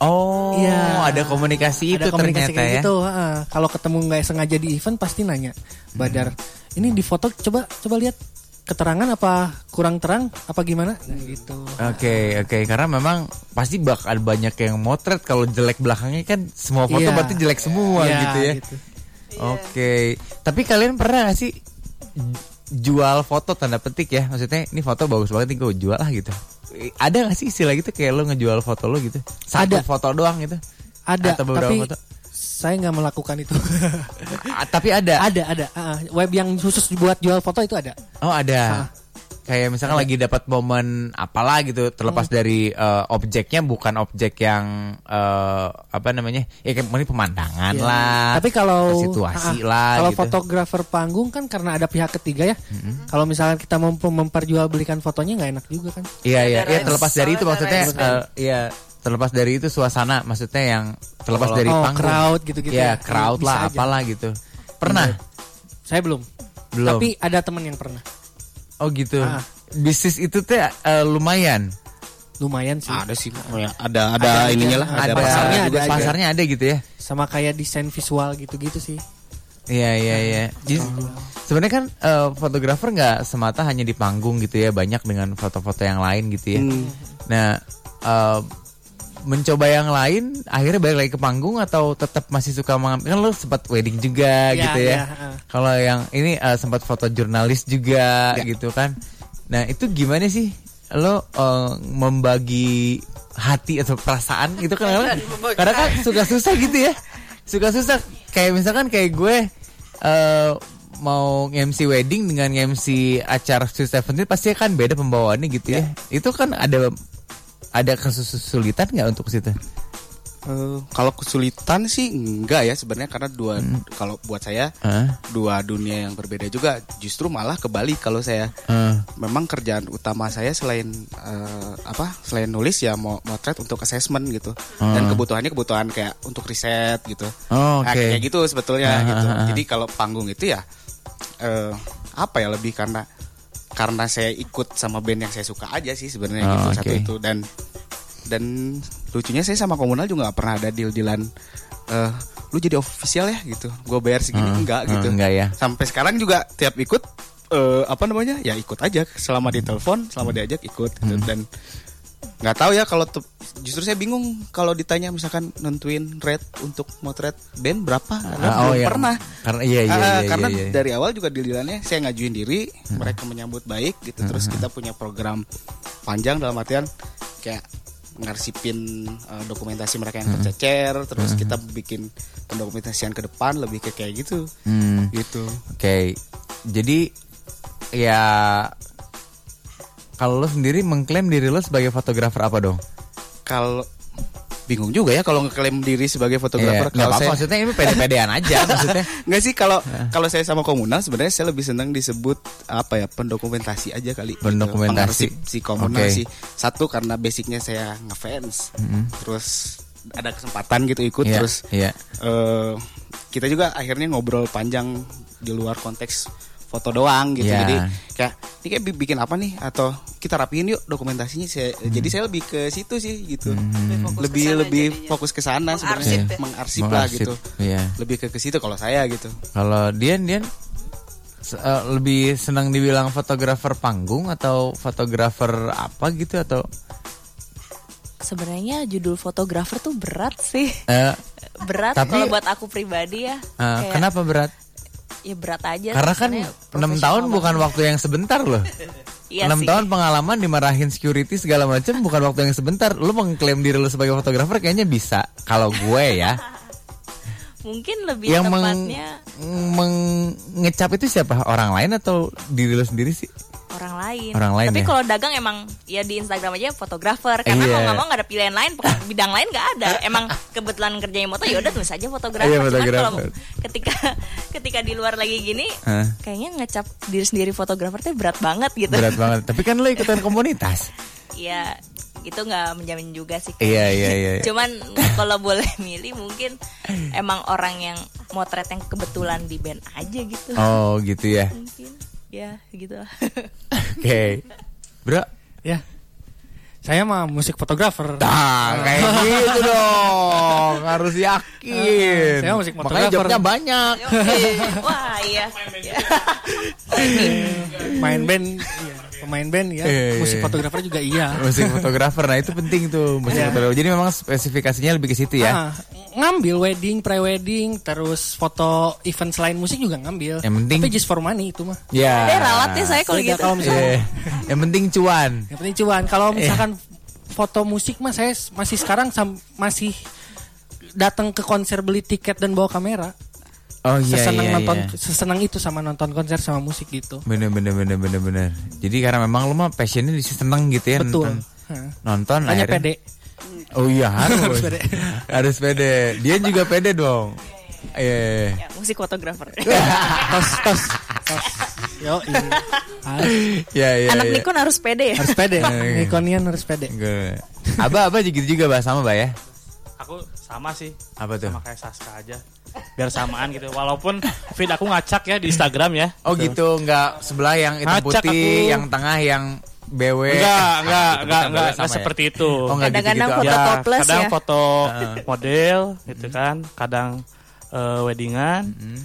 S3: Oh,
S7: Iya.
S3: ada komunikasi itu
S7: Ada komunikasi
S3: ternyata
S7: kayak
S3: ya.
S7: gitu, ah. Kalau ketemu nggak sengaja di event pasti nanya
S3: Hmm.
S7: Badar. Ini di foto coba coba lihat keterangan apa kurang terang apa gimana Nah, gitu.
S3: Oke, oke, karena memang pasti bak ada banyak yang motret kalau jelek belakangnya kan semua foto
S7: Iya.
S3: berarti jelek semua
S7: Iya,
S3: gitu ya.
S7: gitu.
S3: Oke. Tapi kalian pernah gak sih jual foto tanda petik ya? Maksudnya ini foto bagus banget nih gue jual lah gitu. Eh, Ada gak sih istilah gitu kayak lo ngejual foto lo gitu? Satu
S7: Ada.
S3: foto doang gitu.
S7: Ada
S3: Atau beberapa
S7: tapi
S3: foto?
S7: saya nggak melakukan itu.
S3: *laughs* Ah, tapi ada.
S7: ada ada ah, web yang khusus buat jual foto itu ada.
S3: Oh, ada.
S7: Ah.
S3: Kayak misalkan lagi dapat momen apalah gitu terlepas
S7: Hmm.
S3: dari eh, objeknya bukan objek yang eh, apa namanya? Ya kayak mungkin pemandangan
S7: Iya.
S3: lah.
S7: Tapi kalau ah, ah,
S3: situasi lah
S7: kalau
S3: gitu. Hmm.
S7: fotografer panggung kan karena ada pihak ketiga ya. Kalau misalkan kita mem memperjualbelikan fotonya nggak enak juga kan.
S3: Iya iya iya
S4: Ada rights,
S3: terlepas dari itu
S4: soalnya ada
S3: maksudnya
S4: rights
S3: eh, iya terlepas dari itu suasana maksudnya yang terlepas dari
S7: oh,
S3: panggung.
S7: crowd gitu-gitu ya.
S3: Iya, crowd
S7: Bisa
S3: lah
S7: aja.
S3: apalah gitu. Pernah?
S7: Saya belum.
S3: Belum.
S7: Tapi ada teman yang pernah.
S3: Oh gitu.
S7: Ah.
S3: Bisnis itu teh eh, lumayan.
S7: Lumayan sih.
S5: Ada sih, oh ya, ada ada, ininya lah, ada, pasarnya
S3: pasarnya
S5: juga
S3: ada,
S5: sih.
S3: pasarnya ada gitu ya.
S7: Sama kayak desain visual gitu-gitu sih.
S3: Iya iya iya. Jadi sebenarnya kan eh, fotografer nggak semata hanya di panggung gitu ya, banyak dengan foto-foto yang lain gitu ya.
S7: Hmm.
S3: Nah, eh, mencoba yang lain akhirnya balik lagi ke panggung atau tetap masih suka mengambil kan lo sempat wedding juga
S7: Iya,
S3: gitu ya.
S7: iya, heeh.
S3: Kalau yang ini eh, sempat foto jurnalis juga
S7: Iya.
S3: gitu kan. Nah, itu gimana sih lo eh, membagi hati atau perasaan itu kan
S4: membagi
S3: karena kan suka susah gitu ya suka susah kayak misalkan kayak gue eh, mau MC wedding dengan MC acara Sweet Seventeen pasti kan beda pembawaannya gitu ya
S5: Iya.
S3: itu kan ada ada kesulitan nggak untuk situ
S5: Eh, kalau kesulitan sih enggak ya sebenarnya karena dua
S3: Hmm.
S5: kalau buat saya
S3: Hah?
S5: dua dunia yang berbeda juga justru malah kebalik kalau saya
S3: Eh,
S5: memang kerjaan utama saya selain eh, apa selain nulis ya mau motret untuk assessment gitu dan kebutuhannya kebutuhan kayak untuk riset gitu
S3: Oh,
S5: Nah,
S3: oke.
S5: kayak gitu sebetulnya
S3: Ah,
S5: gitu
S3: ah, ah.
S5: jadi kalau panggung itu ya eh, apa ya lebih karena karena saya ikut sama band yang saya suka aja sih sebenarnya
S3: Oh,
S5: gitu
S3: oke.
S5: satu itu dan dan lucunya saya sama komunal juga nggak pernah ada deal dealan eh lu jadi official ya gitu gue bayar segini
S3: Hmm,
S5: enggak
S3: hmm,
S5: gitu
S3: enggak ya.
S5: sampai sekarang juga tiap ikut eh, apa namanya ya ikut aja selama ditelepon selama diajak ikut gitu.
S3: Hmm.
S5: dan nggak tahu ya kalau tuh- justru saya bingung kalau ditanya misalkan nentuin rate untuk motret band berapa karena
S3: ah,
S5: belum
S3: iya.
S5: pernah
S3: karena iya iya,
S5: Ah,
S3: iya,
S5: ah,
S3: iya,
S5: karena
S3: iya. Hmm.
S5: dari awal juga dililannya saya ngajuin diri mereka menyambut baik gitu terus kita punya program panjang dalam artian kayak ngarsipin eh, dokumentasi mereka
S3: Hmm.
S5: yang tercecer terus kita bikin pendokumentasian ke depan lebih ke kayak gitu
S3: Hmm.
S5: gitu
S3: Oke, jadi ya kalau lo sendiri mengklaim diri lo sebagai fotografer apa dong?
S5: kalau bingung juga ya kalau ngeklaim diri sebagai
S3: Iya,
S5: fotografer
S3: nggak
S5: kalau
S3: apa-apa
S5: saya
S3: maksudnya ini pede-pedean
S5: *laughs*
S3: aja maksudnya. Iya.
S5: nggak sih kalau kalau saya sama komunal sebenarnya saya lebih senang disebut apa ya pendokumentasi aja kali gitu.
S3: Pendokumentasi.
S5: Pengarsip si komunal
S3: Oke. Mm-hmm.
S5: sih satu karena basicnya saya ngefans terus ada kesempatan gitu ikut
S3: Iya,
S5: terus
S3: iya.
S5: eh, kita juga akhirnya ngobrol panjang di luar konteks foto doang gitu
S3: Iya.
S5: jadi kayak ini kayak bi- bikin apa nih atau kita rapiin yuk dokumentasinya saya jadi saya lebih ke situ sih gitu
S4: Hmm. Fokus
S5: lebih
S4: kesana
S5: lebih
S4: jadinya.
S5: fokus ke sana sebenarnya
S4: Mengarsip ya?
S5: Iya. mengarsip lah
S3: Mengarsip,
S5: gitu
S3: Iya.
S5: lebih ke ke situ kalau saya gitu
S3: Kalau Dian Dian se- eh, lebih senang dibilang fotografer panggung atau fotografer apa gitu atau
S6: Sebenarnya judul fotografer tuh berat sih. *laughs*
S3: eh,
S6: Berat
S3: Tapi-
S6: kalau buat aku pribadi ya.
S3: eh, kenapa berat?
S6: Ya berat aja.
S3: Karena kan
S6: sebenarnya
S3: 6 tahun
S6: profesional
S3: bukan
S6: banget.
S3: waktu yang sebentar loh.
S6: Iya
S3: enam
S6: sih.
S3: tahun pengalaman dimarahin security segala macam bukan waktu yang sebentar. Lu mengklaim diri lu sebagai fotografer kayaknya bisa kalau gue ya.
S6: Mungkin lebih
S3: yang meng,
S6: tepatnya
S3: meng- ngecap itu siapa? Orang lain atau diri lu sendiri sih?
S6: orang lain.
S3: Orang lain
S6: Tapi
S3: ya?
S6: kalau dagang emang ya di Instagram aja fotografer karena
S3: Iya.
S6: mau nggak mau nggak ada pilihan lain,
S3: *laughs*
S6: pokok- bidang lain nggak ada. Emang kebetulan kerjanya motor ya udah tulis aja fotografer.
S3: Iya,
S6: Cuman
S3: fotografer.
S6: Kan
S3: Ah.
S6: kalau ketika ketika di luar lagi gini,
S3: Hah?
S6: kayaknya ngecap diri sendiri fotografer tuh berat banget gitu.
S3: Berat banget. Tapi kan lu ikutan komunitas.
S6: Iya, itu nggak menjamin juga sih. Kak.
S3: Iya, iya, iya.
S6: Cuman kalau boleh milih mungkin emang orang yang motret yang kebetulan di band aja gitu.
S3: Oh, gitu ya.
S6: Mungkin ya
S3: *laughs*
S6: gitu. lah.
S3: Oke. Bro,
S10: Ya. Saya mah musik fotografer.
S3: Nah,
S10: *laughs*
S3: kayak gitu dong. Harus yakin.
S10: Saya musik
S3: Makanya
S10: fotografer.
S3: jobnya banyak.
S6: Wah, iya.
S10: Main band, iya. Pemain band ya.
S3: Iya, iya,
S10: Musik
S3: iya.
S10: fotografer juga iya.
S3: musik fotografer. Nah, itu penting tuh musik fotografer. Jadi memang spesifikasinya lebih ke situ ya.
S10: Ah, ngambil wedding, pre-wedding, terus foto event selain musik juga ngambil.
S3: Yang penting-
S10: Tapi just for money itu mah.
S6: Ada
S3: Ya.
S6: Eh, ralat nih saya kalau
S10: Beda
S6: gitu.
S10: kalau misalkan,
S3: Iya. Yang penting cuan.
S10: yang penting cuan. Kalau misalkan foto musik mah saya s- masih sekarang sam- masih datang ke konser beli tiket dan bawa kamera.
S3: Oh iya
S10: sesenang
S3: iya.
S10: nonton
S3: iya.
S10: sesenang itu sama nonton konser sama musik gitu.
S3: Bener bener bener bener bener. Jadi karena memang lu mah passionnya di situ seneng gitu ya
S10: Betul.
S3: nonton.
S10: Hah.
S3: Nonton
S10: Makanya
S3: akhirnya-
S10: pede.
S3: Oh iya
S10: *laughs*
S3: harus.
S10: Harus pede.
S3: harus pede. Dia juga pede dong. Iya. iya, iya.
S6: Ya, musik fotografer.
S10: tos tos tos. Yo,
S3: *laughs*
S10: iya.
S3: Iya iya.
S6: Anak
S3: iya.
S6: Nikon harus pede ya.
S10: harus pede.
S3: *laughs*
S10: Nikonian harus pede.
S3: Gue. Abah abah gitu juga bahas sama bah ya.
S9: Aku sama sih.
S3: Apa tuh?
S9: Sama kayak Saska aja. Biar samaan gitu. Walaupun feed aku ngacak ya di Instagram ya.
S3: Oh gitu, nggak sebelah yang hitam
S9: Ngacak
S3: putih,
S9: aku.
S3: yang tengah yang BW.
S9: Enggak, enggak, enggak,
S3: sama
S9: enggak, enggak
S3: ya?
S9: seperti itu.
S3: Oh, nggak
S6: Kadang-kadang
S3: gitu-gitu Ah.
S6: foto
S3: amat.
S6: topless
S9: kadang
S6: ya. Hmm.
S9: foto model gitu kan, kadang eh, weddingan,
S3: Hmm.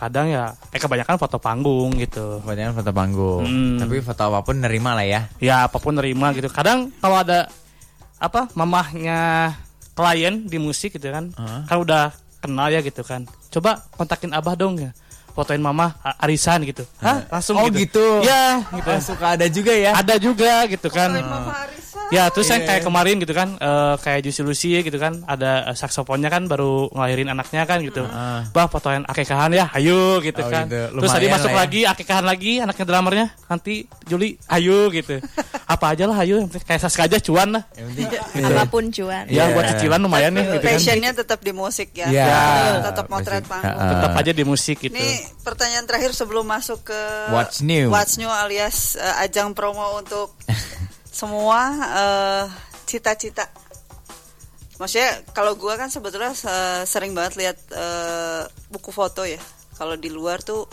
S9: kadang ya eh kebanyakan foto panggung gitu.
S3: Kebanyakan foto panggung.
S9: Hmm.
S3: Tapi foto apapun nerima lah ya.
S9: Ya apapun nerima gitu. Kadang kalau ada apa mamahnya klien di musik gitu kan, kan udah kenal ya gitu kan. Coba kontakin abah dong ya, fotoin mamah a- arisan gitu. Hah? Langsung
S3: Oh
S9: gitu.
S3: gitu.
S9: Ya, gitu.
S3: Oh, suka ada juga ya. Iya.
S9: Ada juga gitu kan.
S4: Marisa.
S9: Ya terus yang kayak kemarin gitu kan eh, kayak Juicy Lucy gitu kan ada eh, saksofonnya kan baru ngelahirin anaknya kan gitu. Bah fotoin akekahan ya, ayo gitu
S3: Oh,
S9: kan.
S3: gitu.
S9: Terus tadi
S3: Lumayan
S9: masuk
S3: lah ya.
S9: lagi akekahan lagi anaknya dramernya nanti Juli ayo
S3: *laughs*
S9: gitu. Apa aja lah ayo yang penting kayak Saska aja cuan lah.
S6: Apapun cuan.
S9: Ya buat cicilan lumayan ya Iya. gitu kan.
S4: Passionnya tetap di musik ya,
S3: Iya.
S4: Tetap- tetap motret
S3: Musik.
S4: panggung.
S3: Ha-ha.
S9: Tetap aja di musik gitu.
S4: Ini pertanyaan terakhir sebelum masuk ke
S3: What's new?
S4: What's new alias eh, ajang promo untuk semua eh, cita-cita. Maksudnya kalau gua kan sebetulnya se- sering banget lihat eh, buku foto ya. Kalau di luar tuh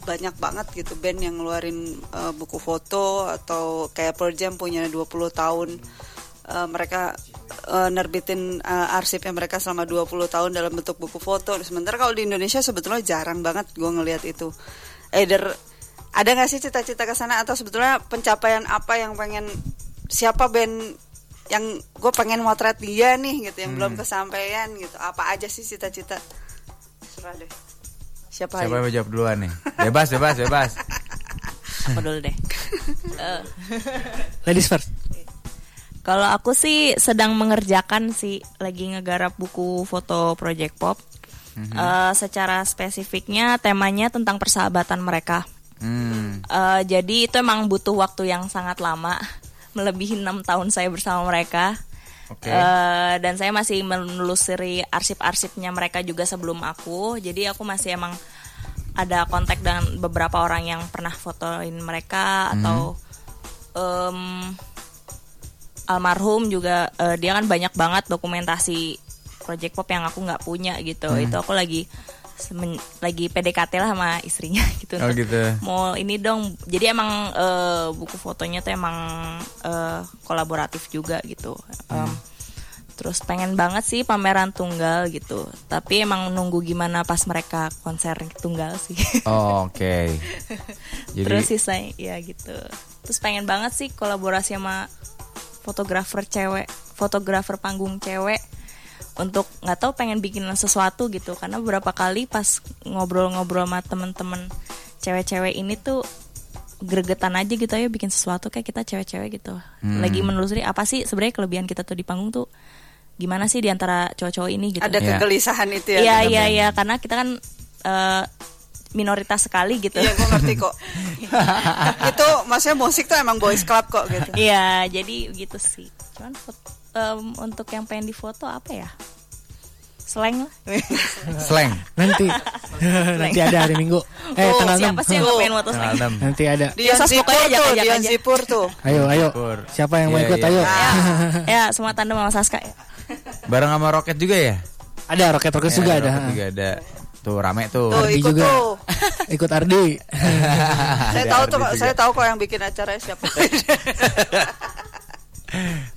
S4: banyak banget gitu band yang ngeluarin eh, buku foto atau kayak Pearl Jam punya 20 tahun eh, mereka eh, nerbitin eh, arsipnya mereka selama 20 tahun dalam bentuk buku foto. Sementara kalau di Indonesia sebetulnya jarang banget gua ngelihat itu. Either ada nggak sih cita-cita ke sana atau sebetulnya pencapaian apa yang pengen siapa band yang gue pengen motret dia nih gitu yang belum
S3: Hmm.
S4: kesampaian gitu apa aja sih cita-cita serah deh siapa,
S3: Siapa
S4: ayo?
S3: yang
S4: *laughs*
S3: mau jawab duluan nih? Bebas, bebas, bebas.
S6: Apa dulu deh.
S3: Mhm.
S6: Eh,
S10: Ladies first.
S6: Kalau aku sih sedang mengerjakan sih lagi ngegarap buku foto Project Pop.
S3: Hmm.
S6: Eh, secara spesifiknya temanya tentang persahabatan mereka.
S3: Hmm.
S6: Eh, *laughs* jadi itu emang butuh waktu yang sangat lama, melebihi enam tahun saya bersama mereka. Eh, dan saya masih menelusuri arsip-arsipnya mereka juga sebelum aku. Jadi aku masih emang ada kontak dengan beberapa orang yang pernah fotoin mereka atau em, almarhum juga eh, dia kan banyak banget dokumentasi project pop yang aku nggak punya gitu. Itu aku lagi semen- lagi PDKT lah sama istrinya *laughs* gitu.
S3: Oh,
S6: untuk
S3: gitu.
S6: Mau ini dong. Jadi emang eh, buku fotonya tuh emang eh, kolaboratif juga gitu.
S3: Hmm.
S6: Em, Terus pengen banget sih pameran tunggal gitu. Tapi emang nunggu gimana pas mereka konser tunggal sih. *laughs*
S3: Oh, Oke. Jadi
S6: Terus sisanya ya gitu. Terus pengen banget sih kolaborasi sama fotografer cewek, fotografer panggung cewek untuk nggak tahu pengen bikin sesuatu gitu karena beberapa kali pas ngobrol-ngobrol sama temen-temen cewek-cewek ini tuh gregetan aja gitu ayo bikin sesuatu kayak kita cewek-cewek gitu lagi menelusuri apa sih sebenarnya kelebihan kita tuh di panggung tuh gimana sih diantara cowok-cowok ini gitu
S4: Ada
S3: Iya.
S4: kegelisahan itu ya.
S6: Iya iya iya karena kita kan eh, minoritas sekali gitu.
S4: Iya, gue ngerti
S6: *laughs*
S4: kok. *laughs* itu maksudnya musik tuh emang boys club kok
S3: *laughs*
S4: gitu.
S6: Iya jadi gitu sih. Cuman fot- em, untuk yang pengen difoto apa ya? Slang
S3: *laughs*
S6: lah.
S3: slang.
S7: Nanti nanti ada hari Minggu.
S6: *laughs*
S7: Eh
S6: Oh,
S7: tanggal
S6: siapa sih yang
S4: Oh.
S6: nggak pengen foto slang?
S3: Alam.
S7: Nanti ada.
S4: Dion
S6: Biasa
S4: Zipur
S6: Ya, pokoknya
S4: tuh,
S6: ajak-ajak
S4: Dion
S6: aja.
S4: Zipur tuh.
S7: Ayo ayo. Siapa yang mau
S3: Iya,
S7: ikut
S3: iya.
S7: ayo.
S6: Ya, *laughs* ya semua tanda sama Saska ya.
S3: Bareng sama Roket juga ya?
S7: Ada roket roket juga
S3: Ya,
S7: ada.
S3: Roket juga ada. Tuh rame tuh.
S4: Tuh
S7: Ardi
S4: ikut
S7: juga.
S3: *laughs*
S4: tuh.
S7: Ikut Ardi.
S4: Saya
S3: Ada
S4: tahu
S3: Ardi
S4: tuh, kok,
S3: juga.
S4: saya tahu kok yang bikin acara siapa.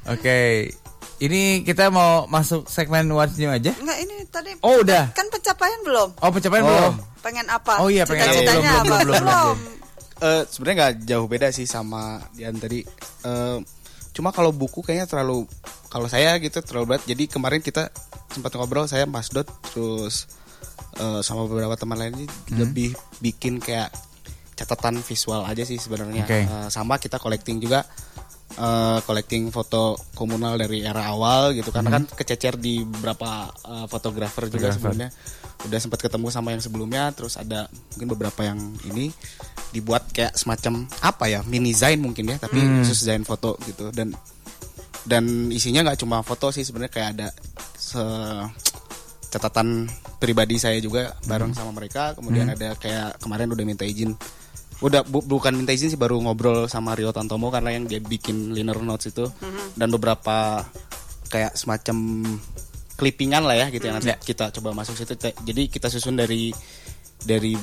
S3: Oke. Ini kita mau masuk segmen What's New aja.
S4: Enggak ini tadi
S3: Oh, udah.
S4: kan pencapaian belum?
S3: Oh, pencapaian
S5: Oh.
S3: belum.
S4: Pengen apa?
S3: Oh, iya, pengen apa?
S4: Cita-citanya
S3: Belum,
S4: apa?
S3: belum, belum, belum,
S5: Eh, sebenarnya nggak jauh beda sih sama Dian tadi. Eh, cuma kalau buku kayaknya terlalu kalau saya gitu terlalu berat. Jadi kemarin kita sempat ngobrol saya Mas Dot terus eh, sama beberapa teman lain lebih bikin kayak catatan visual aja sih sebenarnya.
S3: Oke.
S5: Eh, sama kita collecting juga eh, collecting foto komunal dari era awal gitu karena kan kececer di beberapa eh, fotografer juga sebenarnya udah sempat ketemu sama yang sebelumnya terus ada mungkin beberapa yang ini dibuat kayak semacam apa ya mini design mungkin ya tapi khusus desain foto gitu dan dan isinya nggak cuma foto sih sebenarnya kayak ada se- catatan pribadi saya juga bareng sama mereka kemudian ada kayak kemarin udah minta izin udah bu- bukan minta izin sih baru ngobrol sama Rio Tantomo karena yang dia bikin liner notes itu dan beberapa kayak semacam clippingan lah ya gitu yang nanti kita coba masuk situ Te- jadi kita susun dari dari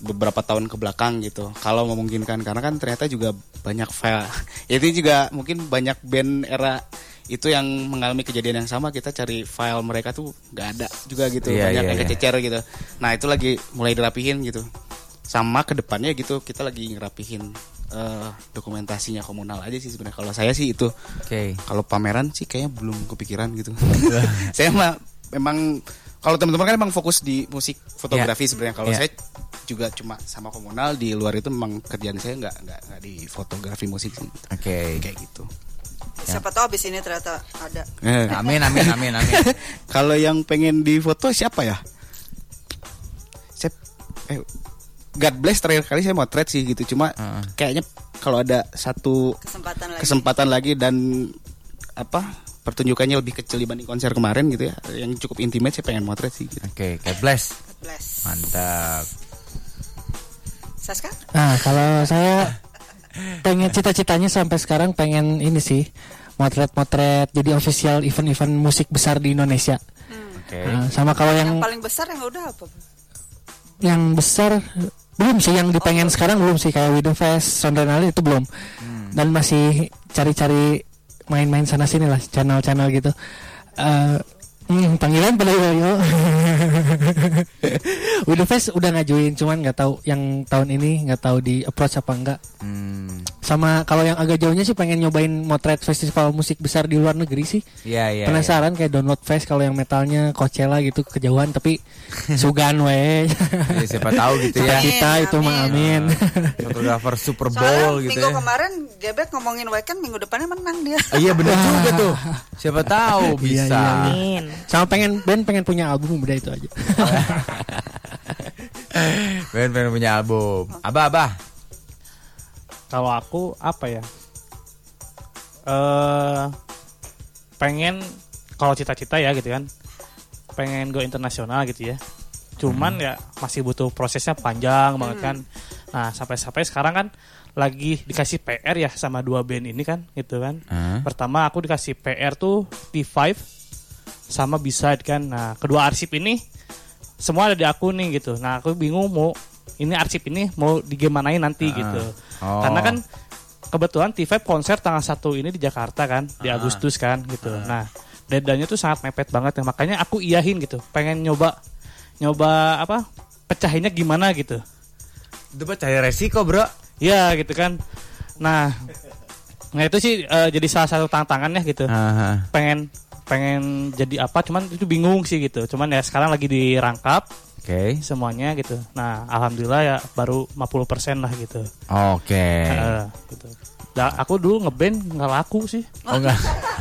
S5: beberapa tahun ke belakang gitu kalau memungkinkan karena kan ternyata juga banyak file *laughs* itu juga mungkin banyak band era itu yang mengalami kejadian yang sama kita cari file mereka tuh nggak ada juga gitu
S3: Iya,
S5: banyak
S3: iya,
S5: yang
S3: iya.
S5: kececer gitu nah itu lagi mulai dirapihin gitu sama ke depannya gitu kita lagi ngerapihin eh, dokumentasinya komunal aja sih sebenarnya kalau saya sih itu
S3: Oke.
S5: kalau pameran sih kayaknya belum kepikiran gitu.
S3: Iya.
S5: *laughs* saya mah memang kalau teman-teman kan emang fokus di musik fotografi sebenarnya. Kalau
S3: Iya.
S5: saya juga cuma sama komunal di luar itu memang kerjaan saya nggak nggak nggak di fotografi musik sih.
S3: Oke.
S5: Kayak gitu.
S4: Siapa tahu abis ini ternyata ada.
S3: Amin amin amin amin.
S5: Eh. *laughs* kalau yang pengen di foto siapa ya? Saya eh, God bless terakhir kali saya motret sih gitu. Cuma
S3: Heeh.
S5: kayaknya kalau ada satu
S4: Kesempatan lagi.
S5: kesempatan lagi dan apa pertunjukannya lebih kecil dibanding konser kemarin gitu ya yang cukup intimate saya pengen motret sih gitu.
S3: Oke, God bless.
S4: Bless.
S3: Mantap.
S4: Saska?
S7: Nah, kalau saya pengen cita-citanya sampai sekarang pengen ini sih motret-motret jadi official event-event musik besar di Indonesia.
S3: Oke.
S7: Nah, sama kalau yang
S4: Yang paling besar yang udah apa?
S7: yang besar belum sih yang dipengen sekarang belum sih kayak Widow Fest, Sondrenali itu belum.
S3: Hmm.
S7: Dan masih cari-cari main-main sana sini lah channel-channel gitu. Eh, hmm, panggilan pada *laughs* Yoyo. Widow Fest udah ngajuin cuman nggak tahu yang tahun ini nggak tahu di approach apa enggak.
S3: Hmm.
S7: Sama kalau yang agak jauhnya sih pengen nyobain motret festival musik besar di luar negeri sih.
S3: Iya, iya.
S7: Penasaran kayak download fest kalau yang metalnya Coachella gitu kejauhan
S3: *laughs*
S7: tapi sugan we. *laughs*
S3: iya. Ya, siapa tahu gitu ya.
S7: Cita-cita
S4: Amin,
S7: itu mah amin.
S3: Fotografer Super
S4: Soalnya kan-
S3: Bowl gitu
S4: minggu
S3: ya.
S4: kemarin Gebek ngomongin weekend, minggu depannya menang dia.
S3: Ah, iya
S4: *laughs*
S3: benar juga tuh. Siapa *laughs*
S4: Iya,
S3: tahu bisa.
S6: Amin.
S7: Iya, Sama pengen band pengen punya album udah
S3: *laughs*
S7: itu aja.
S3: Ben pengen punya album. Abah, abah.
S9: Kalau aku apa ya? Eh pengen kalau cita-cita ya gitu kan pengen go internasional gitu ya cuman ya masih butuh prosesnya panjang banget kan nah sampai-sampai sekarang kan lagi dikasih PR ya sama dua band ini kan gitu kan
S3: Ah.
S9: pertama aku dikasih PR tuh T5 sama B-side kan nah kedua arsip ini semua ada di aku nih gitu nah aku bingung mau ini arsip ini mau digimanain nanti gitu
S5: Ah.
S3: Oh.
S9: karena kan kebetulan T5 konser tanggal 1 ini di Jakarta kan, di
S3: Ah.
S9: Agustus kan gitu. Nah, deadline-nya tuh sangat mepet banget ya. Makanya aku iyahin gitu, pengen nyoba nyoba apa? Pecahinnya gimana gitu.
S3: Itu percaya resiko bro.
S9: Ya gitu kan. Nah, nah itu sih eh, jadi salah satu tantangannya gitu.
S3: Aha.
S9: Pengen pengen jadi apa cuman itu bingung sih gitu. Cuman ya sekarang lagi dirangkap
S3: Oke.
S9: semuanya gitu. Nah, alhamdulillah ya baru 50% lah gitu.
S3: Oke.
S7: Eh.
S9: Heeh, gitu. Da- aku dulu ngeband nggak laku sih.
S3: Oh enggak.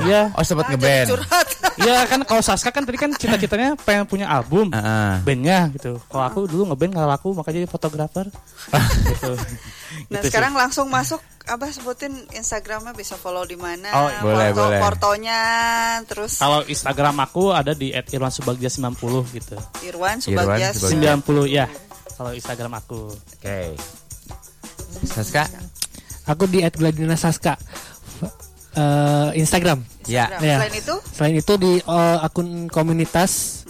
S9: Iya,
S3: Oh sempat ngeband. *laughs*
S4: curhat
S9: iya kan kalau Saska kan tadi kan cita-citanya pengen punya album
S3: Heeh.
S9: bandnya gitu. Kalau aku dulu ngeband nggak laku makanya jadi
S3: *laughs*
S9: fotografer. gitu. Gitu
S4: nah
S9: sih.
S4: sekarang langsung masuk abah sebutin instagramnya bisa follow di mana
S9: Oh,
S3: boleh,
S4: foto-
S3: boleh.
S4: fotonya terus
S9: Kalau Instagram aku ada di @irwansubagja90 gitu.
S4: Irwan Kan Subagja
S3: Subagja.
S9: 90 ya. Kalau Instagram aku.
S3: Oke. Saska.
S7: Aku di @gladina Saska Eh, Instagram.
S3: Ya.
S4: Instagram.
S7: Ya.
S4: selain itu
S7: Selain itu di eh, akun komunitas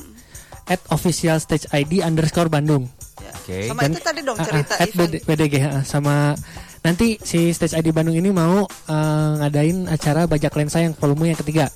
S7: at official stage ID underscore Bandung.
S4: ya.
S3: Oke.
S4: sama
S7: Dan-
S4: itu tadi dong
S7: Ah, ah,
S4: cerita
S7: at
S4: event
S7: BD- BDG ah, sama nanti si stage ID Bandung ini mau eh, ngadain acara bajak lensa yang volume yang ketiga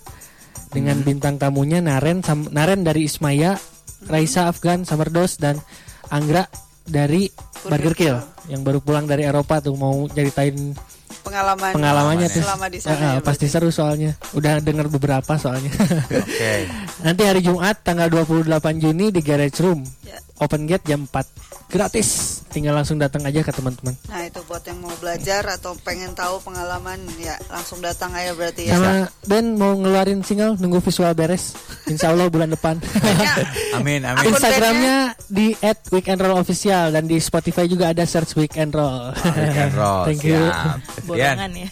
S7: dengan
S4: Hmm.
S7: bintang tamunya Naren sam- Naren dari Ismaya,
S4: Hmm.
S7: Raisa Afgan, Samerdos dan Anggra dari Burger Kill yang baru pulang dari Eropa tuh mau ceritain
S4: pengalaman
S7: pengalamannya tuh.
S4: selama di
S7: Eh, eh,
S4: sana ya,
S7: pasti seru soalnya. Udah dengar beberapa soalnya.
S3: Oke.
S7: *laughs* Nanti hari Jumat tanggal 28 Juni di Garage Room.
S4: Ya.
S7: Open gate jam 4. Gratis. Tinggal langsung datang aja ke teman-teman.
S4: Nah itu buat yang mau belajar atau pengen tahu pengalaman ya langsung datang aja berarti ya.
S7: Sama Ben mau ngeluarin single nunggu visual beres. Insya Allah bulan depan.
S4: Kayaknya
S3: Amin *laughs* amin.
S4: Akun
S7: Instagramnya di @weekendrollofficial dan di Spotify juga ada search weekend roll.
S3: Rock and roll,
S7: *laughs* Thank you.
S3: siap. Dian,
S6: borongan ya.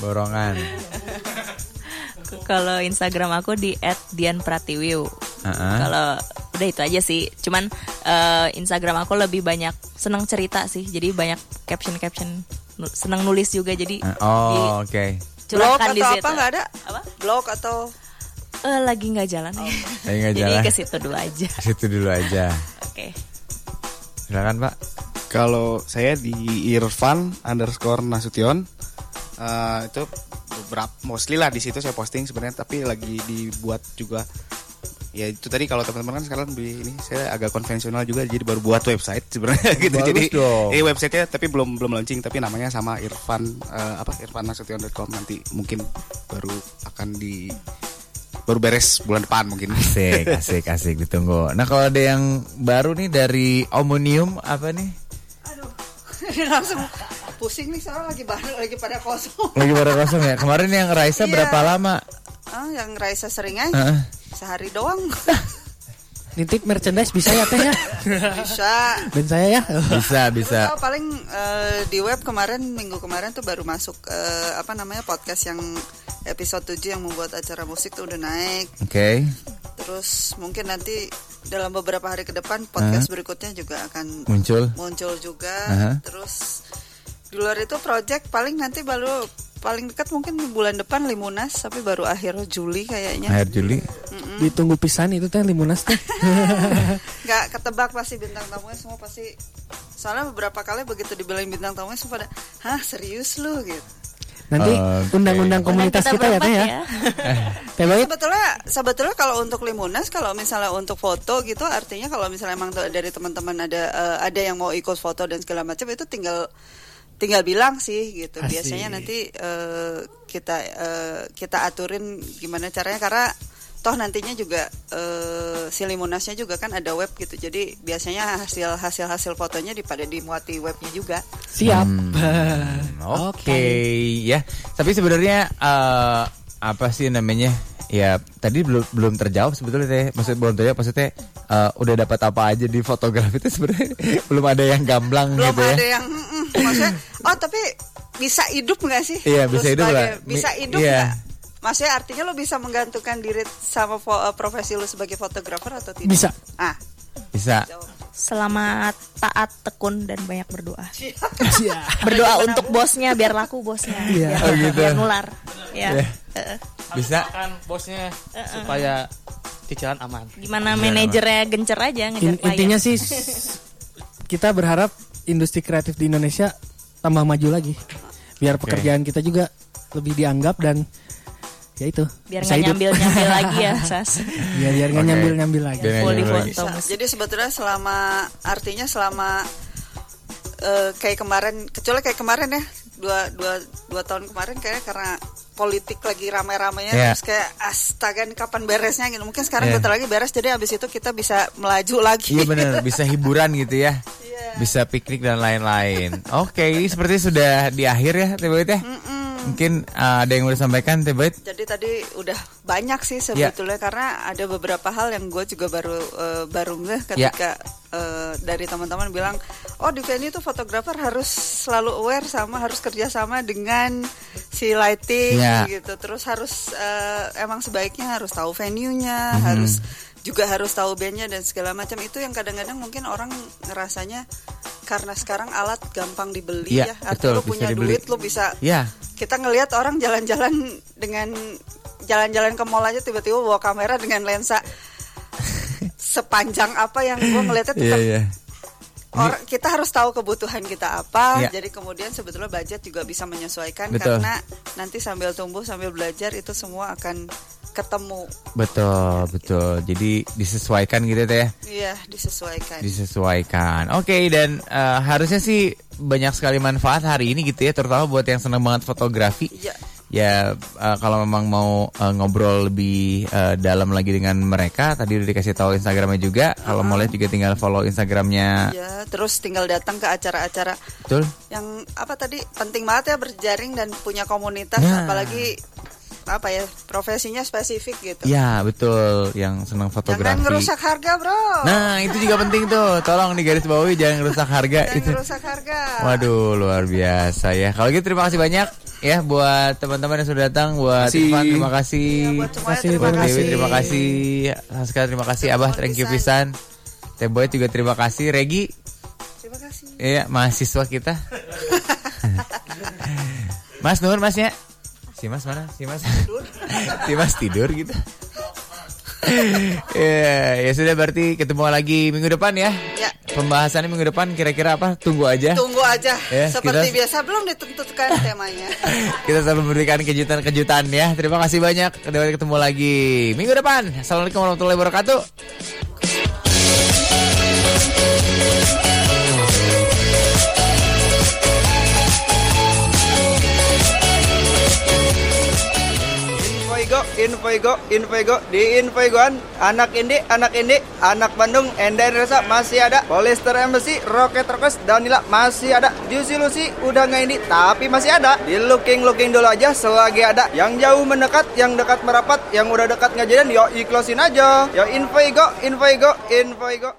S3: borongan.
S6: *laughs* Kalau Instagram aku di @dianpratiwiu.
S3: Heeh.
S6: Kalau udah itu aja sih. Cuman eh, Instagram aku lebih banyak senang cerita sih. Jadi banyak caption-caption Nu- senang nulis juga jadi
S3: Oh, oke.
S4: blog
S6: dicurahkan di
S4: atau
S6: situ.
S4: apa nggak ada?
S6: Apa?
S4: Blog atau
S6: Eh, lagi nggak jalan.
S3: Lagi nggak
S6: *laughs* jadi
S3: jalan.
S6: ke situ dulu aja.
S3: Situ dulu aja.
S6: Oke.
S3: Silakan, Pak.
S5: Kalau saya di Irfan underscore Nasution eh, itu beberapa mostly lah di situ saya posting sebenarnya tapi lagi dibuat juga ya itu tadi kalau teman-teman kan sekarang di ini saya agak konvensional juga jadi *laughs* baru buat website sebenarnya gitu
S3: Bagus
S5: jadi
S3: dong.
S5: eh websitenya tapi belum belum launching tapi namanya sama Irfan eh, apa irfannasution.com nanti mungkin baru akan di baru beres bulan depan mungkin
S3: Asik,
S5: *laughs*
S3: asik, asik ditunggu. Nah, kalau ada yang baru nih dari Omonium apa nih?
S4: *laughs* langsung pusing nih sekarang lagi baru lagi pada kosong.
S3: Lagi pada kosong ya. Kemarin yang Raisa
S4: Iya.
S3: berapa lama?
S4: Ah, yang Raisa sering aja
S3: Heeh.
S4: sehari
S7: *laughs*
S4: doang
S7: Nitip merchandise bisa ya teh ya?
S4: bisa.
S7: Ben saya ya.
S3: Bisa,
S7: *laughs*
S3: bisa.
S4: Oh, paling eh, di web kemarin minggu kemarin tuh baru masuk eh, apa namanya podcast yang episode 7 yang membuat acara musik tuh udah naik.
S3: Oke.
S4: Terus mungkin nanti dalam beberapa hari ke depan podcast berikutnya juga akan
S3: Muncul.
S4: muncul juga.
S3: Aha.
S4: Terus di luar itu project paling nanti baru paling dekat mungkin bulan depan Limunas tapi baru akhir Juli
S6: Iya.
S4: kayaknya.
S3: Akhir Juli.
S7: Ditunggu pisan itu teh limunas
S3: *laughs*
S7: teh.
S4: nggak ketebak pasti bintang tamunya semua pasti soalnya beberapa kali begitu dibilang bintang tamunya semua pada hah serius lu gitu.
S7: Nanti
S3: Oke.
S7: undang-undang komunitas
S6: Kita
S7: kita, ya
S6: berempat
S7: teh ya.
S6: ya.
S7: Teh Bayu,
S4: Sebetulnya sebetulnya kalau untuk Limunas kalau misalnya untuk foto gitu artinya kalau misalnya emang tuh dari teman-teman ada eh, ada yang mau ikut foto dan segala macam itu tinggal tinggal bilang sih gitu.
S7: Asik.
S3: Ah,
S4: Biasanya nanti eh, kita eh, kita aturin gimana caranya karena toh nantinya juga eh, si Limunasnya juga kan ada web gitu. Jadi biasanya hasil hasil hasil fotonya dipada dimuati webnya juga.
S7: siap.
S3: Hmm, Oke, ya. Tapi sebenarnya eh, apa sih namanya? Ya, tadi belum belum terjawab sebetulnya teh. Maksud belum terjawab maksudnya eh, udah dapat apa aja di fotografi itu sebenarnya *laughs* belum ada yang gamblang
S4: belum
S3: gitu ya.
S4: ada yang mm, maksudnya oh tapi bisa hidup nggak sih
S3: Iya,
S4: Lu
S3: bisa hidup
S4: sebagai-
S3: lah. Mi-
S4: bisa hidup
S3: iya.
S4: nggak Maksudnya artinya lo bisa menggantungkan diri sama fo- eh, profesi lo sebagai fotografer atau tidak?
S10: Bisa.
S4: Ah,
S3: Bisa.
S6: Selamat taat tekun dan banyak
S7: *laughs*
S6: berdoa.
S7: Iya.
S6: berdoa untuk bosnya biar laku bosnya. Biar,
S3: Oh, gitu.
S6: biar nular. Ya.
S3: Iya.
S6: Heeh.
S3: Bisa.
S9: Kan bosnya supaya cicilan aman.
S6: Gimana manajernya gencer aja ngejar
S7: Iya. In-
S6: klien.
S7: intinya sih s- kita berharap industri kreatif di Indonesia tambah maju lagi biar pekerjaan kita juga lebih dianggap dan ya itu
S6: *laughs* biar
S7: bisa
S6: nggak
S7: hidup.
S6: nyambil
S7: *laughs*
S6: nyambil lagi ya Sas.
S7: biar biar nggak
S3: Oke.
S7: nyambil nyambil lagi
S3: Biar- Iya,
S6: Voli
S3: iya, iya.
S6: foto
S4: Bisa.
S6: musik.
S4: Jadi sebetulnya selama artinya selama eh, kayak kemarin kecuali kayak kemarin ya dua dua dua tahun kemarin kayaknya karena politik lagi ramai-ramainya
S3: Iya.
S4: terus kayak astaga nih kapan beresnya gitu mungkin sekarang
S3: Iya.
S4: bentar lagi beres jadi abis itu kita bisa melaju lagi
S3: Iya bener,
S4: *laughs*
S3: bisa hiburan gitu ya.
S4: Iya.
S3: Bisa piknik dan lain-lain. Oke, ini seperti sudah di akhir ya, Tebet ya. Mungkin uh, ada yang mau disampaikan, Tebet.
S4: Jadi tadi udah banyak sih
S3: Iya.
S4: sebetulnya karena ada beberapa hal yang gue juga baru eh, baru
S3: Iya.
S4: ngeh ketika eh, dari teman-teman bilang, oh di venue itu fotografer harus selalu aware sama harus kerjasama dengan si lighting
S3: Ya.
S4: gitu, terus harus eh, emang sebaiknya harus tahu
S3: Mhm.
S4: venue-nya, harus juga harus tahu bandnya dan segala macam itu yang kadang-kadang mungkin orang ngerasanya karena sekarang alat gampang dibeli
S3: Iya,
S4: ya, artinya
S3: betul,
S4: lo
S3: bisa
S4: punya
S3: dibeli.
S4: duit lo bisa
S3: Ya,
S4: kita ngelihat orang jalan-jalan dengan jalan-jalan ke mall aja tiba-tiba bawa kamera dengan lensa sepanjang apa yang gue ngelihatnya
S3: iya
S4: tetap
S3: iya.
S4: orang kita harus tahu kebutuhan kita apa
S3: Iya.
S4: jadi kemudian sebetulnya budget juga bisa menyesuaikan
S3: Betul.
S4: karena nanti sambil tumbuh sambil belajar itu semua akan ketemu
S3: Betul, betul. Jadi disesuaikan gitu Teh ya.
S4: iya disesuaikan
S3: Disesuaikan. Oke, dan uh, harusnya sih banyak sekali manfaat hari ini gitu ya, terutama buat yang senang banget fotografi.
S4: Iya.
S3: Ya uh, kalau memang mau uh, ngobrol lebih uh, dalam lagi dengan mereka, tadi udah dikasih tahu Instagramnya juga. Kalau mau lihat juga tinggal follow Instagramnya.
S4: Iya, terus tinggal datang ke acara-acara
S3: Betul.
S4: yang apa tadi penting banget ya berjaring dan punya komunitas
S3: Nah.
S4: apalagi apa ya profesinya spesifik gitu
S3: Ya betul, yang senang fotografi.
S4: Jangan ngerusak harga bro
S3: Nah itu juga penting tuh, tolong di garis bawahi jangan ngerusak harga
S4: Jangan
S3: itu.
S4: ngerusak harga
S3: Waduh luar biasa ya. Kalau gitu terima kasih banyak ya buat teman-teman yang sudah datang, buat
S5: Kasih.
S3: Irfan terima kasih,
S4: Ya, buat semuanya
S3: buat
S4: terima
S3: Dewi
S4: kasih
S3: terima kasih, Saska terima kasih, Abah thank you pisan, Teboy juga terima kasih, Regi
S4: Terima kasih
S3: Iya, mahasiswa
S4: *laughs*
S3: kita. mas Nur, Masnya. Si Mas mana? Si Mas tidur. si Mas tidur gitu. *laughs* Iya, ya sudah berarti ketemu lagi minggu depan ya.
S4: Ya.
S3: Pembahasannya minggu depan kira-kira apa? Tunggu aja.
S4: Tunggu aja
S3: Ya,
S4: Seperti
S3: kita-
S4: biasa belum ditentukan temanya
S3: Kita selalu memberikan kejutan-kejutan ya. Terima kasih banyak. Sampai ketemu lagi minggu depan. Assalamualaikum warahmatullahi wabarakatuh.
S11: Infoigo, Infoigo, Infoigo, di Infoigoan, anak indie, anak indie, anak Bandung, Enda Indonesia masih ada, Polyester Embassy, Rocket Rockers, Danila masih ada, Juicy Lucy udah nggak indie tapi masih ada, di looking looking dulu aja selagi ada, yang jauh mendekat, yang dekat merapat, yang udah dekat nggak jadian, yo ikhlasin aja, yo Infoigo, Infoigo, Infoigo.